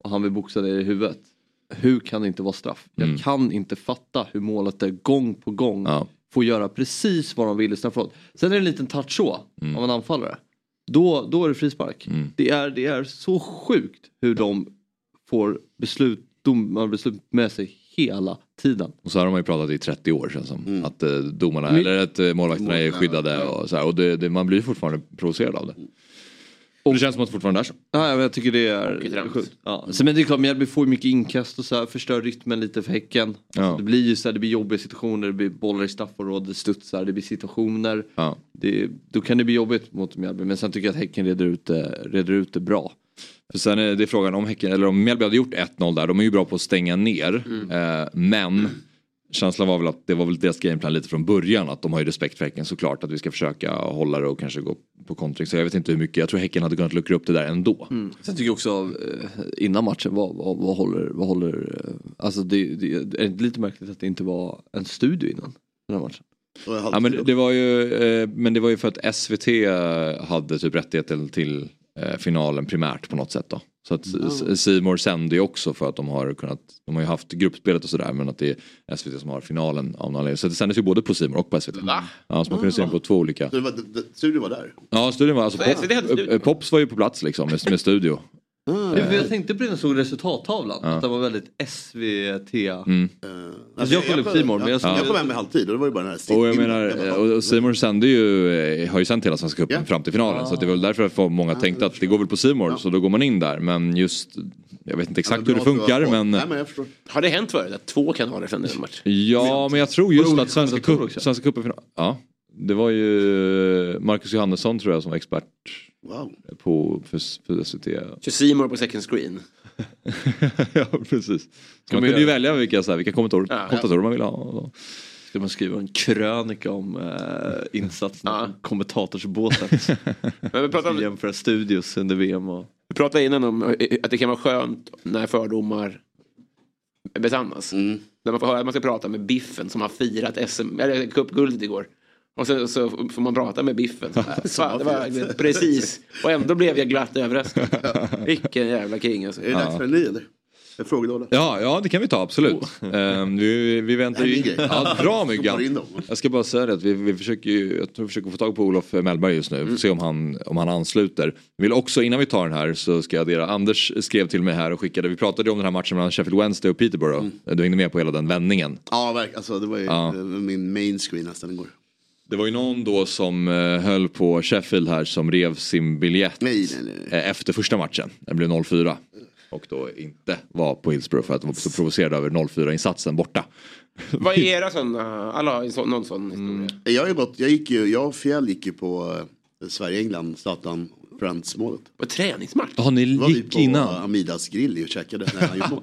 Speaker 6: och han vill boxa dig i huvudet. Hur kan det inte vara straff?
Speaker 5: Mm.
Speaker 6: Jag kan inte fatta hur målet där gång på gång får göra precis vad de vill i straffområdet. Sen är det en liten touch så
Speaker 5: Mm.
Speaker 6: av en anfallare. Då, då är det frispark. Det, är, det är så sjukt hur de får beslut, domarbeslut med sig hela tiden.
Speaker 5: Och så har man ju pratat i 30 år känns som.
Speaker 6: Mm.
Speaker 5: Att eh, domarna,
Speaker 6: Men-
Speaker 5: eller att eh, målvakterna är skyddade och så här. Och det, det, man blir fortfarande provocerad av det.
Speaker 6: Mm.
Speaker 5: Och det känns som att det fortfarande är så.
Speaker 6: Ja, ja, men jag tycker det är sjukt. Ja. Sen, men det är klart, Mjällby får ju mycket inkast och så här, förstör rytmen lite för Häcken.
Speaker 5: Ja.
Speaker 6: Det blir ju så här, det blir jobbiga situationer, det blir bollar i straffområdet, det studsar, det blir situationer.
Speaker 5: Ja.
Speaker 6: Det, då kan det bli jobbigt mot Mjällby, men sen tycker jag att Häcken reder ut det, reder ut det bra.
Speaker 5: För sen är det frågan om Häcken, eller om Mjällby hade gjort 1-0 där, de är ju bra på att stänga ner. Eh, men känslan var väl att det var väl deras gameplan lite från början, att de har ju respekt för Häcken såklart, att vi ska försöka hålla det och kanske gå på kontring. Så jag vet inte hur mycket, jag tror Häcken hade kunnat luckra upp det där ändå.
Speaker 6: Sen tycker jag också eh, innan matchen, vad, vad, vad håller, vad håller eh, alltså det, det är det inte lite märkligt att det inte var en studio innan den här matchen?
Speaker 5: Ja, men, det var ju, eh, men det var ju för att SVT hade typ rättigheten till eh, finalen primärt på något sätt då. Så att
Speaker 6: Mm.
Speaker 5: Simor sänder ju också för att de har kunnat, de har ju haft gruppspelet och sådär men att det är SVT som har finalen av någon anledning. Så det sändes ju både på Simor och på SVT. Ja, så man kunde se den på två olika.
Speaker 9: Så det var, det, det, studion var där?
Speaker 5: Ja, studion var, alltså,
Speaker 9: Så
Speaker 5: pop,
Speaker 9: SVT hade studio?
Speaker 5: eh, Pops var ju på plats liksom med, med studio.
Speaker 6: Ja, för Jag tänkte på det när jag såg resultattavlan,
Speaker 5: Mm. Ja.
Speaker 6: att den var väldigt SVT.
Speaker 5: Mm.
Speaker 6: Alltså, jag kollade på C More, men jag såg-
Speaker 9: kom hem i halvtid och det var ju bara den här
Speaker 5: Och jag menar, eh, och Simor sände ju, eh, har ju sänt hela Svenska cupen
Speaker 9: Ja.
Speaker 5: fram till finalen. Så att det var väl därför att många tänkte att det går väl på Simor så då går man in där. Men just, jag vet inte exakt hur det funkar men eh,
Speaker 7: Har det hänt förut att två kanaler sänder en match?
Speaker 5: Ja, men jag tror just att Svenska, cup, Svenska cupen... final- Ja, det var ju Marcus Johannesson tror jag som var expert på, för, för SVT.
Speaker 7: Kör C More på second screen.
Speaker 5: ja, precis. Så man kunde ju välja vilka, så här, vilka kommentator,
Speaker 6: Ja.
Speaker 5: kommentatorer man ville ha. och då.
Speaker 6: Ska man skriva en krönika om eh, insatsen från kommentatorsbåset?
Speaker 7: Men vi pratar om-
Speaker 6: Jämföra studios under VM och...
Speaker 7: Vi pratade innan om eh, att det kan vara skönt när fördomar besannas. När man får höra att man ska prata med Biffen som har firat SM, eller cupguldet igår. Och så, så får man prata med Biffen. Fan, det var, liksom precis. Och ändå blev jag glatt överraskad. Vilken jävla king alltså.
Speaker 9: Är det dags för en ny eller? En frågelåda?
Speaker 5: Ja, ja, det kan vi ta absolut. Ehm, vi, vi väntar
Speaker 9: Oh. Det är min
Speaker 5: ju...
Speaker 9: grej.
Speaker 5: Ja, bra
Speaker 9: Stoppar in
Speaker 5: Myggan.
Speaker 9: dem.
Speaker 5: Jag ska bara säga det att vi, vi försöker ju, jag tror vi försöker få tag på Olof Mellberg just nu.
Speaker 9: Mm.
Speaker 5: Vi får Se om han, om han ansluter. Vill också, innan vi tar den här så ska jag addera, Anders skrev till mig här och skickade, vi pratade ju om den här matchen mellan Sheffield Wednesday och Peterborough.
Speaker 9: Mm.
Speaker 5: Du hängde med på hela den vändningen.
Speaker 9: Ja, verkligen. Alltså, det var ju
Speaker 5: Ja.
Speaker 9: eh, min main screen nästan igår.
Speaker 5: Det var ju någon då som eh, höll på Sheffield här som rev sin biljett eh, efter första matchen. Den blev 0-4. Och då inte var på Hillsborough för att de var så provocerade över 0-4-insatsen borta.
Speaker 7: Vad är era sådana? Alla har en sån- någon sån historia.
Speaker 9: Jag, har ju gått, jag, gick ju, jag och Fjäll gick ju på eh, Sverige-England, Zlatan Friends-målet.
Speaker 7: På träningsmatch?
Speaker 5: Ja, ni
Speaker 9: var vi
Speaker 5: gick
Speaker 9: på
Speaker 5: innan.
Speaker 9: eh, Amidas grill och käkade när han gjorde mål.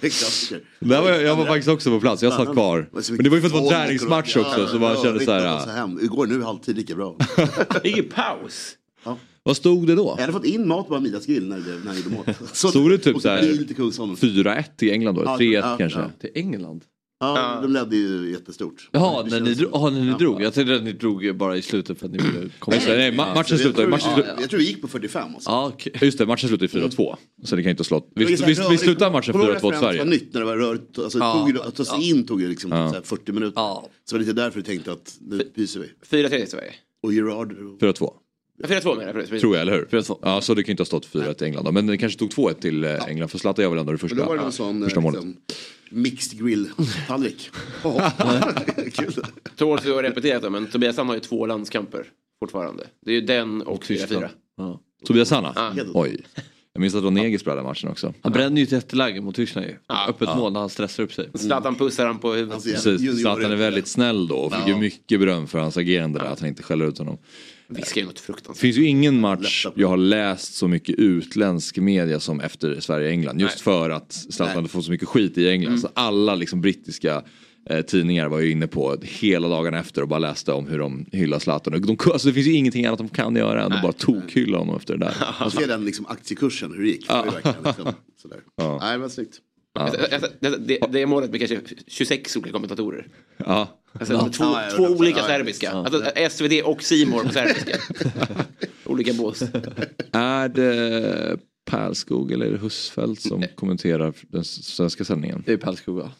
Speaker 9: Det är klassiker.
Speaker 5: Där var jag, jag var faktiskt också på plats, jag satt
Speaker 9: Fan,
Speaker 5: kvar.
Speaker 9: var så
Speaker 5: Men
Speaker 9: mycket
Speaker 5: det var ju för att det var en
Speaker 9: folk och-
Speaker 5: träningsmatch också
Speaker 9: Ja,
Speaker 5: så man
Speaker 9: ja,
Speaker 5: kände
Speaker 9: riktigt,
Speaker 5: så
Speaker 9: jag var
Speaker 5: här.
Speaker 9: hem. Igår nu halvtid lika bra.
Speaker 7: Ingen paus.
Speaker 5: Vad stod det då?
Speaker 9: Jag hade fått in mat på Amidas grill när, det- när han gjorde mål.
Speaker 5: Stod det typ
Speaker 9: och så
Speaker 5: så här
Speaker 9: bil till Kungsholmen.
Speaker 5: 4-1 till England då?
Speaker 9: Ja,
Speaker 5: 3-1
Speaker 9: ja,
Speaker 5: kanske?
Speaker 9: ja.
Speaker 6: Till England?
Speaker 9: Ja, de ledde ju jättestort.
Speaker 6: Jaha, när ni, dro- aha, när ni drog? Jag tänkte att ni drog bara i slutet för att ni ville komma
Speaker 5: Nej, nej, ma- matchen slutade-
Speaker 9: Jag
Speaker 5: matchen
Speaker 9: tror,
Speaker 5: slutade-
Speaker 9: ja, jag tror vi gick på 45. Alltså.
Speaker 6: Ja, okej.
Speaker 5: Just det, matchen slutade
Speaker 9: Mm.
Speaker 5: ju 4-2. Så det kan ju inte ha slått. Vi,
Speaker 9: Det var ju så
Speaker 5: vi, vi
Speaker 9: här rörigt.
Speaker 5: slutade matchen
Speaker 9: Kommer du
Speaker 5: 4-2
Speaker 9: ihåg
Speaker 5: till
Speaker 9: referens var
Speaker 5: Sverige.
Speaker 9: nytt när det var rörigt. Alltså, det
Speaker 7: Ja.
Speaker 9: tog ju, att ta sig
Speaker 7: Ja.
Speaker 9: in tog ju liksom
Speaker 5: Ja.
Speaker 9: så här 40 minuter. Så det var lite därför vi tänkte att nu pyser vi.
Speaker 7: 4-3 till Sverige.
Speaker 9: Och Gerard.
Speaker 5: 4-2.
Speaker 7: 4-2 menar jag. precis.
Speaker 5: Tror jag, eller hur? Ja, så det kan ju inte ha stått 4-1 till England då. Men det kanske tog 2-1 till eh, England. För Zlatan gör väl ändå det första,
Speaker 9: Men då var det någon sån, eh,
Speaker 5: första målet.
Speaker 9: liksom- Mixed grill-tallrik. Kul.
Speaker 7: Tror att vi har repeterat det, men Tobias Sam har ju två landskamper fortfarande. Det är ju den och 4-4.
Speaker 6: Ja.
Speaker 5: Tobias Hanna?
Speaker 7: Ja.
Speaker 5: Oj. Jag minns att Ronegis spelade matchen också.
Speaker 6: Han bränner ju ett jätteläge mot Tyskland ju. Öppet
Speaker 5: Ja.
Speaker 6: mål när han stressar upp sig.
Speaker 7: Mm. Zlatan pussar han på huvudet.
Speaker 9: Alltså,
Speaker 5: Precis, Zlatan är väldigt snäll då och fick ju
Speaker 7: Ja.
Speaker 5: mycket beröm för hans agerande där, att han inte skäller ut honom.
Speaker 7: Viskar ju något fruktansvärt.
Speaker 5: Det finns ju ingen match jag har läst så mycket utländsk media som efter Sverige-England. Just
Speaker 7: Nej.
Speaker 5: för att Zlatan
Speaker 7: Nej.
Speaker 5: hade fått så mycket skit i England.
Speaker 7: Mm.
Speaker 5: Så alla liksom brittiska eh, tidningar var ju inne på hela dagen efter och bara läste om hur de hyllar Zlatan. Och De, alltså det finns ju ingenting annat de kan göra än att bara tokhylla honom efter det där. Alltså,
Speaker 9: Och så är den liksom aktiekursen, hur det gick. Det var ju verkligen liksom, sådär. Nej, men snyggt.
Speaker 7: Alltså, alltså, Det, det, det är målet med kanske 26 olika kommentatorer.
Speaker 5: Ja.
Speaker 7: Alltså,
Speaker 5: Ja.
Speaker 7: Två,
Speaker 5: Ja, ja,
Speaker 7: två
Speaker 5: ja,
Speaker 7: olika
Speaker 5: ja, ja,
Speaker 7: serbiska.
Speaker 5: ja.
Speaker 7: Alltså, SVD och Simor på serbiska. olika bås.
Speaker 5: Är det Pärlskog eller är det Husfeldt som kommenterar den s- svenska sändningen?
Speaker 6: Det är Pärlskog va?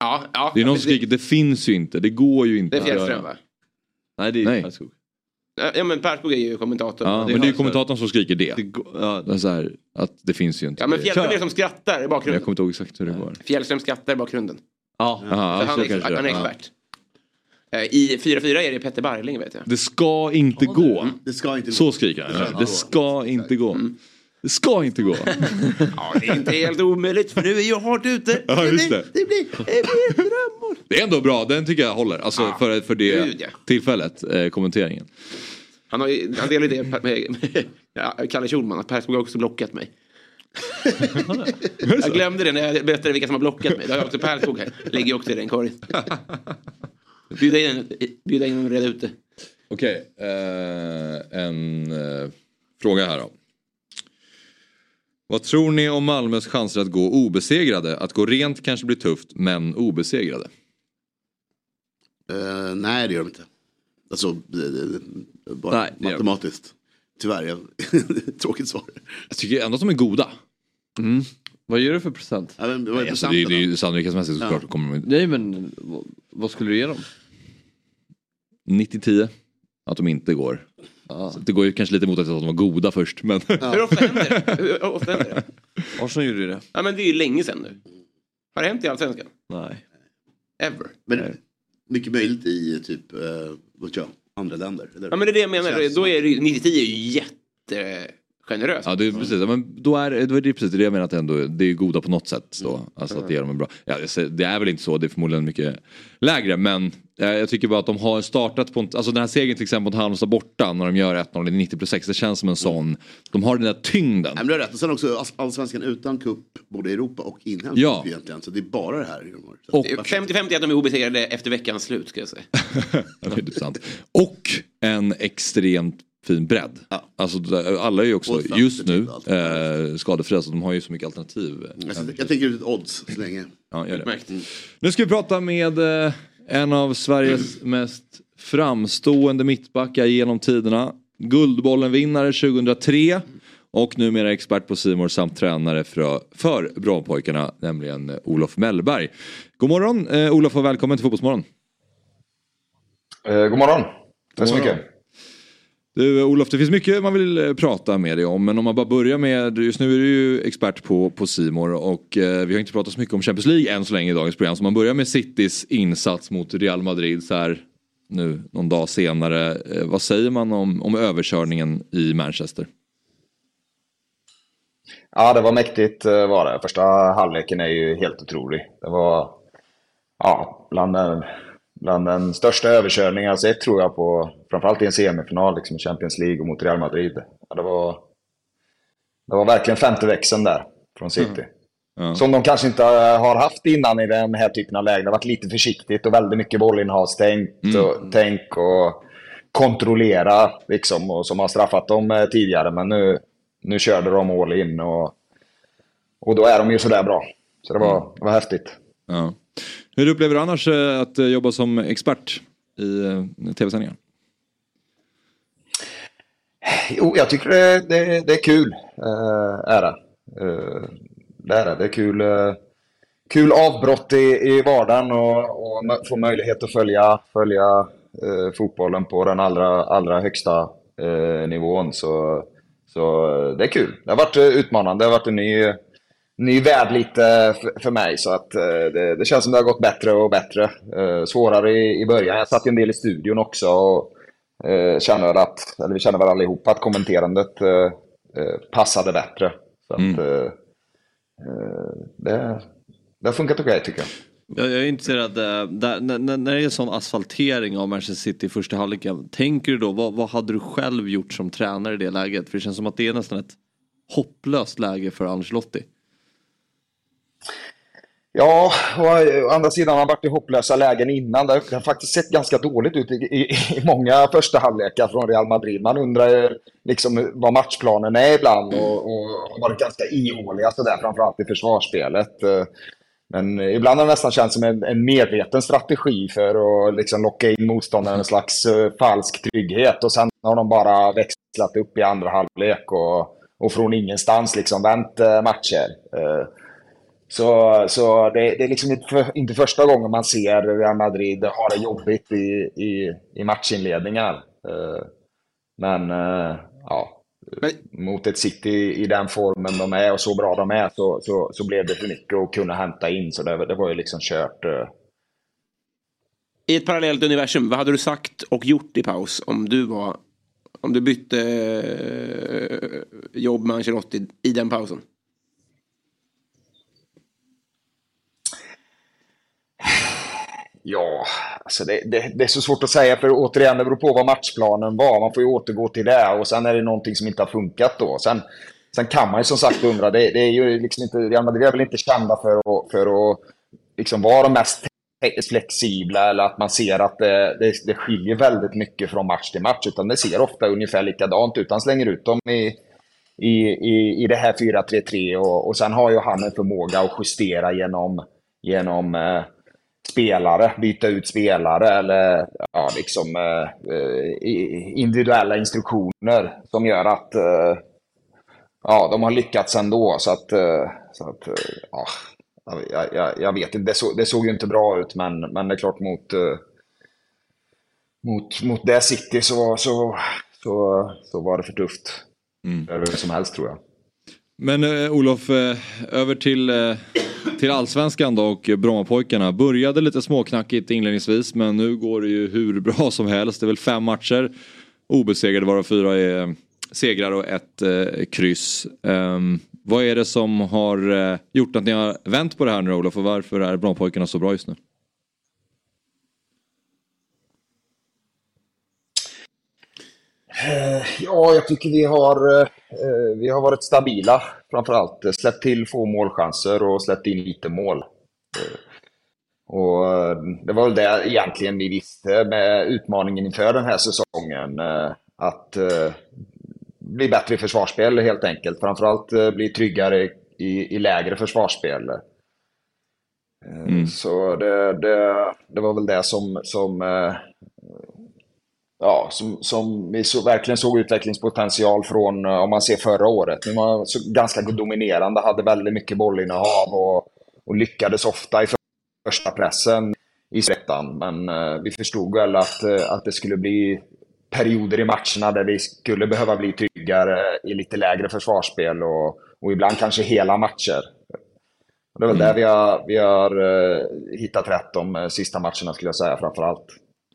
Speaker 7: Ja, ja.
Speaker 5: Det är någon som skriker det finns ju inte, det går ju inte
Speaker 7: Det är
Speaker 5: att göra."
Speaker 7: Fjällström va?
Speaker 6: Nej det är
Speaker 5: Nej.
Speaker 6: Pärlskog.
Speaker 7: Ja men Persbog är ju kommentator.
Speaker 5: Ja, men det är ju kommentatorn som skriker det.
Speaker 6: ja.
Speaker 5: så här, att det finns ju inte.
Speaker 7: Ja men
Speaker 5: Det-
Speaker 7: Fjällström är det som skrattar i
Speaker 5: Men Jag
Speaker 7: bakgrunden.
Speaker 5: kommer inte ihåg exakt hur det går.
Speaker 7: Fjällström skrattar i bakgrunden.
Speaker 6: Ja,
Speaker 5: Aha,
Speaker 7: För
Speaker 5: så
Speaker 7: han, är,
Speaker 5: kanske det
Speaker 7: han är
Speaker 5: Ja.
Speaker 7: expert. Eh, I 4-4 är det Petter Barling vet jag.
Speaker 5: Det ska inte gå.
Speaker 9: Det ska inte
Speaker 5: så skriker han.
Speaker 7: Det ska
Speaker 5: Ja.
Speaker 7: inte
Speaker 5: Det ska inte gå.
Speaker 7: gå. Mm.
Speaker 5: Det ska inte gå.
Speaker 7: Ja, det är inte helt omöjligt för nu är jag hårt ute.
Speaker 5: Ja, just det.
Speaker 7: Det blir, det blir ett drömmål.
Speaker 5: Det är ändå bra, den tycker jag håller. Alltså för, för det
Speaker 7: Gud, ja.
Speaker 5: tillfället, eh, kommenteringen.
Speaker 7: Han, har ju, han delar ju det med, med ja, Kalle Schulman, att Persbog har också blockat mig. jag glömde det när jag berättade vilka som har blockat mig. Det har jag också Persbog här. Lägger ju också i den korgen. Bjuda in, bjuda in och reda ut det.
Speaker 5: Okej, eh, en eh, fråga här då. Vad tror ni om Malmös chanser att gå obesegrade? Att gå rent kanske blir tufft, men obesegrade.
Speaker 9: Eh, nej, det gör de inte. Alltså, det- det- det- bara
Speaker 5: Nej, det gör de
Speaker 9: matematiskt. Tyvärr, jag... tråkigt svar.
Speaker 5: Jag tycker ändå att de är goda.
Speaker 6: Vad gör du för procent?
Speaker 9: Ja, men, vad är
Speaker 5: Nej, alltså, det, är- det är ju sannolikhetsmässigt såklart.
Speaker 6: Ja.
Speaker 5: Kommer de inte-
Speaker 6: Nej men vad, vad skulle du ge dem?
Speaker 5: 90-10. Att de inte går. Så Det går ju kanske lite emot att de var goda först. Men...
Speaker 7: Hur ofta händer det? Hur ofta händer det?
Speaker 6: Arsenal gjorde ju det.
Speaker 7: Ja, men det är ju länge sedan nu. Har det hänt i Allsvenskan?
Speaker 6: Nej.
Speaker 7: Ever?
Speaker 9: Men, mycket möjligt i typ, eh, vet jag, andra länder. Eller? Alltså,
Speaker 7: Ja men det är det jag menar.
Speaker 9: Känns
Speaker 7: Då är det ju, 90 är ju jättegeneröst.
Speaker 5: Ja, det är precis. Ja, Men då är, då är det precis det jag menar att ändå, det är goda på något sätt.
Speaker 9: Mm.
Speaker 5: Då. Alltså att det gör dem en bra. Ja, jag säger- det är väl inte så, det är förmodligen mycket lägre. Men eh, jag tycker bara att de har startat på, en- alltså den här segern till exempel mot Halmstad borta när de gör 1-0 i 90 plus 6. Det känns som en
Speaker 9: Mm.
Speaker 5: sån, de har den där tyngden.
Speaker 9: Nej, men du har rätt. Och sen också alls- allsvenskan utan cup, både i Europa och inhemskt
Speaker 5: Ja.
Speaker 9: cup egentligen. Så det är bara det här. de har. Så
Speaker 5: Och-
Speaker 9: att-
Speaker 7: 50-50 att de är obesegrade efter veckans slut ska jag säga.
Speaker 5: Ja, det är typ sant. Och en extremt fin bredd. Alltså, där- alla är ju också
Speaker 9: Och typ
Speaker 5: just nu eh, skadefria så de har ju så mycket alternativ.
Speaker 9: Alltså, jag tänker ut ett odds så länge. Mm.
Speaker 5: Ja, gör det. Nu ska vi prata med eh, en av Sveriges mest framstående mittbackar genom tiderna. Guldbollen-vinnare 2003 och numera expert på Simor samt tränare för, för Brommapojkarna, nämligen eh, Olof Mellberg. God morgon eh, Olof och välkommen till Fotbollsmorgon.
Speaker 16: Eh, god morgon. Tack så
Speaker 5: God
Speaker 16: mycket.
Speaker 5: morgon. Du eh, Olof, det finns mycket man vill eh, prata med dig om. Men om man bara börjar med, just nu är du ju expert på, på Simor och eh, vi har inte pratat så mycket om Champions League än så länge i dagens program. Så man börjar med Citys insats mot Real Madrid så här nu någon dag senare. Eh, vad säger man om, om överkörningen i Manchester?
Speaker 16: Ja, det var mäktigt eh, var det. Första halvleken är ju helt otrolig. Det var ja, bland, den, bland den största överkörningen jag sett tror jag på, framförallt i en semifinal liksom, i Champions League och mot Real Madrid. Ja, det, var, det var verkligen femte växeln där från City.
Speaker 7: Mm.
Speaker 16: Som de kanske inte eh, har haft innan i den här typen av lägen. Det har varit lite försiktigt och väldigt mycket bollinnehav, stängt och, tänk och kontrollera liksom, och som har straffat dem eh, tidigare. Men nu, nu körde de all in och, och då är de ju sådär bra. Så det var, det var häftigt.
Speaker 5: Ja. Hur upplever du annars eh, att eh, jobba som expert i eh, tv-sändningar?
Speaker 16: Jo, jag tycker det, det, det är kul. Eh, ära. Eh, det är det. Det är kul, eh, kul avbrott i, i vardagen och, och mö- få möjlighet att följa, följa eh, fotbollen på den allra, allra högsta eh, nivån. Så, så eh, det är kul. Det har varit eh, utmanande. Det har varit en ny, ny värld lite eh, för, för mig. Så att, eh, det, det känns som det har gått bättre och bättre. Eh, svårare i, i början. Jag satt ju en del i studion också. Och, eh, känner väl att, eller vi känner väl allihopa att kommenterandet eh, eh, passade bättre. Så att, eh, eh, det, det har funkat okej tycker jag.
Speaker 6: Jag, jag är intresserad, eh, där, när, när när det är sån asfaltering av Manchester City i första halvleken, tänker du då vad, vad hade du själv gjort som tränare i det läget? För det känns som att det är nästan ett hopplöst läge för Ancelotti.
Speaker 16: Ja, och eh, å andra sidan har det varit i hopplösa lägen innan. Det har det har faktiskt sett ganska dåligt ut i, i, i många första halvlekar från Real Madrid. Man undrar ju liksom vad matchplanen är ibland och, och har varit ganska ihåliga sådär, framförallt i försvarsspelet. Eh, Men ibland har det nästan känts som en, en medveten strategi för att liksom locka in motståndaren i en slags eh, falsk trygghet. Och sen har de bara växlat upp i andra halvlek och, och från ingenstans liksom vänt eh, matcher. Eh, så, så det, det är liksom inte, för, inte första gången man ser Real Madrid ha det jobbigt i, i, i matchinledningar. Eh, Men eh, ja, mot ett City i den formen de är och så bra de är så, så, så blev det för mycket att kunna hämta in. Så det, det var ju liksom kört. eh.
Speaker 7: I ett parallellt universum, vad hade du sagt och gjort i paus om du var... Om du bytte eh, jobb med Ancelotti i den pausen?
Speaker 16: Ja, alltså det, det, det är så svårt att säga för återigen, det beror på vad matchplanen var. Man får ju återgå till det och sen är det någonting som inte har funkat då. Sen, sen kan man ju som sagt undra, det, det är ju liksom inte, Real Madrid är väl inte kända för att, för att liksom vara de mest flexibla eller att man ser att det, det, det skiljer väldigt mycket från match till match. Utan det ser ofta ungefär likadant ut. Han slänger ut dem i, i, i, i det här 4-3-3 och, och sen har ju han en förmåga att justera genom, genom eh, spelare, byta ut spelare eller ja, liksom, eh, eh, i- individuella instruktioner som gör att eh, ja, de har lyckats ändå. Så att, eh, så att eh, ja, jag, jag, jag vet inte. Det, så, det såg ju inte bra ut, men, men det är klart mot, eh, mot, mot det City så, så, så, så var det för tufft.
Speaker 5: Mm.
Speaker 16: Eller som helst tror jag.
Speaker 5: Men eh, Olof, eh, över till, eh, till allsvenskan då och Brommapojkarna. Började lite småknackigt inledningsvis men nu går det ju hur bra som helst. Det är väl fem matcher obesegrade varav fyra är eh, segrar och ett eh, kryss. Ehm, vad är det som har eh, gjort att ni har vänt på det här nu Olof och varför är Brommapojkarna så bra just nu?
Speaker 16: Eh, Ja, jag tycker vi har, eh, eh, vi har varit stabila framförallt. Släppt till få målchanser och släppt in lite mål. Eh, Och eh, det var väl det egentligen vi visste med utmaningen inför den här säsongen. eh, Att eh, bli bättre i försvarsspel helt enkelt. Framförallt eh, bli tryggare i, i lägre försvarsspel. Eh, Så det, det, det var väl det som, som eh, ja, som, som vi så, verkligen såg utvecklingspotential från, eh, om man ser förra året. Nu var man så, ganska dominerande, hade väldigt mycket bollinnehav och, och lyckades ofta i för- första pressen i släktan. Men eh, vi förstod väl att, eh, att det skulle bli perioder i matcherna där vi skulle behöva bli tryggare eh, i lite lägre försvarsspel och, och ibland kanske hela matcher. Och det är väl där vi har, vi har eh, hittat rätt de eh, sista matcherna skulle jag säga framför allt.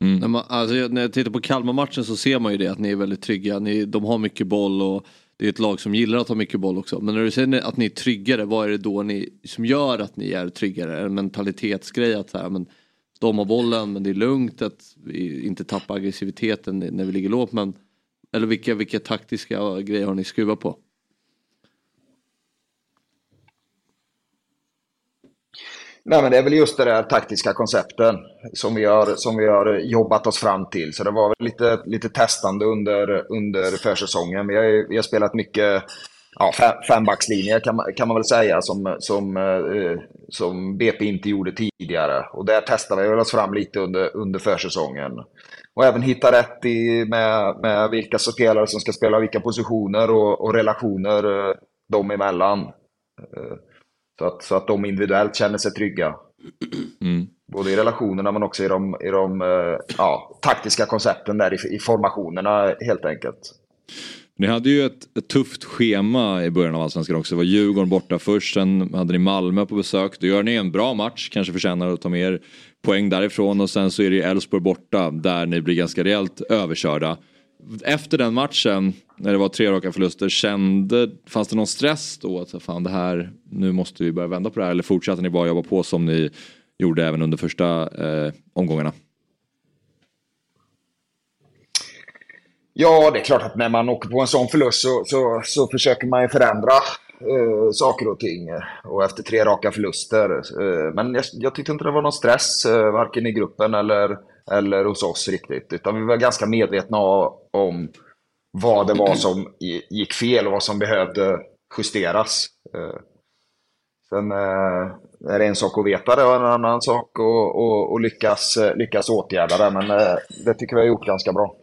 Speaker 6: När, man, alltså, jag- när jag tittar på Kalmar-matchen så ser man ju det att ni är väldigt trygga. Ni, de har mycket boll och det är ett lag som gillar att ha mycket boll också. Men när du säger att ni är tryggare, vad är det då ni, som gör att ni är tryggare? Är det en mentalitetsgrej att så här, men, de har bollen men det är lugnt att vi inte tappar aggressiviteten när vi ligger lågt. Men, eller vilka, vilka taktiska grejer har ni skruvat på?
Speaker 16: Nej, men det är väl just det där taktiska koncepten som vi har, som vi har jobbat oss fram till. Så det var väl lite, lite testande under, under försäsongen. Vi har, ju- vi har spelat mycket ja, fe- fembackslinje kan man, kan man väl säga som, som, eh, som BP inte gjorde tidigare. Och där testade vi väl oss fram lite under, under försäsongen. Och även hitta rätt i, med, med vilka spelare som ska spela vilka positioner och, och relationer eh, dem emellan. Eh, Så att, så att de individuellt känner sig trygga. Både i relationerna men också i de, i de eh, ja, taktiska koncepten där i, i formationerna helt enkelt.
Speaker 5: Ni hade ju ett, ett tufft schema i början av Allsvenskan också. Det var Djurgården borta först, sen hade ni Malmö på besök. Då gör ni en bra match, kanske förtjänar att ta med er poäng därifrån. Och sen så är det Elfsborg borta, där ni blir ganska rejält överkörda. Efter den matchen, när det var tre raka förluster, kände, fanns det någon stress då? Att så, fan, det här, nu måste vi börja vända på det här. Eller fortsatte ni bara jobba på som ni gjorde även under första eh, omgångarna?
Speaker 16: Ja, det är klart att när man åker på en sån förlust så, så, så försöker man ju förändra eh, saker och ting. Och efter tre raka förluster. Eh, men jag, jag tyckte inte det var någon stress, eh, varken i gruppen eller, eller hos oss riktigt. Utan vi var ganska medvetna o- om vad det var som i- gick fel och vad som behövde justeras. Eh, Sen eh, är det en sak att veta det och en annan sak att- att att lyckas, lyckas åtgärda det. Men eh, det tycker vi har gjort ganska bra.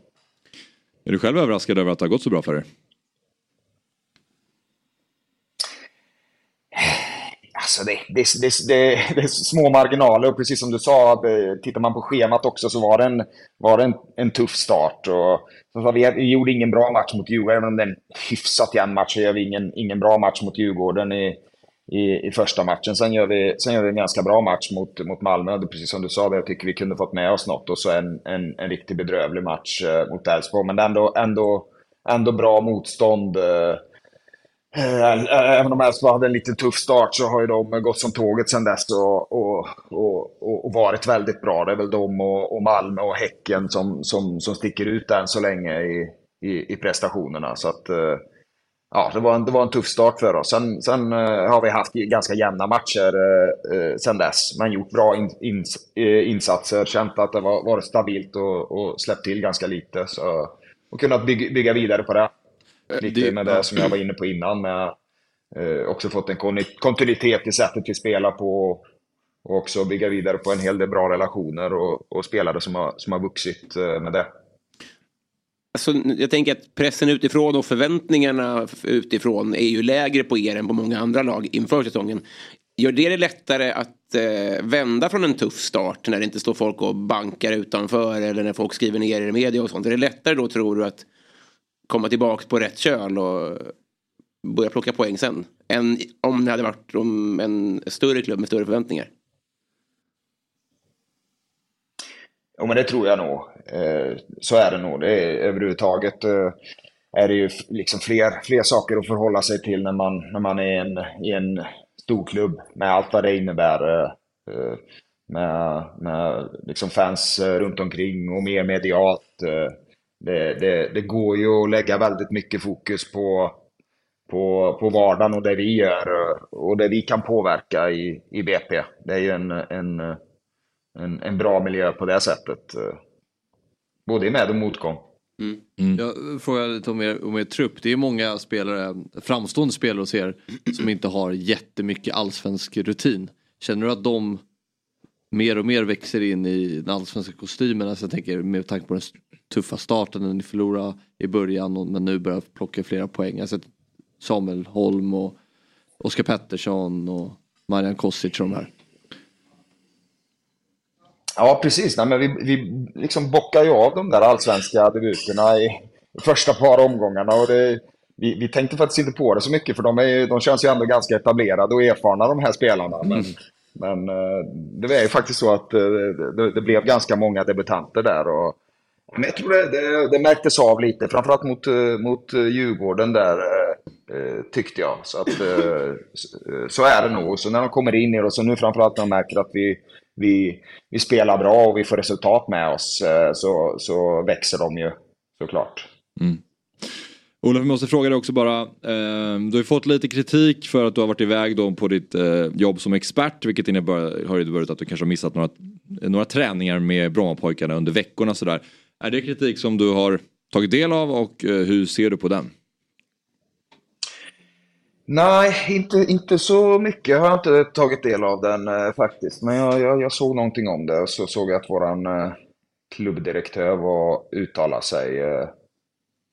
Speaker 5: Är du själv överraskad över att det har gått så bra för er?
Speaker 16: Alltså det, det, det, det, det är små marginaler och precis som du sa, att, eh, tittar man på schemat också så var det en, var det en, en tuff start. Och, som sagt, vi, vi gjorde ingen bra match mot Djurgården, även om det är en hyfsat jämn match så gör vi ingen, ingen bra match mot Djurgården i, i, i första matchen. Sen gör, vi, sen gör vi en ganska bra match mot, mot Malmö, Det är precis som du sa, där jag tycker vi kunde fått med oss något. Och så en, en, en riktigt bedrövlig match eh, mot Elfsborg, men det är ändå, ändå, ändå bra motstånd. eh, Eh, Även om Elfsborg hade en lite tuff start så har ju de gått som tåget sedan dess och, och, och, och varit väldigt bra. Det är väl de och, och Malmö och Häcken som, som, som sticker ut än så länge i, i, i prestationerna. Så att, eh, ja, det, var en, det var en tuff start för oss. Sen, sen eh, har vi haft ganska jämna matcher eh, eh, sedan dess, men gjort bra in, ins, eh, insatser. Känt att det var, varit stabilt och, och släppt till ganska lite. Så, och kunnat bygga, bygga vidare på det. Lite
Speaker 5: det-
Speaker 16: med det som jag var inne på innan. Med, eh, också fått en kon- kontinuitet i sättet vi spelar på. Och också bygga vidare på en hel del bra relationer och, och spelare som har, som har vuxit eh, med det.
Speaker 7: Alltså, jag tänker att pressen utifrån och förväntningarna f- utifrån är ju lägre på er än på många andra lag inför säsongen. Gör det det lättare att eh, vända från en tuff start när det inte står folk och bankar utanför eller när folk skriver ner er i media och sånt? Är det lättare då tror du att komma tillbaka på rätt köl och börja plocka poäng sen? Än om det hade varit om en större klubb med större förväntningar?
Speaker 16: Jo, men det tror jag nog. Eh, så är det nog. Det är, överhuvudtaget eh, är det ju f- liksom fler, fler saker att förhålla sig till när man, när man är i en, i en stor klubb med allt vad det innebär. Eh, eh, med med liksom fans eh, runt omkring och mer medialt. Eh, det, det, det går ju att lägga väldigt mycket fokus på på, på vardagen och det vi gör eh, och det vi kan påverka i, i BP. Det är ju en, en, eh, en, en bra miljö på det sättet. eh, Både i med och motgång.
Speaker 6: Mm. Jag frågar lite om er, om er trupp. Det är många spelare, framstående spelare hos er som inte har jättemycket allsvensk rutin. Känner du att de mer och mer växer in i den allsvenska kostymen? Alltså jag tänker med tanke på den tuffa starten när ni förlorade i början och, men nu börjar plocka flera poäng. Alltså Samuel Holm och Oskar Pettersson och Marian Kosic och de här.
Speaker 16: Ja, precis. Nej, men vi, vi liksom bockar ju av de där allsvenska debuterna i första par omgångarna. Och det, vi, vi tänkte faktiskt inte på det så mycket, för de, är, ju- de känns ju ändå ganska etablerade och erfarna, de här spelarna. Men, men eh, det är ju faktiskt så att eh, det, det blev ganska många debutanter där. Och, men jag tror det, det, det märktes av lite, framförallt mot, eh, mot eh, Djurgården där, eh, eh, tyckte jag. Så, att, eh, s- eh, så är det nog. Och Så när de kommer in i det, och så nu framförallt när de märker att vi, vi, vi spelar bra och vi får resultat med oss, eh, så, så växer de ju såklart.
Speaker 5: Olof, jag måste fråga dig också bara. Eh, du har ju fått lite kritik för att du har varit iväg då på ditt eh, jobb som expert. Vilket innebär, har inneburit att du kanske har missat några, några träningar med Brommapojkarna under veckorna. och Sådär. Är det kritik som du har tagit del av och eh, hur ser du på den?
Speaker 16: Nej, inte, inte så mycket. Jag har inte tagit del av den eh, faktiskt. Men jag, jag, jag såg någonting om det och så såg jag att våran eh, klubbdirektör var uttalade sig eh,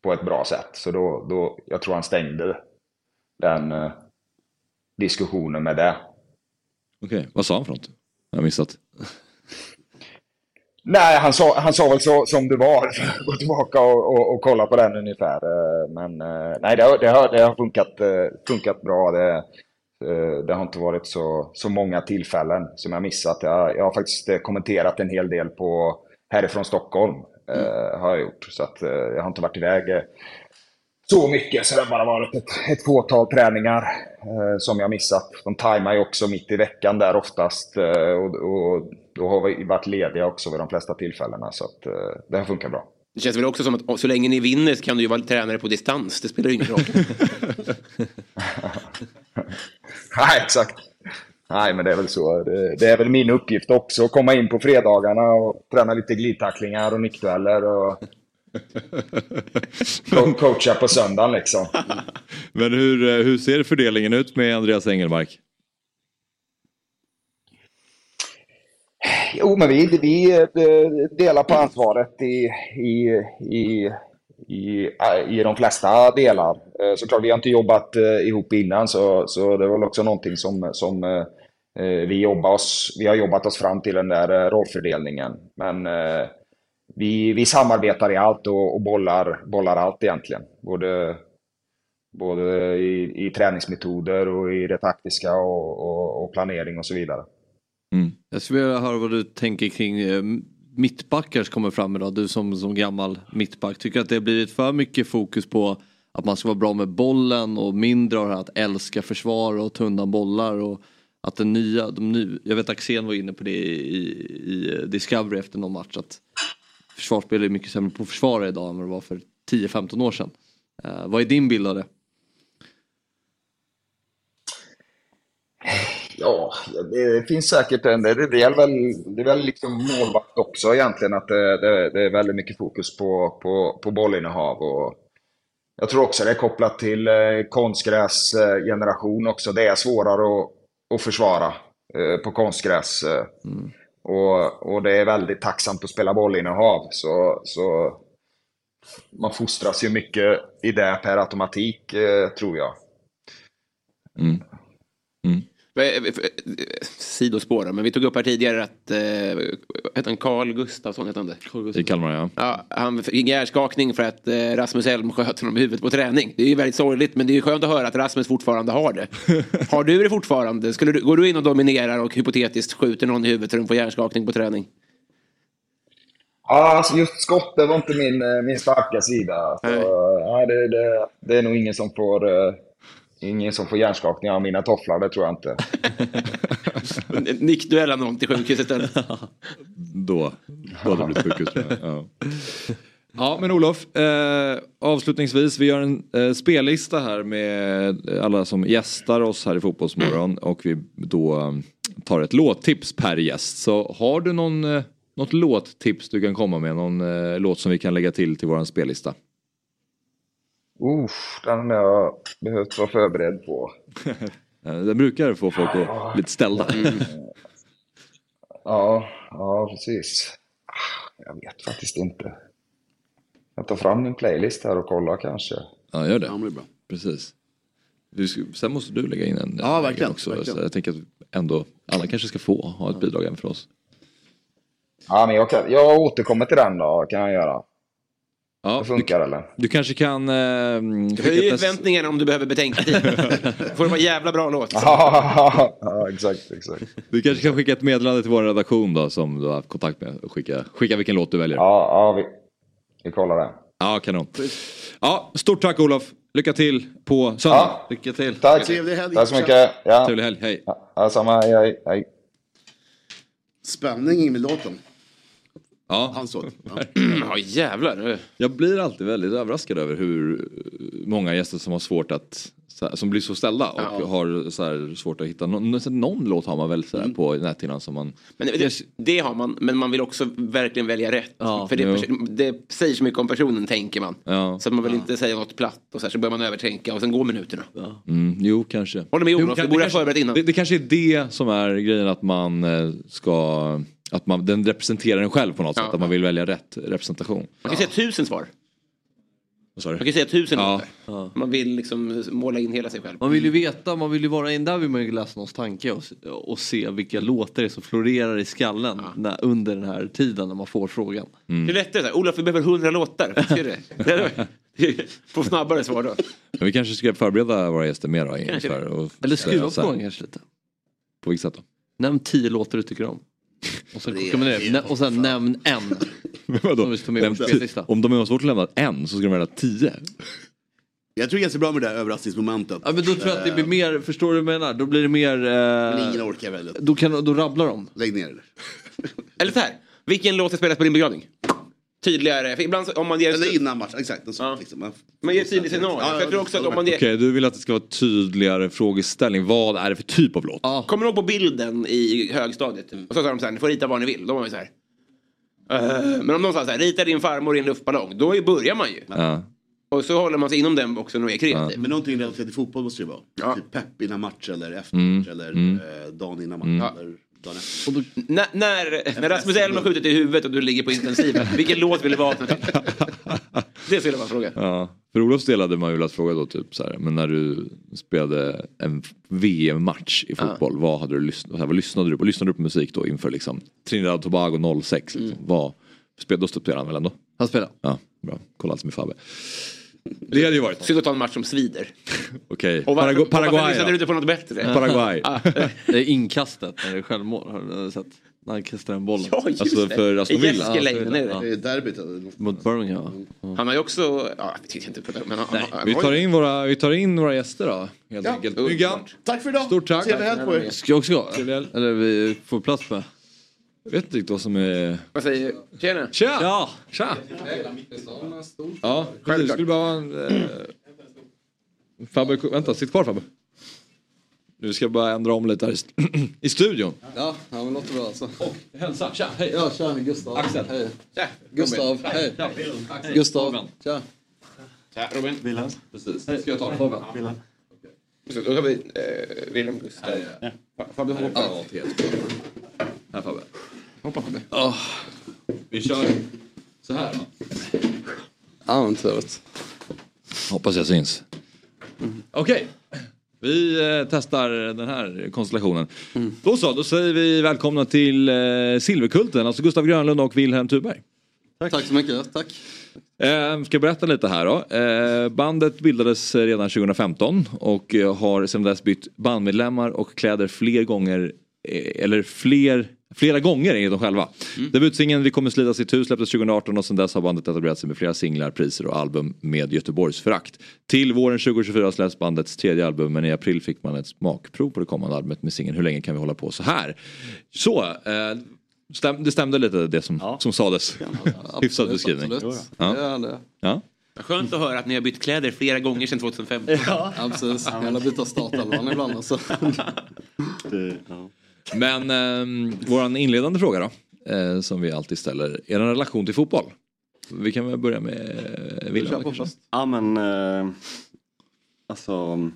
Speaker 16: på ett bra sätt. Så då, då, jag tror han stängde den eh, diskussionen med det.
Speaker 5: Okej, vad sa han för något? Jag har missat.
Speaker 16: Nej, han sa, han sa väl så som det var. Gå tillbaka och, och, och kolla på den ungefär. Eh, Men eh, nej, det har, det har, det har funkat, eh, funkat bra. Det, eh, det har inte varit så, så många tillfällen som jag missat. Jag, jag har faktiskt eh, kommenterat en hel del på härifrån Stockholm. eh, Har jag gjort. Så att eh, jag har inte varit iväg eh, så mycket. Så det har bara varit ett, ett fåtal träningar eh, som jag missat. De tajmar ju också mitt i veckan där oftast. Eh, och, och då har vi varit lediga också vid de flesta tillfällena. Så att, eh, det har funkat bra.
Speaker 7: Det känns väl också som att så länge ni vinner så kan du ju vara tränare på distans. Det spelar ju ingen roll.
Speaker 16: Nej, exakt. Nej, men det är väl så. Det, det är väl min uppgift också att komma in på fredagarna och träna lite glidtacklingar och nickdueller. Och... Co- coacha på söndagen liksom.
Speaker 5: Men hur, eh, hur ser fördelningen ut med Andreas Engelmark?
Speaker 16: Jo, men vi, vi eh, delar på ansvaret i, i, i, i, eh, i de flesta delar. Eh, Såklart, vi har inte jobbat eh, ihop innan, så, så det var väl också någonting som, som eh, eh, vi, jobbar oss, vi har jobbat oss fram till den där eh, rollfördelningen. Men eh, vi, vi samarbetar i allt och, och bollar, bollar allt egentligen. Både, både i, i träningsmetoder och i det taktiska och, och, och planering och så vidare.
Speaker 6: Jag skulle vilja höra vad du tänker kring eh, mittbackar som kommer fram idag. Du som, som gammal mittback. Tycker att det har blivit för mycket fokus på att man ska vara bra med bollen och mindre av det här att älska försvar och ta undan bollar. Och att den nya, de nu, jag vet Axén var inne på det i, i, i eh, Discovery efter någon match. Att försvarsspel är mycket sämre på försvar idag än vad det var för 10-15 år sedan. Eh, vad är din bild av det?
Speaker 16: Ja, det finns säkert en det- Det är väl, det är väl liksom målvakt också egentligen att det, det, det är väldigt mycket fokus på, på, på bollinnehav. Och jag tror också det är kopplat till eh, konstgräsgeneration också. Det är svårare att, att försvara eh, på konstgräs. eh. Och, och det är väldigt tacksamt att spela bollinnehav. Så, så man fostras ju mycket i det per automatik, eh, tror jag.
Speaker 7: Eh, för- eh, Sidospår, men vi tog upp här tidigare att, eh, hette han Carl Gustafsson? Hette han det?
Speaker 5: I Kalmar ja.
Speaker 7: Ja, han fick hjärnskakning för att eh, Rasmus Elm sköt honom i huvudet på träning. Det är ju väldigt sorgligt, men det är ju skönt att höra att Rasmus fortfarande har det. Har du det fortfarande? Skulle du, går du in och dominerar och hypotetiskt skjuter någon i huvudet så de får hjärnskakning på träning?
Speaker 16: Ja, alltså just skott det var inte min, eh, min starka sida. Så, ja, det, det, det är nog ingen som får, eh, ingen som får hjärnskakning av mina tofflar, det tror jag inte.
Speaker 7: Nickduella någon till sjukhus istället.
Speaker 5: Då, då hade det blivit sjukhus. tror jag. Ja. ja men Olof, eh, avslutningsvis vi gör en eh, spellista här med alla som gästar oss här i Fotbollsmorgon och vi då eh, tar ett låttips per gäst. Så har du någon, eh, något låttips du kan komma med? Någon eh, låt som vi kan lägga till till våran spellista?
Speaker 16: Uff, den har jag behövt vara förberedd på.
Speaker 5: Eh, Den brukar få folk att bli ställda.
Speaker 16: Mm. Ja, ja precis. Ah, Jag vet faktiskt inte. Jag tar fram min playlist här och kollar kanske.
Speaker 5: Ja, gör det. Precis. Du, ska- sen måste du lägga in en.
Speaker 16: Ja,
Speaker 5: en
Speaker 16: verkligen,
Speaker 5: också.
Speaker 16: verkligen.
Speaker 5: Så jag tänker att ändå alla kanske ska få ha ett bidrag även för oss.
Speaker 16: Ja, men jag, kan, jag återkommer till den då, kan jag göra.
Speaker 5: Ja,
Speaker 16: det funkar eller?
Speaker 5: Du kanske kan... Eh,
Speaker 7: Höj
Speaker 5: skicka ett mess-
Speaker 7: förväntningarna om du behöver betänketid. får det vara jävla bra låt.
Speaker 16: ja, exakt, exakt.
Speaker 5: du kanske kan skicka ett meddelande till vår redaktion då som du har haft kontakt med och skicka, skicka vilken låt du väljer.
Speaker 16: Ja, ja vi, vi kollar det.
Speaker 5: Ja, kanon. Ja, stort tack Olof. Lycka till på söndag.
Speaker 6: Lycka till.
Speaker 16: Tack.
Speaker 9: Trevlig helg.
Speaker 16: Tack så mycket. Ja.
Speaker 5: Trevlig helg. Hej.
Speaker 16: Ja, samma. Hej, hej.
Speaker 9: Spänning in med låten.
Speaker 5: Ja.
Speaker 9: Hans låt. Ja.
Speaker 7: Ja jävlar.
Speaker 5: Jag blir alltid väldigt överraskad över hur eh, många gäster som har svårt att så här- som blir så ställda och har så här svårt att hitta någon, någon låt har man väl så här på näthinnan som man
Speaker 7: Men det, det har man, men man vill också verkligen välja rätt.
Speaker 5: Ja,
Speaker 7: för det,
Speaker 5: jo.
Speaker 7: det säger så mycket om personen, tänker man.
Speaker 5: Ja.
Speaker 7: Så att man vill inte säga något platt och så, här, så börjar man övertänka och sen går minuterna.
Speaker 5: Mm, jo, kanske.
Speaker 7: Håller med
Speaker 5: Jo,
Speaker 7: Olof,
Speaker 5: kan-
Speaker 7: det borde ha
Speaker 5: kanske-
Speaker 7: förberett innan.
Speaker 5: Det, det kanske är det som är grejen att man eh, ska... Att man, den representerar en själv på något sätt. Att man vill välja rätt representation.
Speaker 7: Man kan säga tusen svar.
Speaker 5: Vad sa
Speaker 7: Man
Speaker 5: du?
Speaker 7: kan säga tusen
Speaker 5: Ja.
Speaker 7: låtar. Man vill liksom måla in hela sig själv. Mm.
Speaker 6: Man vill ju veta, man vill ju vara in där vill man ju läsa någons tanke och, och se vilka låtar det är som florerar i skallen när, under den här tiden när man får frågan.
Speaker 7: Det är lättare så här, Olof vi behöver hundra låtar. Ser du det? Det hade varit- Få snabbare svar då.
Speaker 5: Men vi kanske ska förbereda våra gäster mer då,
Speaker 7: Kanske.
Speaker 5: inför, och
Speaker 6: Eller skruva
Speaker 5: säga
Speaker 6: på
Speaker 5: så här-
Speaker 6: frågan kanske lite.
Speaker 5: På vilket sätt då?
Speaker 6: Nämn tio låtar du tycker om. Och sen,
Speaker 5: Det är-
Speaker 6: kokar man ner det. Nä- och sen nämn en.
Speaker 5: Men vadå?
Speaker 6: Som vi ska ta med
Speaker 5: Nämn
Speaker 6: på
Speaker 5: ti-
Speaker 6: spellista.
Speaker 5: Om de har svårt att lämna en så ska de välja tio.
Speaker 9: Jag tror det är ganska bra med det där överraskningsmomentet.
Speaker 6: Ja, men då tror jag att det blir mer, förstår du vad jag menar? Då blir det mer... eh,
Speaker 9: Men ingen orkar väl?
Speaker 6: Då, kan, då rabblar de.
Speaker 9: Lägg ner det.
Speaker 7: Eller så här, vilken låt ska spelas på din begravning? Tydligare, för ibland så, om man ger... Eller
Speaker 9: innan matchen, exakt. liksom, Ja.
Speaker 7: Man ger ett tydligt signal. för jag tror också att om man
Speaker 5: Okej,
Speaker 7: ger...
Speaker 5: du vill att det ska vara tydligare frågeställning. Vad är det för typ av låt?
Speaker 7: Kommer du ihåg på bilden i högstadiet?
Speaker 5: Mm.
Speaker 7: Och så sa de så här, ni får rita vad ni vill. Då var man ju så här. "Eh", men om någon sa så här, rita din farmor i en luftballong. Då är- börjar man ju.
Speaker 5: Ja.
Speaker 7: Och så håller man sig inom den boxen och är kreativ.
Speaker 9: Men någonting relaterat till fotboll måste det vara. Typ pepp innan match eller efter
Speaker 7: Mm.
Speaker 9: match eller
Speaker 7: Mm.
Speaker 9: eh, dagen innan match.
Speaker 7: Mm.
Speaker 9: Eller dagen efter.
Speaker 7: När, när, när Rasmus Elm har skjutit i huvudet och du ligger på intensiven, vilken låt vill du vakna till? Det skulle vara frågan.
Speaker 5: Ja. För Olofs del hade man ju velat fråga då typ så här, men när du spelade en VM-match i
Speaker 7: Ja.
Speaker 5: fotboll, vad, hade du lyssn- så här, vad lyssnade du på? Lyssnade du på musik då inför liksom Trinidad och Tobago 06? Liksom. Vad, spel, då spelade han väl ändå?
Speaker 6: Han spelar.
Speaker 5: Ja, bra. Kolla alltså med Fabbe. Det hade ju varit.
Speaker 7: Synd att ta en match som svider.
Speaker 5: Okej,
Speaker 7: Och varför,
Speaker 5: Paragu-
Speaker 7: och varför
Speaker 5: Paraguay
Speaker 7: lyssnade
Speaker 5: då?
Speaker 7: du inte på något bättre?
Speaker 5: Paraguay.
Speaker 6: Ah, eh, Det är inkastet när det är självmål. Har du sett? När han kastar den bollen.
Speaker 7: Ja, just Alltså, det. för Aston I Villa. Gästrikeleinen är det. Det är derbyt, eller?
Speaker 6: Mot Birmingham.
Speaker 7: Han har ju också, ja, jag tittar inte på det, men han, han, han
Speaker 5: Vi
Speaker 7: har
Speaker 5: tar
Speaker 7: ju-
Speaker 5: in våra, vi tar in våra gäster då. Helt enkelt. Myggan.
Speaker 9: Tack för idag.
Speaker 5: Stort tack.
Speaker 9: Trevlig helg på er.
Speaker 6: Ska jag också gå? Eller vi får plats med?
Speaker 5: Jag vet inte riktigt vad som är...
Speaker 7: Vad säger du? Tjena!
Speaker 5: Tja! Ja. Tja! Ja, precis. Skulle behöva en... Eh... Fabbe, vänta, sitt kvar Fabbe. Nu ska jag bara ändra om lite här i st- i studion.
Speaker 17: Ja, ja men låter bra alltså. Och
Speaker 5: hälsa, tja, hej.
Speaker 17: Ja, tja, Gustav.
Speaker 5: Axel.
Speaker 17: Hej.
Speaker 7: Tja.
Speaker 17: Gustav,
Speaker 5: Robin.
Speaker 17: hej.
Speaker 5: Tja, Wilhelm. Axel.
Speaker 17: Gustav,
Speaker 5: Robin.
Speaker 17: tja.
Speaker 7: Tja, Robin.
Speaker 17: Wilhelm.
Speaker 5: Precis. Ska jag ta den? Fabian.
Speaker 17: Wilhelm.
Speaker 7: Så Då har vi eh, Wilhelm Gustav. Fa- Fabbe hoppar.
Speaker 5: Ja, Här Fabbe.
Speaker 7: Hoppa Fabbe.
Speaker 5: Vi kör så här va?
Speaker 17: Ja, men trevligt.
Speaker 5: Hoppas jag syns. Okej. Vi eh, testar den här konstellationen. Då så, då säger vi välkomna till eh, Silverkulten, alltså Gustav Grönlund och Wilhelm Thuberg.
Speaker 17: Tack. så mycket, tack.
Speaker 5: Eh, ska jag berätta lite här då. Eh, bandet bildades eh, redan 2015 och eh, har sedan dess bytt bandmedlemmar och kläder fler gånger, eh, eller fler, flera gånger enligt dem själva.
Speaker 17: Mm.
Speaker 5: Debutsingeln Vi kommer slita sitt hus släpptes 2018 och sedan dess har bandet etablerat sig med flera singlar, priser och album med Göteborgsförakt. Till våren 2024 släpps bandets tredje album men i april fick man ett smakprov på det kommande albumet med singeln Hur länge kan vi hålla på så här? Så, eh, stäm, det stämde lite det som, som sades. Hyfsad beskrivning.
Speaker 17: Absolut.
Speaker 5: Ja.
Speaker 17: Det hade jag.
Speaker 5: Ja.
Speaker 7: Skönt att höra att ni har bytt kläder flera gånger sedan 2015.
Speaker 17: Ja, precis. Hela byta startelvan ibland alltså.
Speaker 5: Men eh, vår inledande fråga då, eh, som vi alltid ställer, er relation till fotboll? Vi kan väl börja med eh, Wilhelm. kanske?
Speaker 18: Ja men eh, alltså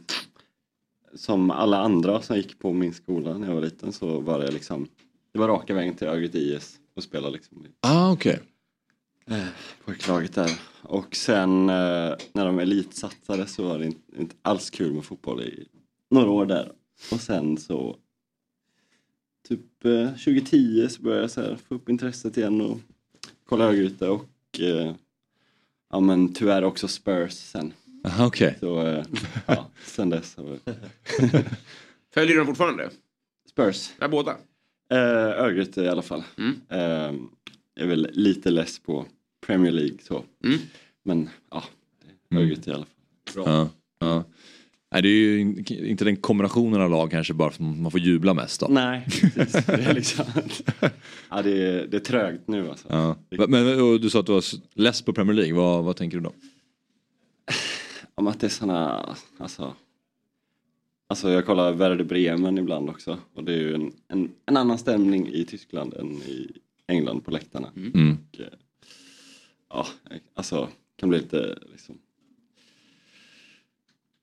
Speaker 18: som alla andra som gick på min skola när jag var liten så var det liksom det var raka vägen till Örgryte IS och spela liksom i
Speaker 5: Ah, okej.
Speaker 18: eh, pojklaget där. Och sen eh, när de elitsatsade så var det inte, inte alls kul med fotboll i några år där. Och sen så typ eh, 2010 så började jag så här, få upp intresset igen och kolla Örgryte och eh, ja men tyvärr också Spurs sen.
Speaker 5: Aha, Ah, okej.
Speaker 18: Så eh, ja, sen dess har vi...
Speaker 7: Följer du dem fortfarande?
Speaker 18: Spurs.
Speaker 7: Ja, båda. Mm.
Speaker 18: Eh, Örgryte i alla fall. Eh, jag är väl lite less på Premier League så.
Speaker 7: Mm.
Speaker 18: Men ja, Örgryte i alla fall.
Speaker 5: Mm. Ja, ja. Nej, det är ju in- inte den kombinationen av lag kanske bara för att man får jubla mest av.
Speaker 18: Nej, precis. Det är, liksom... ja, det, är, det är trögt nu alltså.
Speaker 5: Ja. Men och du sa att du var s- less på Premier League, vad, vad tänker du då?
Speaker 18: Ja, men att det är såna, alltså. Alltså jag kollar Werder Bremen ibland också och det är ju en, en, en annan stämning i Tyskland än i England på läktarna.
Speaker 5: Mm.
Speaker 18: Och, eh, ja, alltså kan bli lite liksom.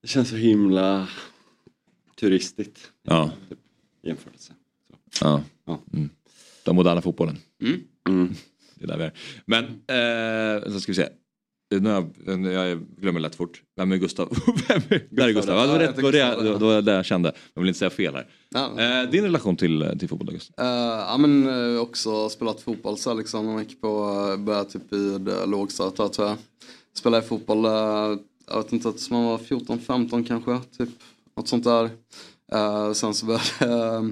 Speaker 18: Det känns så himla turistigt.
Speaker 5: Ja.
Speaker 18: Typ, i jämförelse.
Speaker 5: Ja. Mm. Den moderna fotbollen.
Speaker 7: Mm.
Speaker 5: Det är där vi är. Men, eh, så ska vi se. Nu har jag, nu- jag glömmer lätt fort. Vem är Gustav? Vem är, där är Gustav. Ja, det var rätt- det var det jag- det var det jag kände. Jag vill inte säga fel här. Eh, din relation till, till fotboll, August?
Speaker 17: Eh, ja men eh, också spelat fotboll så här, liksom. Man gick på, eh, började typ i det lågstadiet där, tror jag. Spelade fotboll, eh, jag vet inte, tills man var 14-15 kanske. Typ något sånt där. Eh, sen så började eh,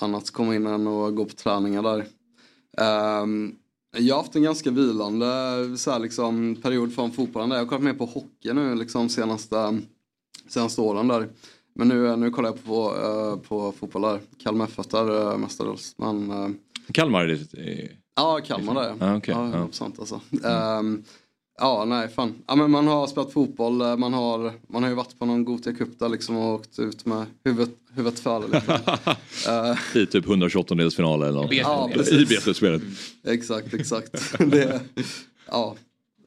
Speaker 17: annat komma in än att gå på träningar där. Ehm, jag har haft en ganska vilande så här, liksom, period från fotbollen. Där. Jag har kollat mer på hockey nu liksom, senaste, senaste åren där. Men nu, nu kollar jag på, eh, på fotboll där. Kalmar FF där eh, mestadels. Men, eh,
Speaker 5: Kalmar är det. eh,
Speaker 17: ja, Kalmar där
Speaker 5: Ja, okej,
Speaker 17: ja.
Speaker 5: ja.
Speaker 17: 100% alltså. Ehm, ja, nej fan. Ja, men man har spelat fotboll, eh, man har, man har ju varit på någon Gothia Cup där liksom och åkt ut med huvudet, huvudet för. Liksom. Eh,
Speaker 5: I typ 128-delsfinalen eller något.
Speaker 17: Ja,
Speaker 5: I
Speaker 17: precis.
Speaker 5: B-slutspelet.
Speaker 17: Exakt, exakt. det, ja.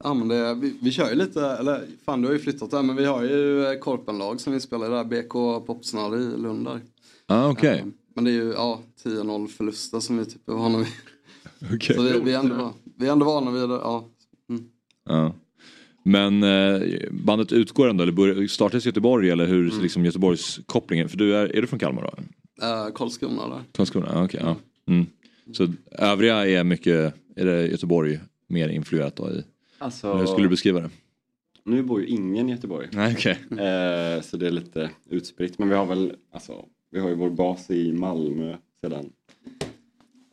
Speaker 17: Ja, men det, vi, vi kör ju lite, eller fan du har ju flyttat där men vi har ju eh, korpenlag som vi spelar där, BK Popsnare i Lund där.
Speaker 5: Ah, okej.
Speaker 17: Men det är ju ja, 10-0 förluster som vi typ är vana vid.
Speaker 5: Okej.
Speaker 17: Så vi, vi, är ändå, va- vi är ändå vana vid det, ja. Mm.
Speaker 5: Ja. Men eh, bandet utgår ändå, eller börjar- startas i Göteborg eller hur
Speaker 17: Mm.
Speaker 5: liksom Göteborgs kopplingen? För du är, är du från Kalmar då?
Speaker 17: Eh, Karlskrona där.
Speaker 5: Karlskrona? Ah, okej, ja. mm. Så övriga är mycket, är det Göteborg mer influerat då i?
Speaker 18: Alltså-
Speaker 5: Eller Hur skulle du beskriva det?
Speaker 18: Nu bor ju ingen i Göteborg.
Speaker 5: Nej, okej.
Speaker 18: Eh, så det är lite utspritt. Men vi har väl, alltså, vi har ju vår bas i Malmö sedan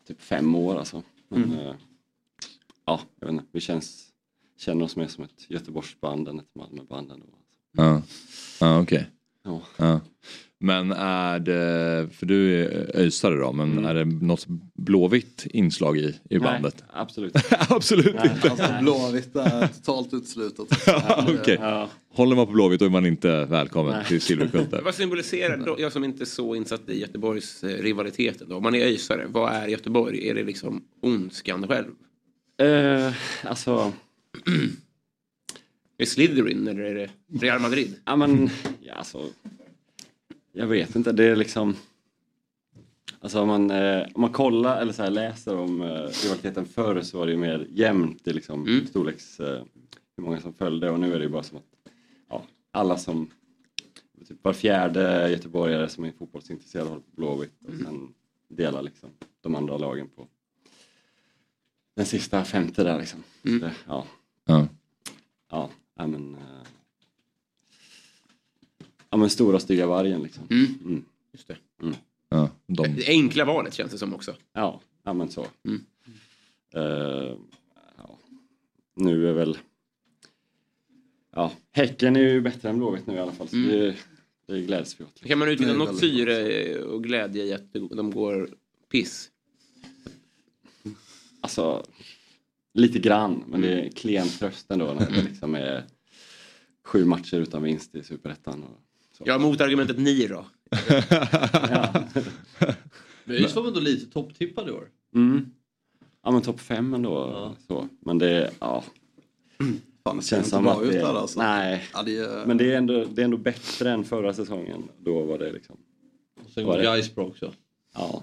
Speaker 18: typ fem år alltså. Men,
Speaker 17: Mm.
Speaker 18: eh, ja, jag vet inte, vi känns, känner oss mer som ett Göteborgsband än ett Malmöband ändå.
Speaker 5: Ja, ja okej.
Speaker 18: Ja.
Speaker 5: Ja. Men är det, för du är ösare då, men är det något blåvitt inslag i, i bandet?
Speaker 18: Nej, absolut.
Speaker 5: absolut
Speaker 17: Nej,
Speaker 5: inte.
Speaker 17: Alltså Blåvitt är totalt utslutet.
Speaker 5: Ja, okej. Håller man på blåvitt då är man inte välkommen
Speaker 7: Nej.
Speaker 5: till Silverkulten.
Speaker 7: Vad symboliserar, då, jag som inte är så insatt i Göteborgs eh, rivaliteten då, om man är öisare, vad är Göteborg? Är det liksom ondskan själv?
Speaker 18: Eh, alltså...
Speaker 7: är det Slytherin eller är det Real Madrid?
Speaker 18: Ja men, ja, alltså, jag vet inte, det är liksom Alltså om man, eh, om man kollar eller så här, läser om eh, rivaliteten förr så var det ju mer jämnt i liksom,
Speaker 7: Mm.
Speaker 18: storleks, eh, hur många som följde och nu är det ju bara som att ja, alla som, typ var fjärde göteborgare som är fotbollsintresserad håller på Blåvitt
Speaker 7: Mm.
Speaker 18: och sen delar liksom de andra lagen på den sista femte där liksom.
Speaker 7: Mm.
Speaker 18: Så det- Ja.
Speaker 5: Ja.
Speaker 18: Ja, ja, men, eh, ja men stora stygga vargen liksom. Mm.
Speaker 7: Just det.
Speaker 18: Mm.
Speaker 5: Ja, de...
Speaker 7: Det enkla valet känns det som också.
Speaker 18: Ja, ja men så.
Speaker 7: Mm.
Speaker 18: Eh, ja. Nu är väl... Ja, Häcken är ju bättre än Blåvitt nu i alla fall. Så
Speaker 7: Mm.
Speaker 18: det, det gläds vi åt.
Speaker 7: Kan man utvinna
Speaker 18: Nej,
Speaker 7: något
Speaker 18: väldigt.
Speaker 7: syre och glädje i att de går piss?
Speaker 18: Alltså, lite grann. Men det är klen tröst ändå när det liksom är sju matcher utan vinst i Superettan. Och...
Speaker 7: Ja, motargumentet ni då?
Speaker 18: Men-
Speaker 6: ÖIS var väl ändå lite topptippad i år?
Speaker 18: Mm. Ja men topp fem ändå. Så. Men det, ja.
Speaker 17: Fan, det ser inte bra ut där, alltså.
Speaker 18: Nej.
Speaker 17: Ja, det är-
Speaker 18: Men det är, ändå, det är ändå bättre än förra säsongen. Då var det liksom.
Speaker 6: Och sen
Speaker 18: var
Speaker 6: går
Speaker 18: det-
Speaker 6: Gais bra också.
Speaker 18: Ja.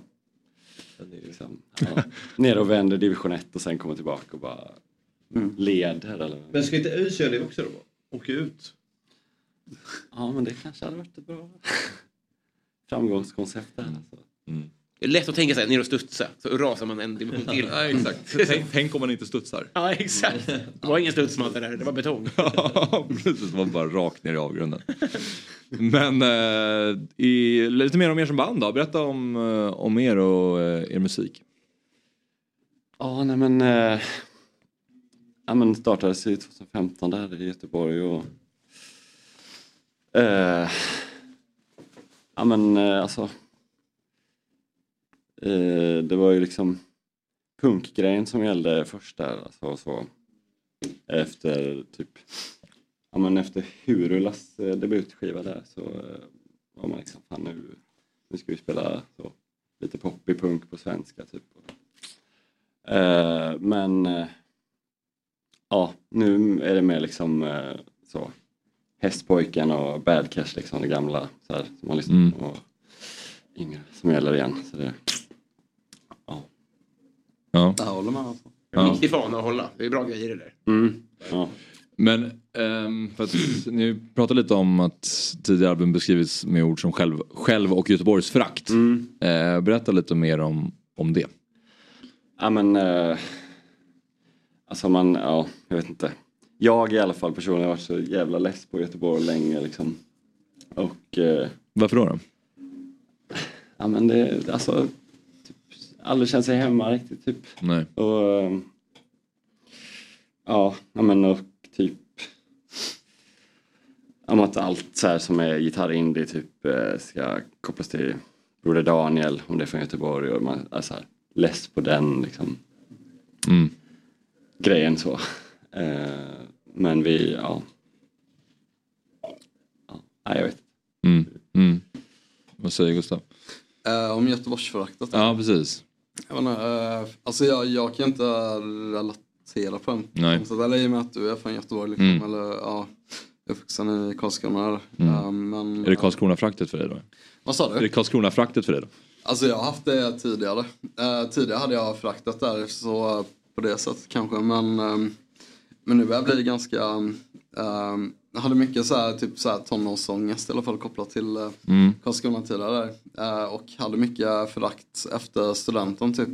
Speaker 18: Liksom, ja. Ner och vänder division 1 och sen kommer tillbaka och bara
Speaker 17: Mm.
Speaker 18: leder. Eller?
Speaker 6: Men ska inte ÖIS göra det också då? Åka ut?
Speaker 18: Ja men det kanske hade varit ett bra framgångskoncept. Där, alltså.
Speaker 5: Mm.
Speaker 7: Det är lätt att tänka sig ner och studsa, så rasar man en dimension till.
Speaker 5: Ja, exakt. Tänk- tänk om man inte studsar.
Speaker 7: Ja, exakt. Det var ingen studsmatta där, det var betong.
Speaker 5: Ja, precis. Det var bara rakt ner i avgrunden. Men eh, i, lite mer om er som band då. Berätta om, eh, om er och eh, er musik.
Speaker 18: Ja, nej men... Eh, ja, men startades i 2015 där i Göteborg och... Eh, ja, men eh, alltså... Eh, det var ju liksom punkgrejen som gällde först där. Alltså, och så. Efter typ... ja, ja, men efter Hurulas eh, debutskiva där så eh, var man liksom, fan nu, nu ska vi spela så, lite poppig punk på svenska typ. Eh, men eh, ja, nu är det mer liksom eh, så Hästpojken och Bad Cash liksom, det gamla så här, som man lyssnar
Speaker 5: Mm.
Speaker 18: på och yngre som gäller igen. Så det,
Speaker 5: Ja.
Speaker 17: Där håller man alltså.
Speaker 5: Ja.
Speaker 7: Viktig fana att hålla. Det är bra grejer det där.
Speaker 18: Mm.
Speaker 5: Men ehm, för att, ni pratade lite om att tidigare album beskrivits med ord som själv, själv och Göteborgsförakt.
Speaker 18: Mm.
Speaker 5: Eh, berätta lite mer om, om det.
Speaker 18: Ja men... Eh, alltså man, ja, jag vet inte. Jag i alla fall personligen har varit så jävla less på Göteborg länge liksom. Och... Eh,
Speaker 5: Varför då? då?
Speaker 18: ja men det, alltså... Typ, aldrig känt sig hemma riktigt typ.
Speaker 5: Nej.
Speaker 18: Och... eh, Ja, ja men och typ... Om att allt så här som är gitarr-indie typ eh, ska kopplas till Broder Daniel om det är från Göteborg och man är så här less på den liksom.
Speaker 5: Mm.
Speaker 18: grejen så. Eh, men vi, ja. ja nej, jag vet.
Speaker 5: Mm. Mm. Vad säger Gustav?
Speaker 17: Eh, om Göteborgsföraktet.
Speaker 5: Ja precis.
Speaker 17: Jag, vet inte, eh, alltså jag, jag kan inte relatera på den.
Speaker 5: Nej.
Speaker 17: Så, eller i och med att du är från Göteborg. Liksom,
Speaker 5: Mm.
Speaker 17: eller, ja, jag är uppvuxen i Karlskrona. där.
Speaker 5: Mm.
Speaker 17: Eh, men,
Speaker 5: Är det Karlskrona-fraktet för dig då?
Speaker 17: Vad sa du?
Speaker 5: Är det Karlskrona-fraktet för dig då?
Speaker 17: Alltså jag har haft det tidigare. Eh, tidigare hade jag fraktat där så eh, på det sättet kanske. Men, ehm, men nu börjar jag bli ganska... ehm, jag hade mycket så här, typ så här tonårsångest i alla fall kopplat till uh,
Speaker 5: Mm.
Speaker 17: Karlskrona tidigare. Där. Eh, och hade mycket förakt efter studenten typ.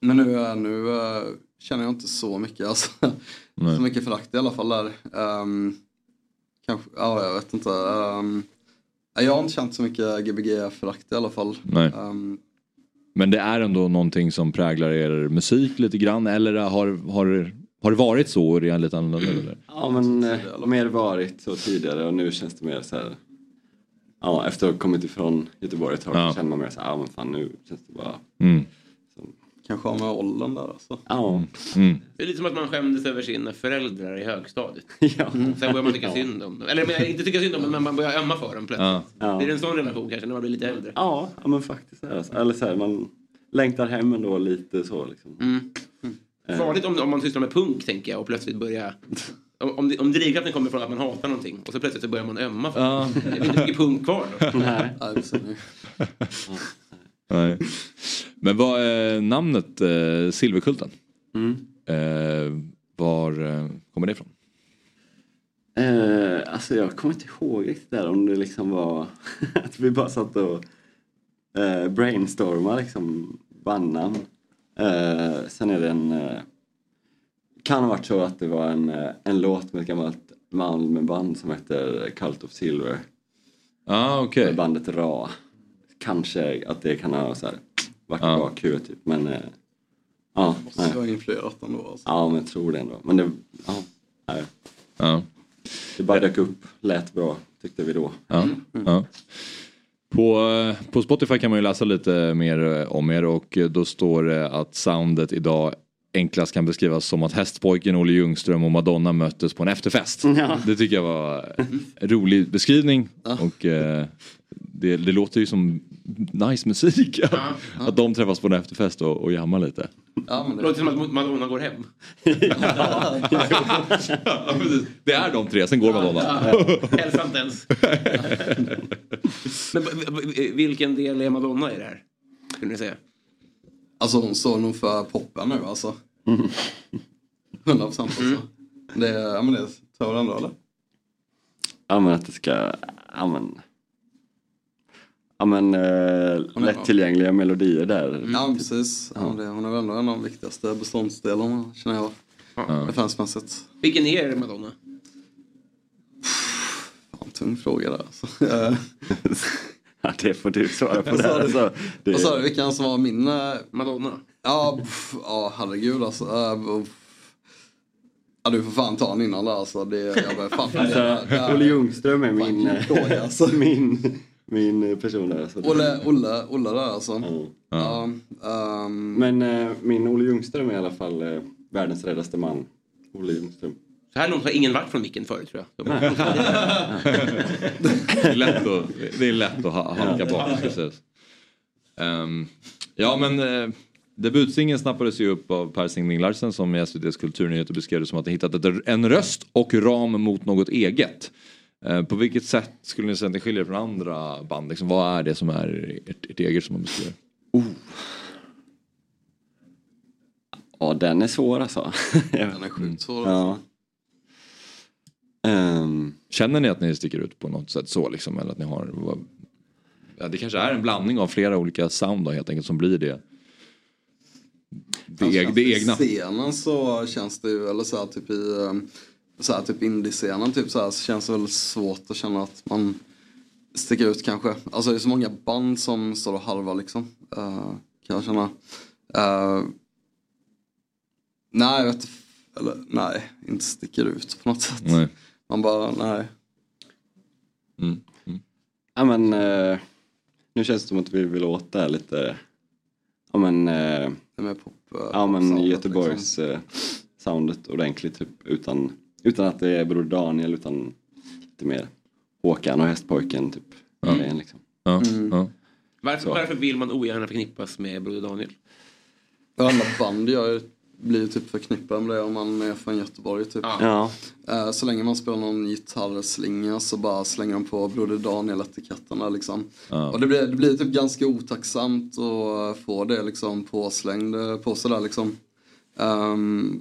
Speaker 17: Men nu, eh, nu eh, känner jag inte så mycket. Alltså,
Speaker 5: Nej.
Speaker 17: så mycket förakt i alla fall där. Ehm, kanske, ja, jag vet inte. Ehm, jag har inte känt så mycket Gbg-förakt i alla fall.
Speaker 5: Nej.
Speaker 17: Ehm,
Speaker 5: Men det är ändå någonting som präglar er musik lite grann eller har, har, har det varit så och det är lite annorlunda? Eller?
Speaker 18: Ja men eh, mer varit så tidigare och nu känns det mer så här. Ja efter att ha kommit ifrån Göteborg ett tag
Speaker 5: Ja.
Speaker 18: så känner man mer så här, ja men fan nu känns det bara.
Speaker 5: Mm.
Speaker 17: Kanske har med åldern där alltså.
Speaker 18: Ja.
Speaker 5: Mm.
Speaker 7: Det är lite som att man skämdes över sina föräldrar i högstadiet.
Speaker 18: Ja.
Speaker 7: Sen börjar man tycka
Speaker 18: Ja.
Speaker 7: synd om dem. Eller men, inte tycka synd om dem, men man börjar ömma för dem plötsligt.
Speaker 18: Ja. Ja.
Speaker 7: Det är en sån relation kanske när man blir lite äldre.
Speaker 18: Ja, ja men faktiskt är det så. Eller så här, man längtar hem ändå lite så liksom.
Speaker 7: Mm.
Speaker 18: Eh,
Speaker 7: Farligt om, om man sysslar med punk tänker jag och plötsligt börjar... Om, om, det- om drivkraften kommer från att man hatar någonting och så plötsligt så börjar man ömma för
Speaker 5: Ja.
Speaker 7: det. Det blir inte mycket punk kvar då.
Speaker 18: Nej.
Speaker 5: Nej. Men vad är namnet eh, Silverkulten?
Speaker 18: Mm.
Speaker 5: Eh, var eh, kommer det ifrån?
Speaker 18: Eh, alltså jag kommer inte ihåg riktigt där om det liksom var att vi bara satt och eh, brainstormade liksom bandnamn. Eh, sen är det en... Eh, kan ha varit så att det var en, eh, en låt med ett gammalt Malmöband som heter Cult of Silver.
Speaker 5: Ah, okay.
Speaker 18: Med bandet Ra. Kanske att det kan ha så här, varit ah. bak huvudet typ men... Eh, ja, nej.
Speaker 17: Jag har influerat ändå alltså.
Speaker 18: ja men jag tror det ändå. Men det... Ja, nej.
Speaker 5: Ja.
Speaker 18: Det bara dök upp, lät bra tyckte vi då.
Speaker 5: Ja. Ja. På, eh, på Spotify kan man ju läsa lite mer eh, om er och eh, då står det att soundet idag enklast kan beskrivas som att hästpojken Olle Ljungström och Madonna möttes på en efterfest.
Speaker 18: Ja.
Speaker 5: Det tycker jag var en rolig beskrivning och eh, det, det låter ju som nice musik att, att de träffas på en efterfest och, och jammar lite.
Speaker 17: Ja, men
Speaker 7: det låter som att Madonna går hem.
Speaker 5: Ja, precis. det är de tre, sen går Madonna.
Speaker 7: Hälsa inte ens. Men v- v- vilken del är Madonna i det här? Skulle ni säga?
Speaker 17: Alltså hon står nog för poppen nu alltså. 100% alltså. Det, ja men det tror jag ändå eller?
Speaker 18: Ja men att det ska, ja men. Ja men eh, lättillgängliga melodier där.
Speaker 17: Ja men precis. Ja, det, hon är väl ändå en av de viktigaste beståndsdelarna känner jag. Referensmässigt.
Speaker 7: Vilken är det Madonna?
Speaker 17: Fan, tung fråga där alltså. Eh,
Speaker 18: Ja, det får du svara på
Speaker 17: Vad sa
Speaker 18: där.
Speaker 17: du?
Speaker 18: Alltså, det,
Speaker 17: Vad sa du, vilken som var min... eh,
Speaker 7: Madonna?
Speaker 17: Ja, pff, ja herregud alltså. Eh, pff. Ja, du får fan ta en innan där alltså. Det, jag börjar fan fundera.
Speaker 18: alltså,
Speaker 17: Det här-
Speaker 18: Olle Ljungström är min,
Speaker 17: Fan, vilken dålig, alltså.
Speaker 18: min, min person där. Alltså,
Speaker 17: Olle, Olle, Olle där alltså. Ehm. Ja,
Speaker 18: Men eh, min Olle Ljungström är i alla fall eh, världens räddaste man. Olle Ljungström.
Speaker 7: Det här är någon som ingen varit från micken förut tror jag.
Speaker 5: Nej. det, är lätt att, det är lätt att ha- halka bak. Precis. Ehm, ja men eh, debutsingeln snappades ju upp av Per Singling Larsen som i SVTs kulturnyheter beskrev det som att han hittat ett, en röst och ram mot något eget. Eh, på vilket sätt skulle ni säga att ni skiljer er från andra band? Liksom, vad är det som är ert, ert eget som man beskriver?
Speaker 18: Oh. Ja, den är svår alltså.
Speaker 17: Den är Mm, sjukt svår.
Speaker 18: Ja. Ehm.
Speaker 5: Känner ni att ni sticker ut på något sätt så liksom? Eller att ni har... vad- Ja, det kanske är en blandning av flera olika sound då, helt enkelt som blir det. Det, eg, det egna.
Speaker 17: Alltså, scenen så känns det ju, eller så här typ i eh, så här typ indiescenen typ så här så känns det väl svårt att känna att man sticker ut kanske. Alltså det är så många band som står och halvar liksom. eh, kan jag känna. Eh, nej, jag vet inte. eller nej, inte sticker ut på något sätt.
Speaker 5: Nej.
Speaker 17: Man bara, nej.
Speaker 18: Ja, men, eh, nu känns det som att vi vill åt det här lite. Ja men. Eh, liksom. ja men Göteborgs eh, soundet ordentligt typ utan. Utan att det är Bror Daniel utan lite mer Håkan och Hästpojken typ. grejen, Liksom.
Speaker 5: Ja, ja.
Speaker 7: Varför, varför vill man ogärna förknippas med Broder Daniel?
Speaker 17: Alla band gör ju- blir ju typ förknippade med det om man är från Göteborg typ.
Speaker 18: Ja.
Speaker 17: Eh, Så länge man spelar någon gitarrslinga så bara slänger de på Broder Daniel-etiketterna liksom.
Speaker 5: Ja.
Speaker 17: Och det blir, det blir typ ganska otacksamt att få det liksom påslängd eh, på sig där liksom. Ehm,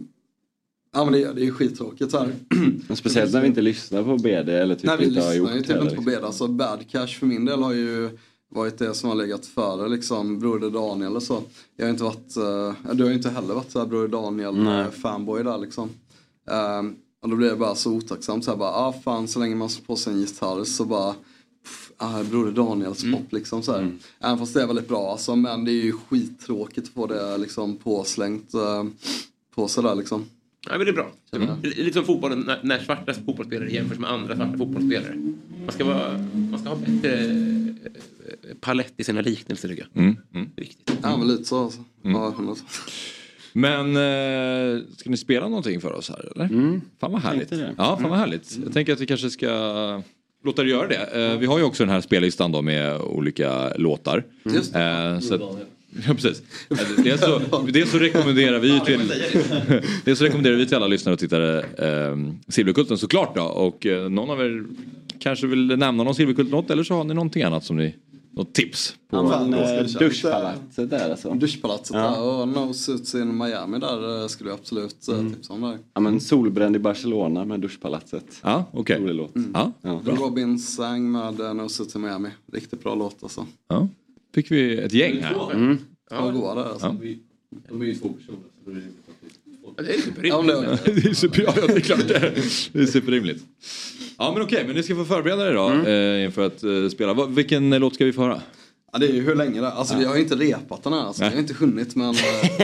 Speaker 17: ja men det, det är ju skittråkigt här.
Speaker 18: Men speciellt när vi inte lyssnar på BD eller typ
Speaker 17: Nej, vi
Speaker 18: inte har gjort
Speaker 17: lyssnar ju typ
Speaker 18: heller,
Speaker 17: inte på
Speaker 18: liksom.
Speaker 17: BD. Alltså bad cash för min del har ju varit det som har legat före liksom Broder Daniel och så. Jag har inte varit, eh, du har ju inte heller varit så här Broder Daniel
Speaker 18: Nej.
Speaker 17: eh, fanboy där liksom. Ehm, och då blir det bara så otacksamt så här bara, ah fan så länge man slår på sig en gitarr så bara pff, Ah, Broder Daniels
Speaker 18: Mm.
Speaker 17: pop liksom så här. Även fast det är väldigt bra alltså, men det är ju skittråkigt att få det liksom påslängt eh, på sig där liksom.
Speaker 7: Ja, men det är bra.
Speaker 17: Mm.
Speaker 7: Det är Lite som fotbollen, när, när svarta fotbollsspelare jämförs med andra svarta fotbollsspelare. Man ska, vara, man ska ha bättre eh, palett i sina liknelser tycker jag.
Speaker 5: Mm, mm.
Speaker 7: Det är viktigt.
Speaker 17: Ja men lite så alltså.
Speaker 5: Mm.
Speaker 17: Ja, 100%.
Speaker 5: Men eh, ska ni spela någonting för oss här eller? Mm. Fan vad härligt.
Speaker 18: Tänkte
Speaker 5: Ja,
Speaker 18: det.
Speaker 5: fan
Speaker 18: Mm.
Speaker 5: vad härligt. Jag tänker att vi kanske ska låta er göra det. Eh, vi har ju också den här spellistan då med olika låtar.
Speaker 17: Mm. Just Mm.
Speaker 5: Eh, så att, Ja precis. Eh, Dels så, dels så rekommenderar vi ju till, dels så rekommenderar vi till alla lyssnare och tittare eh, Silverkulten såklart då. Och eh, någon av er kanske vill nämna någon Silverkult-låt eller så har ni någonting annat som ni, något tips? På
Speaker 17: Ja, men,
Speaker 5: låt.
Speaker 17: eh,
Speaker 18: Duschpalatset där alltså.
Speaker 17: Mm, Duschpalatset
Speaker 18: Ja.
Speaker 17: där och No Suits in Miami där eh, skulle jag absolut mm. tipsa om där.
Speaker 18: Ja men Solbränd i Barcelona med Duschpalatset.
Speaker 5: Ja okej.
Speaker 18: Rolig låt.
Speaker 5: Ja.
Speaker 17: Robin sang med eh, No Suits in Miami. Riktigt bra låt alltså.
Speaker 5: Ja. Fick vi ett gäng här.
Speaker 17: Mm. Ja, goa där alltså.
Speaker 10: De är ju två personer. Så det är rimligt att vi-
Speaker 7: Det är
Speaker 5: typ
Speaker 17: Ja, men det var-
Speaker 5: det är super, ja, det är klart det är. Det är superrimligt. Ja men okej, men ni ska få förbereda er då
Speaker 17: Mm.
Speaker 5: eh, inför att eh, spela. Va- Vilken eh, låt ska vi få höra?
Speaker 17: Ja, det är ju hur länge det Alltså
Speaker 5: Ja.
Speaker 17: vi har ju inte repat den här alltså. Vi
Speaker 5: Nej.
Speaker 17: har inte hunnit men eh,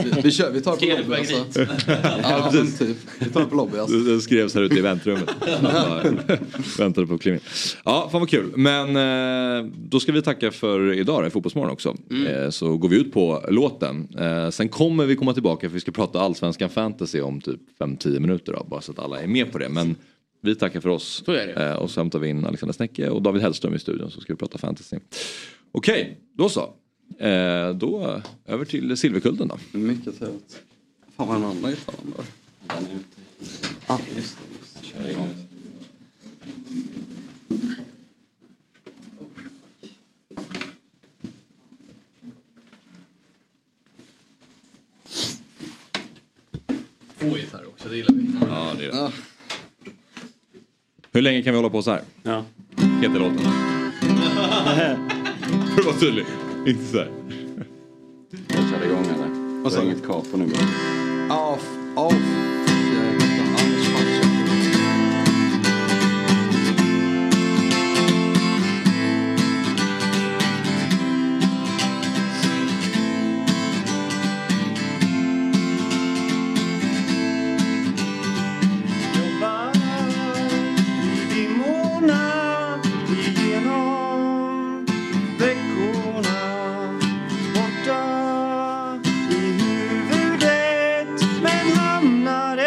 Speaker 17: vi, vi kör. Vi tar på lobby alltså. Ja, men typ. Vi tar på lobby alltså.
Speaker 5: Det det skrevs här ute i väntrummet. Bara Väntade på klimat. Ja, fan vad kul. Men eh, då ska vi tacka för idag då, i Fotbollsmorgon också.
Speaker 17: Mm.
Speaker 5: Eh, så går vi ut på låten. Eh, sen kommer vi komma tillbaka för vi ska prata allsvenskan fantasy om typ 5-10 minuter då, bara så att alla är med på det. Men vi tackar för oss. Eh, och så hämtar vi in Alexander Snäcke och David Hellström i studion så ska vi prata fantasy. Okej, då så. Eh, då över till Silverkulden då.
Speaker 17: Mycket trevligt. Fan vad den andra gitarren där.
Speaker 5: Ah.
Speaker 18: Ja, just det, just det. Kör igång.
Speaker 10: Två gitarrer också, det gillar vi.
Speaker 5: Ja, det är det. Ah. Hur länge kan vi hålla på så här?
Speaker 18: Ja.
Speaker 5: Heter låten. För att vara tydlig. Inte så här.
Speaker 18: Jag kör igång eller? Vad sa inget kapo nu.
Speaker 17: Off, off. Anders
Speaker 15: jobbar i Dimorna igenom veckorna Borta i huvudet men hamnar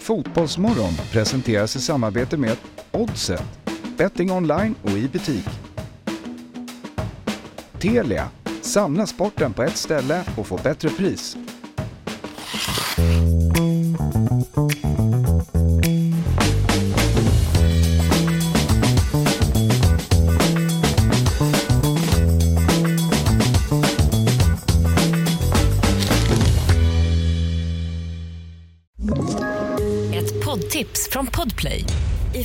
Speaker 4: Fotbollsmorgon presenteras i samarbete med Oddset, betting online och i butik. Telia, samla sporten på ett ställe och få bättre pris.
Speaker 8: Ett poddtips från Podplay. I